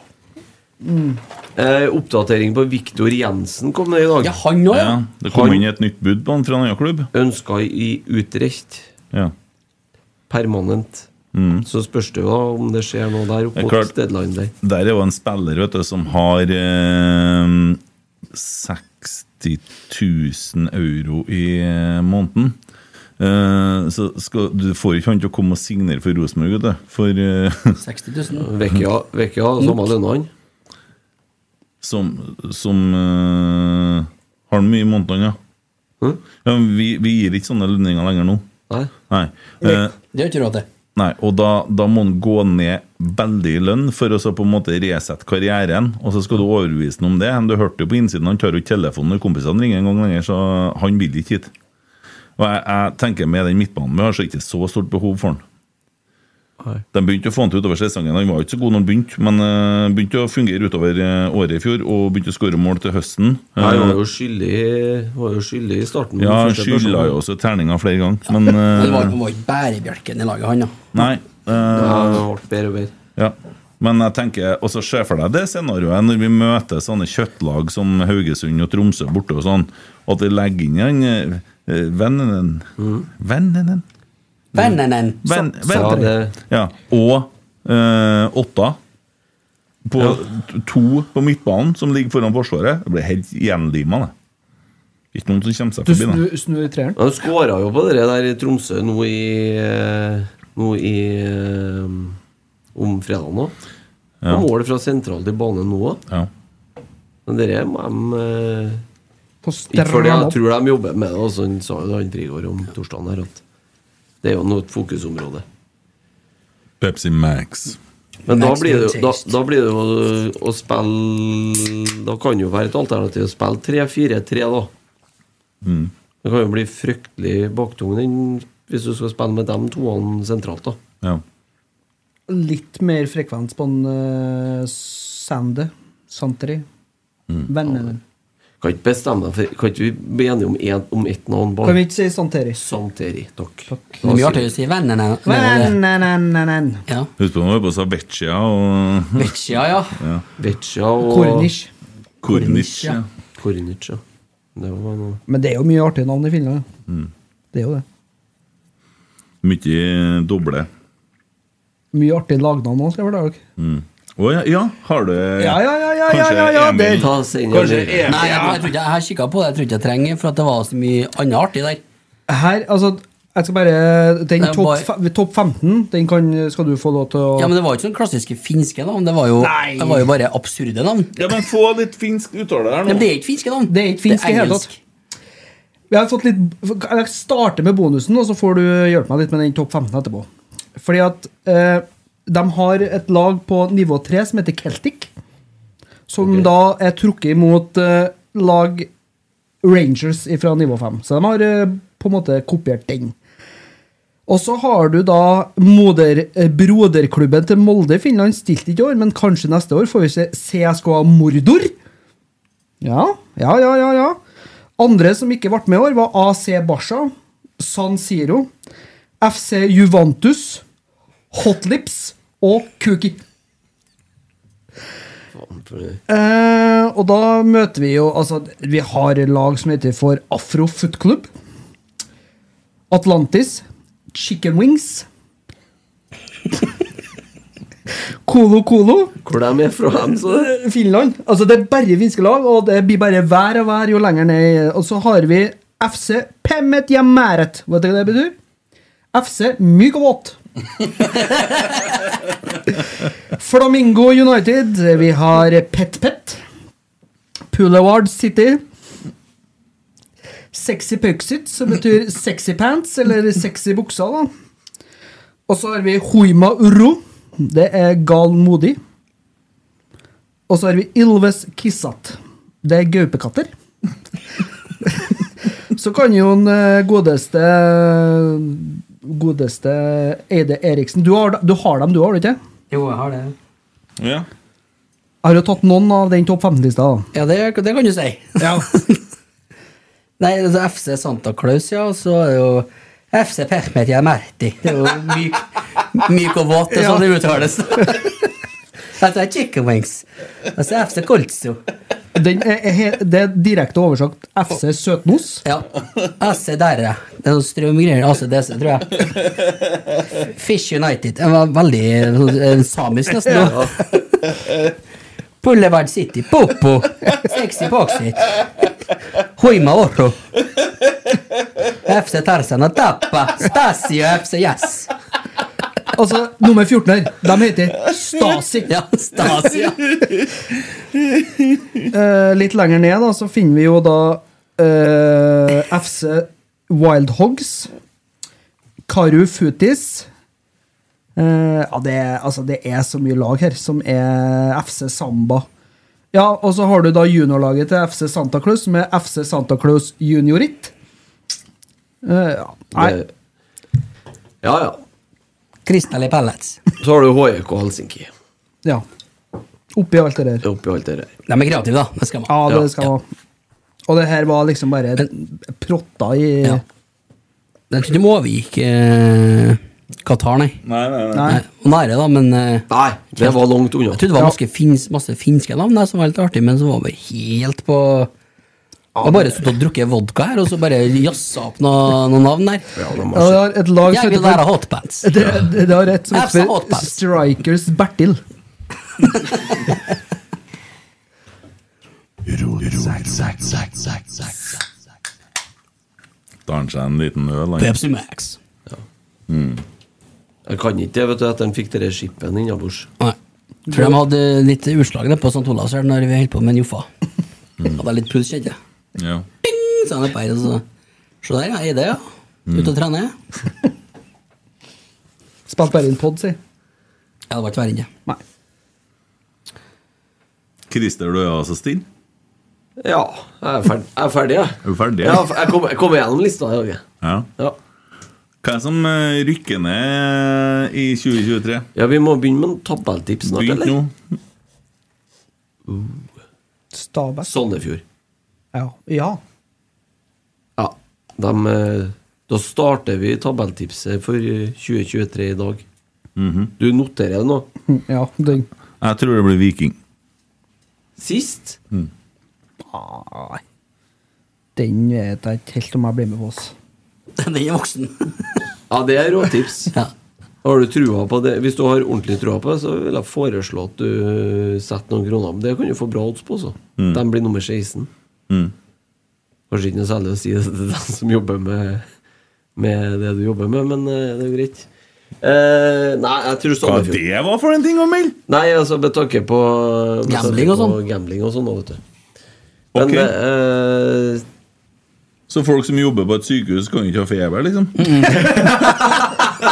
Mm.
Eh, oppdatering på Viktor Jensen kom det i dag.
Ja, han også, ja. Ja,
det kom inn et nytt bud på han fra en annen klubb.
Ønska i Utrecht.
Ja.
Permanent.
Mm.
Så spørs det jo da om det skjer noe der
Det
opp
er
mot
klart,
deadline der.
der er jo en spiller vet du, som har eh, 60 000 euro i eh, måneden. Eh, så skal, du får ikke han til å komme og signere for Rosenborg, vet du. For eh,
60 000.
Vekka,
Mm.
vekka samme lønna han.
Som, som eh, har han mye i månedene, ja. ja men vi, vi gir ikke sånne lønninger lenger nå.
Nei.
Eh,
Det har ikke råd til.
Nei, og da, da må han gå ned veldig i lønn for å så på en måte resette karrieren, og så skal du overbevise ham om det. Men Du hørte jo på innsiden, han tar jo ikke telefonen når kompisene ringer en gang lenger, så han vil ikke hit. Og jeg, jeg tenker med den midtbanen vi har, så er det ikke så stort behov for han. De begynte å få han til utover sesongen. Han var jo ikke så god når han begynte, men eh, begynte å fungere utover eh, året i fjor, og begynte å skåre mål til høsten.
Nei, Han var
Eh,
jo skyldig, var jo skyldig i starten.
ja, han
Første
skylda
personen.
jo også terninga flere ganger, men eh,
Han var han var ikke bærebjelken i laget, han, da.
Nei. eh,
Ja, det
ble bedre og bedre.
Ja. Men jeg tenker også se for deg det scenarioet når vi møter sånne kjøttlag som Haugesund og Tromsø borte og sånn, at vi legger inn den eh, eh, vennen din. Vennen din.
Vennen din.
Mm. Venn,
Mm. Sa- sa
vennen din.
det.
Ja. Og eh, åtta på t- to på midtbanen som ligger foran Forsvaret. Det blir helt gjenlima, det. Ikke noen som kommer seg
Du
forbi, det.
snur, snur treeren.
Han skåra jo på det der i Tromsø nå i eh, Nå i eh, Om fredagen òg.
Ja.
Mål fra sentral til bane nå òg. Men dere må de eh, Ikke fordi
stramme
jeg
opp.
tror de jobber med det. Altså, han sa jo det, han Frigård om torsdagen her, at det er jo noe et fokusområde.
Pepsi Max.
Men da
Max
blir, det,
New
jo- da, da blir det jo å spille Da kan det jo være et alternativ å spille 3-4-3, da.
Mm.
Det kan jo bli fryktelig baktung den- hvis du skal spille med de toene sentralt, da.
Litt mer frekvens på en uh, Sande. Santeri. Vennen din.
Kan ikke bestemme deg for Kan ikke vi bli enige om, en, om ett navn?
Kan vi ikke si Santeri?
Santeri. Takk.
Det er mye artigere å si vennen din.
Vennen
Ja.
Husk på når vi var på Savecchia og
Vecchia, ja.
ja.
Vecchia og
Kornic.
Kornic, ja.
Kornic, ja. Det var noe
Men det er jo mye artige navn i Finland. ja.
Mm.
Det er jo det.
Mye doble.
Mye artige lagnavn òg, skal jeg fortelle dere.
Mm. Å, ja, ja, har du
Ja, ja, ja, ja, ja, ja, ja, det- Ta oss inn i
Kanskje
det.
Emil. Nei, jeg, jeg, tror ikke- jeg har kikket på det, jeg tror ikke jeg trenger, for at det var så mye annet artig der.
Her, altså jeg skal bare, Den
Det er
topp
bare-
fe- topp 15 den kan, skal du få lov til å
Ja, men Det var jo ikke sånn klassiske finske navn, det var jo,
Nei.
det var jo bare absurde navn.
Ja, men Få litt finsk uttale der
nå. Men det er ikke finske navn.
Det er ikke finsk i hele tatt. Vi har fått litt, jeg starter med bonusen, og så får du hjelpe meg litt med den topp 15 etterpå. Fordi at eh, de har et lag på nivå 3 som heter Celtic, som da er trukket imot eh, lag Rangers fra nivå 5. Så de har eh, på en måte kopiert den. Og så har du da moder, eh, broderklubben til Molde i Finland, stilt ikke i år, men kanskje neste år får vi se CSKA Mordor. Ja, ja, ja, ja, ja. Andre som ikke ble med i år, var AC Barca, San Siro, FC Juventus, Hotlips og Kuki. Eh, og da møter vi jo Altså, vi har lag som heter for Afro Foot Club, Atlantis, Chicken Wings Kolo Kolo.
Hvor de er fra, dem, så det
Finland. Altså, det er bare finske lag, og det blir bare vær og vær jo lenger ned. Og så har vi FC Pemmet Jemmeret. Vet dere hva det betyr? FC Myk og våt. Flamingo United. Vi har Pet Pet. Puleward City. Sexy Puxit, som betyr sexy pants, eller sexy bukser, da. Og så har vi Hoima Urro. Det er gal modig. Og så har vi Ilves Kissat. Det er gaupekatter. Så kan jo den eh, godeste eh, godeste Eide Eriksen. Du har, du har dem, du har du ikke?
Jo, jeg har det.
Ja.
Jeg har jo tatt noen av den topp 15-lista. da.
Ja, det, det kan du si.
Ja.
Nei, altså FC Santa Claus, ja, og så er det jo FC Permetia Merti. Det er jo myk, myk og våt, det er sånn det uttales. altså, chicken wings. Altså, FC Colzo.
Den er, er, he- det er direkte oversagt FC Søtnos.
Ja. AC der, ja. Det er noe strømgreier. ACDC, tror jeg. Fish United. Det var veldig eh, samisk, nesten.
Ja.
nå. Boulevard City. Popo. Sexy Boxit. Hoima Oro. FC Tarzan og Tappa. Stasi og FC Yes.
Altså, nummer 14 her, de heter Stasi.
Ja, Stasi, ja.
Eh, litt lenger ned da, så finner vi jo da eh, FC Wild Hogs, Karu Futis Eh, ja, det, er- altså, det er så mye lag her som er FC Samba. Ja, og så har du da juniorlaget til FC Santa Claus, som er FC Santa Claus Juniorit. Eh, ja. Nei.
Det- Ja, ja.
Crystal Pellets.
Så har du HJK Helsinki.
ja. Oppi alt det der.
Oppi alt det der.
De er kreative, da. Det skal man.
Ja,
Ja.
det skal man. Og det her var liksom bare protta i
Jeg tror ikke de overgikk eh, Qatar, nei.
Nei, nei,
Nei. Og nære, da, men Nei,
det var langt unna.
Jeg trodde det var masse, fins, masse finske navn der som var litt artig, men så var vi helt på Jeg har bare sittet og drukket vodka her, og så bare jazza opp noen noe navn der.
Ja, det har et lag
Jeg vil
heter-
være hotpants.
Det, det, det har et som
Jeg vil være
heter
hotpants.
Strikers Bertil.
Tar han seg en liten øl? han.
Pepsi Max.
Mm.
Jeg kan ikke det, vet du, at de fikk dere skippen innabords.
Nei. Tror de hadde litt utslag der på St. Olavs her når vi holdt på med en Joffa. Hadde litt puls, kjente jeg.
Ja.
Ding, sa han oppe her, og så Se der, ja. Eide, ja. Ute og trene. Ja,
Spilte bare inn pod, si.
det var ikke verre enn det.
Christer, du er altså stille?
Ja, jeg er ferdig, jeg. Er ferdig, jeg.
Er du ferdig?
Ja, jeg kom- jeg kom gjennom lista i dag. jeg.
Ja. Hva er det som eh, rykker ned i 2023?
Ja, Vi må begynne med en tabelltips snart,
Begynn
eller?
nå.
Stabæk.
Sandefjord.
Ja. ja.
Ja. De, eh, da starter vi tabelltipset for eh, 2023 i dag.
Mhm.
Du noterer det nå?
Ja, den.
Jeg tror det blir Viking.
Sist?
Nei. Den vet jeg ikke helt om jeg blir med på. oss.
Den er voksen.
Ja, det er råtips. Har du trua på det? Hvis du har ordentlig trua på det, så vil jeg foreslå at du eh, setter noen kroner. Men det kan du få bra odds på, så.
Mm.
De blir nummer 16.
Mm.
Kanskje ikke noe særlig å si det til dem som jobber med, med det du jobber med, men eh, det er jo greit. Eh, nei, jeg tror
Hva
Sandefjord
det var for en ting å melde?!
Nei, altså med tanke på med tanke
Gambling og
på
sånn.
Gambling og sånn, da, vet du.
Ok.
Men eh,
Så folk som jobber på et sykehus, kan ikke ha feber, liksom?
Mm.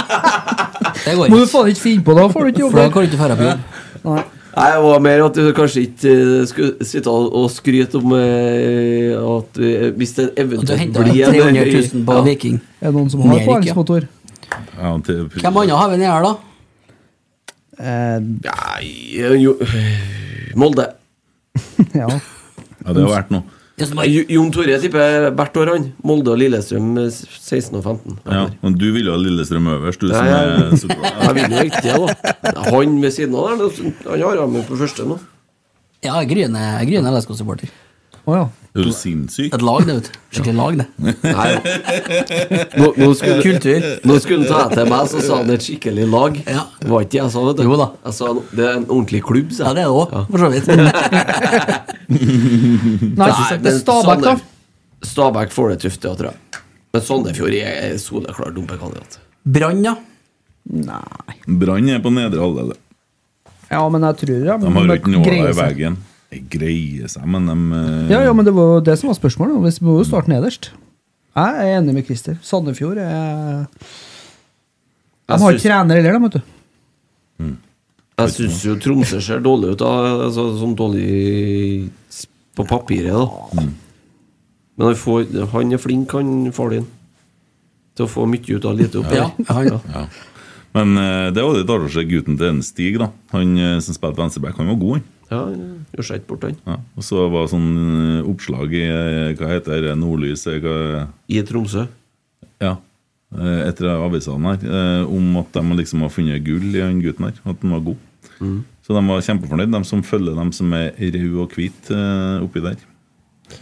Må du faen ikke finne på det, da får du ikke jobbe.
For da kan du ikke fære på jobb.
Nei.
Nei, det var mer at du kanskje ikke eh, skulle sitte og og skryte om eh, at eh, hvis det eventuelt
hentet 300 000 på Viking.
Er det noen som har
Erik, ja.
påhengsmotor?
Ja, til,
Hvem andre har vi nede her, da?
Nei eh, jo, Molde.
ja.
Ja, det har vært noe.
Jo- Jon Tore tipper jeg hvert år, han. Molde og Lillestrøm eh, 16 og 15.
Ja, men du ville ha Lillestrøm øverst, du som
Nei,
er
jeg-
supporter.
Jeg vinner jo ikke det, da. Han ved siden av der, han har ham på første nå.
Ja, Gryne Gryne LSK-supporter.
Å ja.
Er du sinnssyk?
Et lag, det, vet du. Skikkelig lag, det.
Nå, nå skulle,
Kultur.
Nå skulle han ta til meg, så sa han et skikkelig lag. Det var ikke det jeg sa, vet du.
Jo da.
Jeg sa det er en ordentlig klubb, sa jeg.
Ja, det er det òg, for så vidt.
Nei, det er Stabæk, da.
Stabæk får det tøft, ja, tror jeg. Men Sandefjord er soleklar dumpekandidat.
Brann, ja.
Nei.
Brann er på nedre halvdel.
Ja, men jeg tror jeg
De har jo ikke nåla
greier
i
seg.
veggen. De greier seg, men de eh,
Ja, ja, men det var jo det som var spørsmålet. og Vi må jo starte nederst. Jeg er enig med Christer. Sandefjord er De
Jeg
har
syns-
ikke trener heller, de, vet du.
Jeg syns jo Tromsø ser dårlig ut, da. Altså, sånn dårlig s- på
Mm.
papiret, da. Men han, får, han er flink, han far din. til å få mye ut av lite opp.
Ja, han-
Ja. Men eh, det var litt artig å se gutten til en Stig, da. Han eh, som spilte venstreback, han var god, han.
Ja, gjorde seg ikke bort, han.
Ja. Og så var det sånn eh, oppslag i eh, hva heter det, Nordlys eh, hva...
I Tromsø?
Ja. eh, Etter avisene her, eh, om at de liksom har funnet gull i han gutten her. At han var god.
Mm.
Så de var kjempefornøyd, de som følger dem som er røde og hvite eh, oppi der.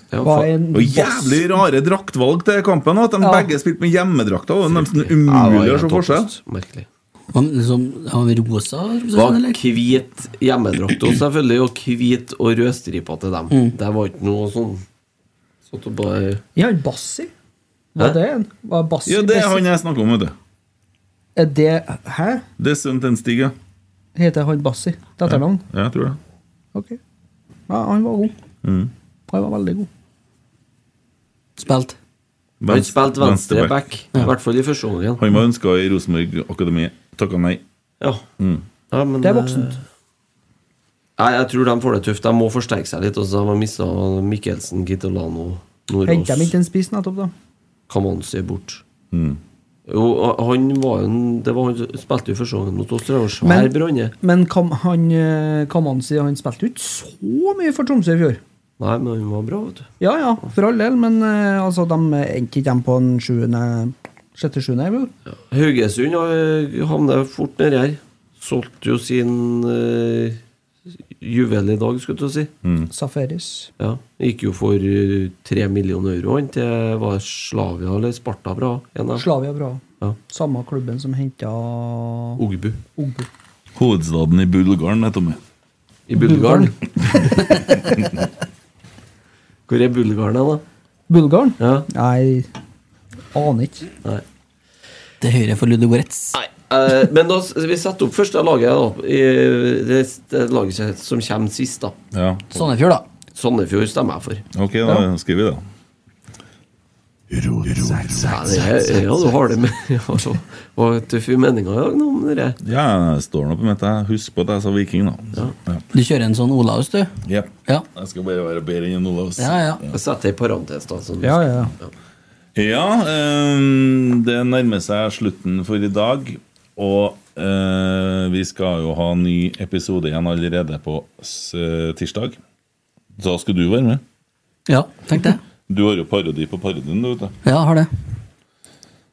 Var en
og jævlig rare draktvalg til kampen. At de
Ja.
begge spilte med hjemmedrakter. Det var nesten umulig å se forskjell.
Merkelig.
Han, liksom, han rosa, rosa
Sånn
Var
eller?
hvit hjemmedrakt også, selvfølgelig, og hvit og rødstripa til dem.
Mm.
Det var ikke noe sånn Satt og bare
Ja, han Bassi. Var
Hæ?
det en? Var Bassi
Ja, det er
Bassi-
han jeg snakker om, vet du.
Er det Hæ?
Det er sønnen til en Stig, ja.
Heter han Bassi? Det er etternavn?
Ja, Jeg tror det.
Ok. Ja, han var god.
Mm.
Han var veldig god.
Spilt.
Han spilte venstre
venstreback.
back, i hvert fall i første omgang.
Han var ønska i Rosenborg Akademiet. Takka nei.
Ja.
Mm.
Ja, men,
Det er voksent.
eh, Nei, jeg tror de får det tøft. De må forsterke seg litt. Og så har man mista Mikkelsen, Kitolano, Nordås,
Henta de ikke en spiss nettopp, da?
Kamanzi bort.
Mm.
Jo, han var jo en Det var han som spilte jo første gangen mot oss. Det var en svær
Men-
branne.
Men Kam han, eh, Kamanzi han spilte jo ikke så mye for Tromsø i fjor.
Nei, men han var bra, vet du.
Ja ja, for all del, men eh, altså, de endte ikke dem på en sjuende Sjette-sjuende, vel?
Haugesund eh, havner fort nedi her. Solgte jo sin eh, juvel i dag, skulle du si.
Mm.
Safaris.
Ja, Gikk jo for eh, tre millioner euro han til var det Slavia eller Sparta bra. En av dem.
Slavia bra.
Ja.
Samme klubben som henta
Ogbu.
Ogbu.
Hovedstaden i Bulgaren, heter det.
I Bulgaren. Hvor er Bulgaren, da?
Bulgaren?
Ja.
Nei, aner ikke.
Nei.
Til høyre for Ludogorets.
Eh, men da, s- vi setter opp første laget, da. I, det, det laget som kommer sist, da.
Ja.
Sandefjord, da.
Sandefjord stemmer jeg for.
Ok, da skriver vi det.
Ja, det er, ja, du har det med ja, så- Var tøff i meninga i dag, nå, om dere.
Ja, jeg står nå på mitt. jeg. Husk på at jeg sa Viking, da. Ja.
Du kjører en sånn Olaus, du?
Jep.
Ja.
Jeg skal bare være bedre enn Olaus.
Ja, ja.
Jeg setter en parentes, da. Sånn.
Ja, ja.
Ja, ehm, det nærmer seg slutten for i dag. Og eh, vi skal jo ha en ny episode igjen allerede på s eh, tirsdag. Da skal du være med.
Ja, tenk det.
Du har jo parodi på parodien, du, vet du.
Ja, har det.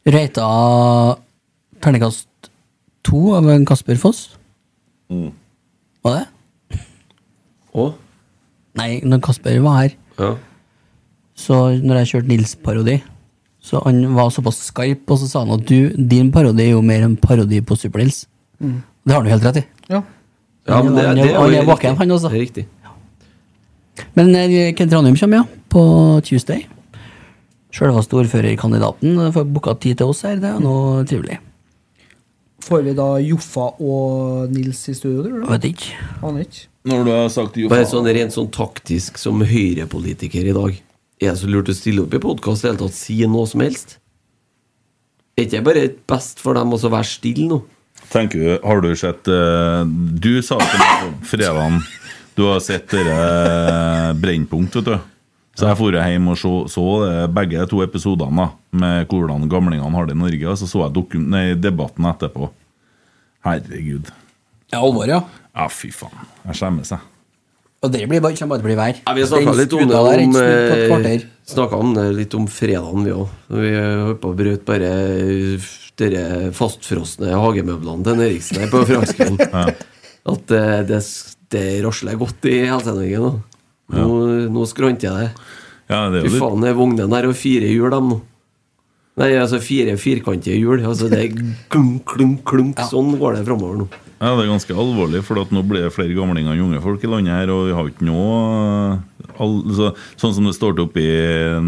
Røyta terningkast to av en Kasper Foss.
Mm.
Var det?
Og?
Nei, når Kasper var her,
Ja.
så når jeg kjørte Nils-parodi Så han var såpass skarp, og så sa han at du, din parodi er jo mer en parodi på Super-Nils.
Mm.
Det har han jo helt rett i.
Ja.
Ja, men det,
Han er-
det er jo
han er
riktig.
våken, han også.
Det er riktig.
Men eh, Kent Ranum kommer, ja. På Tuesday. Sjølveste ordførerkandidaten eh, får booka tid til oss her. Det er noe trivelig.
Får vi da Joffa og Nils i studio, tror du?
Vet ikke.
Aner ikke.
Når du har sagt jo
Bare sånn rent sånn taktisk som høyrepolitiker i dag. Er det så lurt å stille opp i podkast i det hele tatt? Si noe som helst? Er ikke det bare best for dem også å være stille nå?
Tenker du, Har du sett eh, Du sa til meg på fredagen Du har sett dere Brennpunkt, vet du. Så jeg dro hjem og så, så det begge to episodene da, med hvordan gamlingene har det i Norge. Og så så jeg dokum nei, debatten etterpå. Herregud.
Ja, alvor, ja.
Ja, fy faen. Jeg skjemmes, jeg.
Og det blir bare, kommer bare til å bli vær.
Ja, vi snakka
Den
litt om det
skuta der Altså, er
om,
ikke snudd på et kvarter.
eh, snakket om det litt om fredagen, vi òg. Vi eh, holdt på å brøte bare de fastfrosne hagemøblene til Eriksen her på franskmenn. At eh, det, det rasler godt i Helse-Norge nå. Nå, nå skranter jeg det.
Ja, det er jo
Fy
litt
faen, det er vognene her og fire hjul, dem nå. Nei, altså fire firkantige hjul. Altså det er klunk, klunk, klunk. Sånn går det framover nå.
Ja, det er ganske alvorlig, for at nå blir det flere gamlinger enn unge folk i landet her, og vi har ikke noe all, så, Sånn som det står til oppe i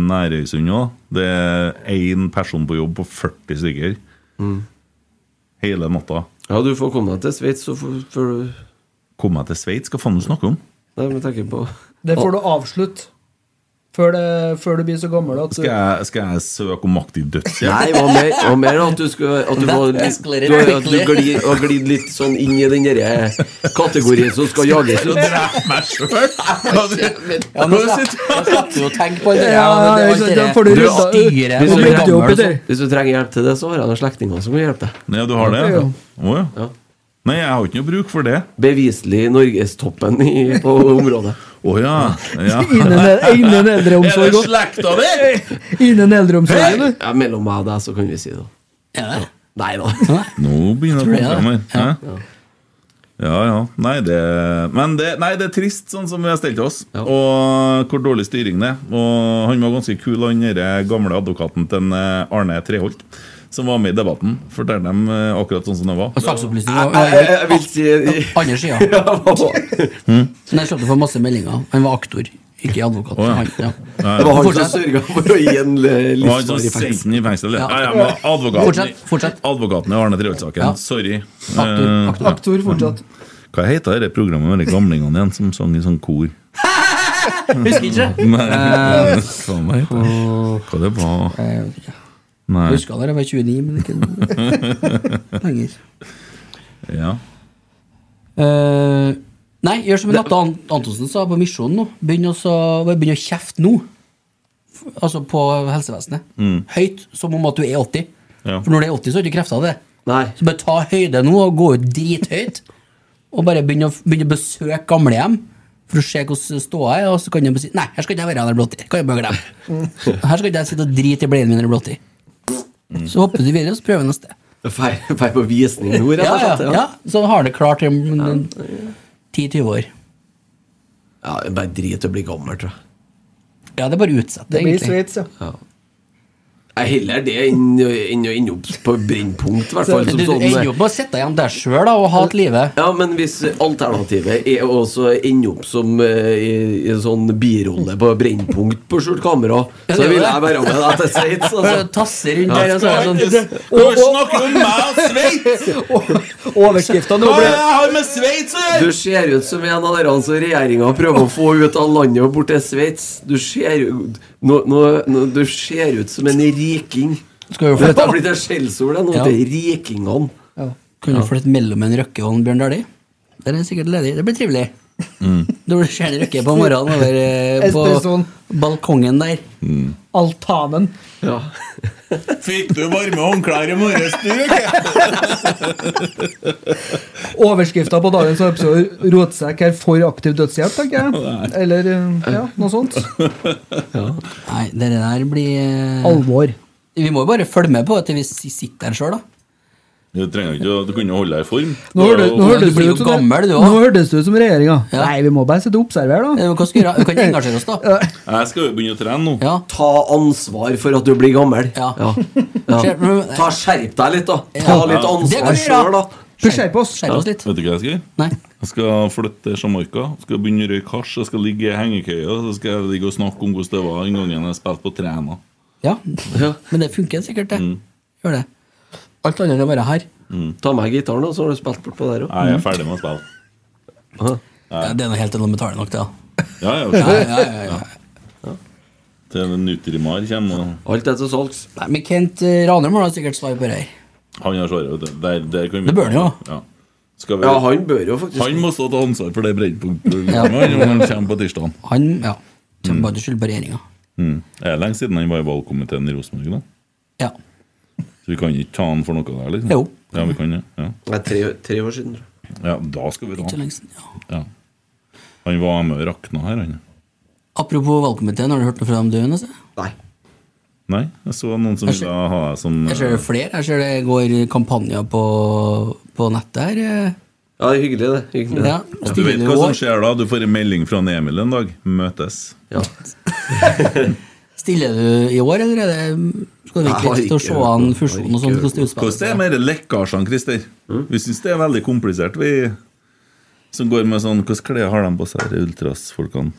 Nærøysund nå, det er én person på jobb på 40 stykker hele natta.
Ja, du får komme deg til Sveits, så får, får du
Kom meg til Sveits, hva faen du snakker om?
Nei, men jeg tenker på
Det får du avslutte. Før, det, før du blir så gammel at du
Skal jeg, skal jeg søke om aktiv dødshjelp?
Nei, det var mer, det var mer at du skulle At du, var, litt-
escalated
du, at du
quickly.
glir, har glidd litt sånn inn i den derre kategorien som skal jages ut.
meg sjøl!
Ja, nå skal- nå skal du jo tenke på alt det der,
Ja,
men det er
ikke
alt
sant,
det
da
der.
får du
Du
rydda-
styrer. sånn
Hvis
Og
du,
blir ikke
trenger,
opp i
så,
det.
hvis du trenger hjelp til det, så har jeg noen slektninger som kan hjelpe deg.
Ja, du har det? ja. Å ja. Nei, jeg har ikke noe bruk for det.
Beviselig norgestoppen i, på området.
Å ja. ja.
Innen, el- innen eldreomsorg
Er det
også.
slekta
Innen eldreomsorg, du.
Ja, mellom meg og deg, så kan vi si det.
Ja.
Nei da.
Nå begynner
Tror
det
jeg
å
det.
komme fram her. Hæ? Ja, ja. Nei, det, men det, nei, det er trist, sånn som vi har stelt oss, og hvor dårlig styring det er. Og han var ganske kul, han derre gamle advokaten til en, eh, Arne Treholt, som var med i debatten. Fortalte dem eh, akkurat sånn som det var.
Saksopplysning
Jeg-
var
jeg- jeg vil si-
Andre sida. Men jeg slapp å få masse meldinger. Han var aktor, ikke advokat.
Å, ja.
Han, ja.
Ja, ja.
Det var han som
Fortsett.
sørga for å gi en eh,
Det var han som
livsvarig
sendte den i fengsel.
Altså, Ja.
Ja. Ja, men advokaten,
Fortsett,
advokaten i Arne Treholt-saken.
Ja.
Sorry.
Aktor,
Eh,
aktor.
ja.
Aktor fortsatt.
Hva heter det programmet med de gamlingene igjen som sang i sånn kor?
Husker ikke.
Nei,
Eh,
faen meg heter det. Hva det var Nei.
Jeg husker det, jeg var 29, men ikke lenger.
Ja.
Eh, nei, gjør som Natta Ant- Antonsen sa på Misjonen nå. Begynn å så- bare begynn å kjefte nå. F- Altså på helsevesenet.
Mm.
Høyt, som om at du er 80.
Ja.
For når du er 80, så har du ikke krefter til det.
Nei.
Så bare ta høyde nå og gå ut drithøyt. Og bare begynne å, begynne å besøke gamlehjem for å se hvordan ståa er. Og så kan du bare si Nei, her skal ikke jeg være når jeg blir 80. Kan jeg bare glemme. Her skal ikke jeg sitte og drite i bleiene mine når jeg blir 80.
Mm.
Så hopper du videre, og så prøver du neste.
Feil feil på visning nå, rett
Ja,
og
ja,
slett.
ja. Så har det klart i en- en- 10-20 år.
Ja, Bare drit i å bli gammel, tror jeg.
Ja, det er bare utsett
Det blir
egentlig.
Sveits, ja.
Ja. Jeg heller det enn enn å ende opp på Brennpunkt, i hvert fall.
Du
som
du
sånn-
ender jo på å sitte igjen der sjøl og hate livet.
Ja, men hvis alternativet er å også ende opp som eh, i, i en sånn birolle på Brennpunkt på skjult kamera,
Ja,
så
det er jo
vil
det.
jeg være med deg til Sveits.
Bare Tasse rundt der og så er det sånn
Hvorfor snakker du om meg og Sveits?!
Overskrifta nå
Hva er det
ble
jeg har med Sveits å
Du
gjøre?!
ser ut som en av dere som regjeringa prøver å få ut av landet og bort til Sveits. Du ser jo nå, nå, nå, Du ser ut som en riking.
Skal jo
Dette
flytte
har blitt et skjellsord, det nå,
Ja.
til rikingene.
Kan du flytte mellom en Røkke og en Bjørn Dæhlie? Der er det sikkert ledig. Det blir trivelig.
Mm.
Da blir det skjerne Røkke på morgenen over eh,
Espressoen.
på balkongen der.
altanen.
Ja.
Fikk du varme håndklær i morges, du? ikke?
Overskrifta på dagens episode 'Rotsekk er for aktiv dødshjelp', tenker jeg. Eller eh, ja, noe sånt.
Nei, det der blir eh,
Alvor.
Vi må jo bare følge med på at vi si- sitter der sjøl, da.
Du trenger ikke å Du kunne holde deg i form.
Nå hørte- nå
Ja, du
hørtes
blir
det
jo
ut som det-
gammel, du også.
nå hørtes det ut som regjeringa.
Ja.
Nei, vi må bare sitte og observere,
Eh,
da.
Hva skal vi gjøre? Vi kan ikke engasjere oss, da.
Jeg skal jo begynne å trene nå.
Ja.
Ta ansvar for at du blir gammel.
Ja.
Ja.
Skjer- men-
Ta Skjerp deg litt, da. Ta
Ja.
litt
Det kan
ansvar
vi gjøre.
sjøl, da.
Skjerp oss.
Skjerp oss litt.
Vet du hva jeg skal gjøre?
Nei.
Jeg skal flytte til Jamaica, skal begynne å røyke hasj, jeg skal ligge i hengekøya, så skal jeg ligge og snakke om hvordan det var den gangen jeg spilte på Træna.
Ja. Men det funker sikkert, det.
Mm.
Gjør det. Alt annet enn å være her.
Ta med gitaren, da, så har du spilt bort på der òg.
Nei,
Mm.
Jeg er ferdig med å spille.
Ja, det er noe helt elementært nok, det. da.
Ja, ja, ok.
Ja, ja, ja, ja.
Til Nutrimar kommer, og
Alt er til salgs.
Nei, men Kent eh, Ranum har da sikkert svar på det her.
han har svaret. vet du. Der, der kan vi
Det bør han jo.
Ja. Skal vi...
Ja, han bør jo faktisk
Han må stå til ansvar for det brennpunktprogrammet
Ja.
når han kommer på tirsdag.
Han ja, kommer bare til skyld på regjeringa.
Mm. Det er lenge siden han var i valgkomiteen i Rosenborg, da.
Ja.
Så vi kan ikke ta han for noe der, liksom?
Jo.
Ja, vi kan det. Ja.
Nei, tre, tre år siden, tror jeg.
ja, da skal vi ta
Ikke
han.
lenge siden. Ja.
Ja. Han var med og rakna her, han.
Apropos valgkomiteen, har du hørt noe fra dem du Nesse?
Nei.
Nei, jeg så noen som
Jeg ser-
ville ha deg som eh,
Jeg ser det er flere. Jeg ser det går kampanjer på, på nettet her. eh.
Ja, det er hyggelig, det. Hyggelig, det.
Ja,
Du vet
stille
hva som
år.
skjer da? Du får en melding fra en Emil en dag. Møtes.
Ja.
Stiller du i år, eller er det, skal du
Jeg har
virkelig til å
ikke
se
hørt
an
noe.
fusjonen
Jeg har ikke
og sånn? Hvordan det utspiller
Hvordan det er
seg?
med de lekkasjene, Christer? Vi syns det er veldig komplisert, vi som går med sånn Hvilke klær har de på seg, de ultras-folkene?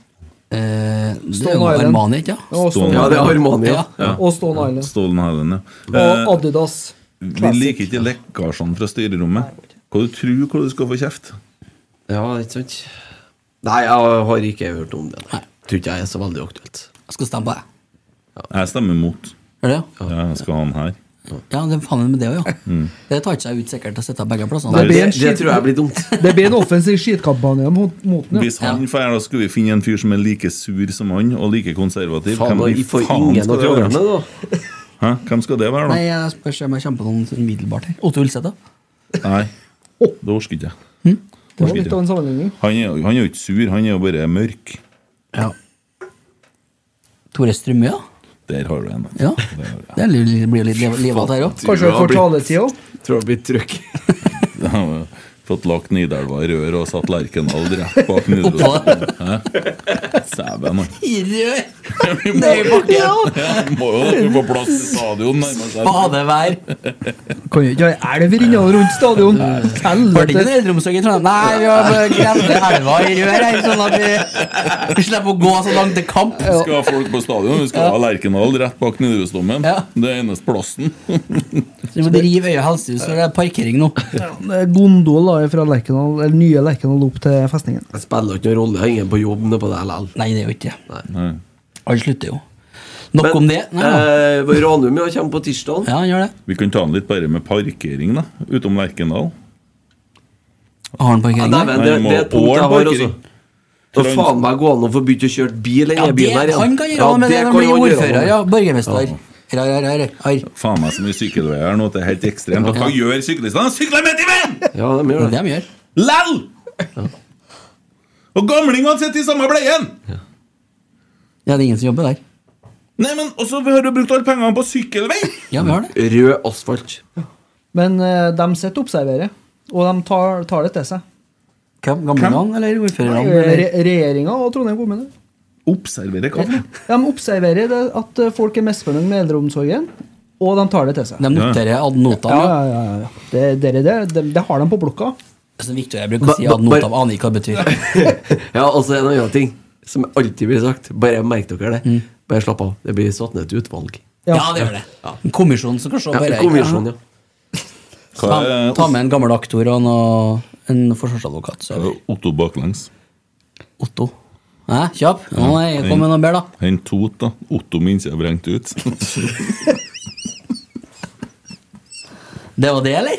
Eh, Det er
Stone
jo
Island.
Armani, ikke sant?
Og Stone,
ja, det er Armania.
Ja.
Ja.
og Stone Island.
Stolen Helen, ja. Eh,
Og Adidas.
vi
Classic.
liker ikke lekkasjene fra styrerommet. Hva du tror hvor du skal få kjeft?
Ja, ikke sant? Nei, jeg har ikke hørt om det. Nei. Tror ikke jeg er så veldig aktuelt.
Jeg skal stemme på deg.
Jeg stemmer mot.
Gjør det?
Ja, jeg skal ha han her.
Ja, det er faen meg med det òg, ja.
Mm.
Det tar ikke seg ut sikkert å sitte begge plassene.
Det blir en Det- det skit- tror jeg blir
dumt.
Det blir en offensiv skitkampanje mot mot den.
Hvis han får her, da skal vi finne en fyr som er like sur som han, og like konservativ.
Faen,
Hvem i
da får
faen
ingen
skal
å
det være?
krangle med,
Hæ? Hvem skal det være, da?
Nei, jeg spør om jeg kommer på noen umiddelbart her. Otto Ulseth, da?
Nei, det orker ikke jeg.
Hm? Det var
Orker
litt av
ikke.
en sammenligning.
Han er, jo- han er jo ikke sur, han er jo bare mørk.
Ja. Tore Strømøy, da?
Der har du en.
Ja. Det blir litt- blir litt liv- liv av det her òg.
Kanskje vi får taletid òg?
Tror det blir trykk. Fått lagt Nidelva i rør og satt Lerkendal rett bak Nidelva. Hæ? Sæven, han. Ja, Må jo det, vi får plass til stadion nærmere seg.
Spadevær.
Kan jo ikke ha elv rinnende rundt stadion.
Var det ikke noe eldreomsorg i Trondheim? Nei, vi har bare glemte elva i rør her, sånn at vi, vi slipper å gå så langt til kamp.
Vi skal ha folk på stadion, vi skal ha Lerkendal rett bak Nidarosdomen. Det er eneste plassen.
Så vi må drive Øya helsehus, for det er parkering nå.
Det er Gondol da, fra Lerkendal, eller nye Lerkendal opp til festningen.
Det spiller jo ikke noen rolle, jeg er ingen på jobb nede på det likevel.
Nei, det er jo ikke
Nei.
Han slutter jo. Nok om det. Nei,
eh, Ranum ja, kommer på tirsdag.
Ja, han gjør det.
Vi kan ta den litt bare med parkering, da. Utom Lerkendal.
Har han parkering?
Ja, dæven, det,
Nei,
det er et punkt jeg har også.
parkering.
Da faen meg gå an å få begynt å kjøre bil i
Ja,
denne
det
byen her igjen.
han kan gjøre, men det er
kan
når han
han
blir
gjøre,
ordfører,
han.
ja. Borgermester. Her, her, her, her.
Faen meg så mye sykkelveier her nå at det er helt ekstremt. Og Hva gjør syklistene? De Sykler midt i veien!
Ja, de gjør
det. De gjør.
Lell! Og gamlingene sitter i samme bleien!
Ja, det er ingen som jobber der.
Nei, men også, vi har jo brukt alle pengene på sykkelvei!
Ja, vi har det.
Rød asfalt.
Men eh, de sitter og observerer, og de tar, tar det til seg.
Hvem? Gamlingene eller ordførerne?
Re
eller-
Regjeringa og Trondheim kommune.
Observerer hva? for noe?
De observerer det at eh, folk er misfornøyd med eldreomsorgen, og de tar det til seg.
De noterer ad notam.
Ja, ja, ja, ja. Det, det, det, det, det har de på blokka.
Altså, Victor, jeg bruker å si
Ba-
ad
ba-
notam, aner ikke hva det betyr.
Ja, altså en annen ting som alltid blir sagt, bare merk dere det. Bare slapp av. Det blir satt ned et utvalg.
Mm. Ja, det gjør det. En kommisjon som kan se
Ja,
bare-
en kommisjon, ja.
Ta, ta med en gammel aktor og en, og en forsvarsadvokat. Så. er vi-
Otto baklengs.
Otto. Hæ, kjapp? Nå er jeg- kom med noe mer, da.
Hent Tot, da. Otto minst jeg vrengte ut.
Det var det, eller?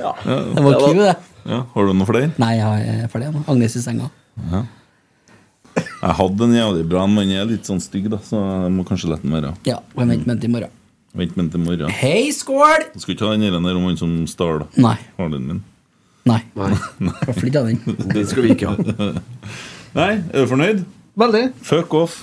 Ja.
Ja,
Det var cue, det.
Ja, har du noen flere?
Nei, jeg er ferdig nå. Agnes i senga.
Ja. Jeg hadde en jævlig bra en, men jeg er litt sånn stygg, da, så jeg må kanskje la den være.
Ja, og jeg venter med den til i morgen.
Vent med den til morgen.
Hei, skål!
Du skal ikke ha den der om han som stjal
Nei.
faren min?
Nei.
Nei.
Hvorfor ikke ha den?
Den skal vi ikke ha.
Nei, er du fornøyd?
Veldig.
Fuck off.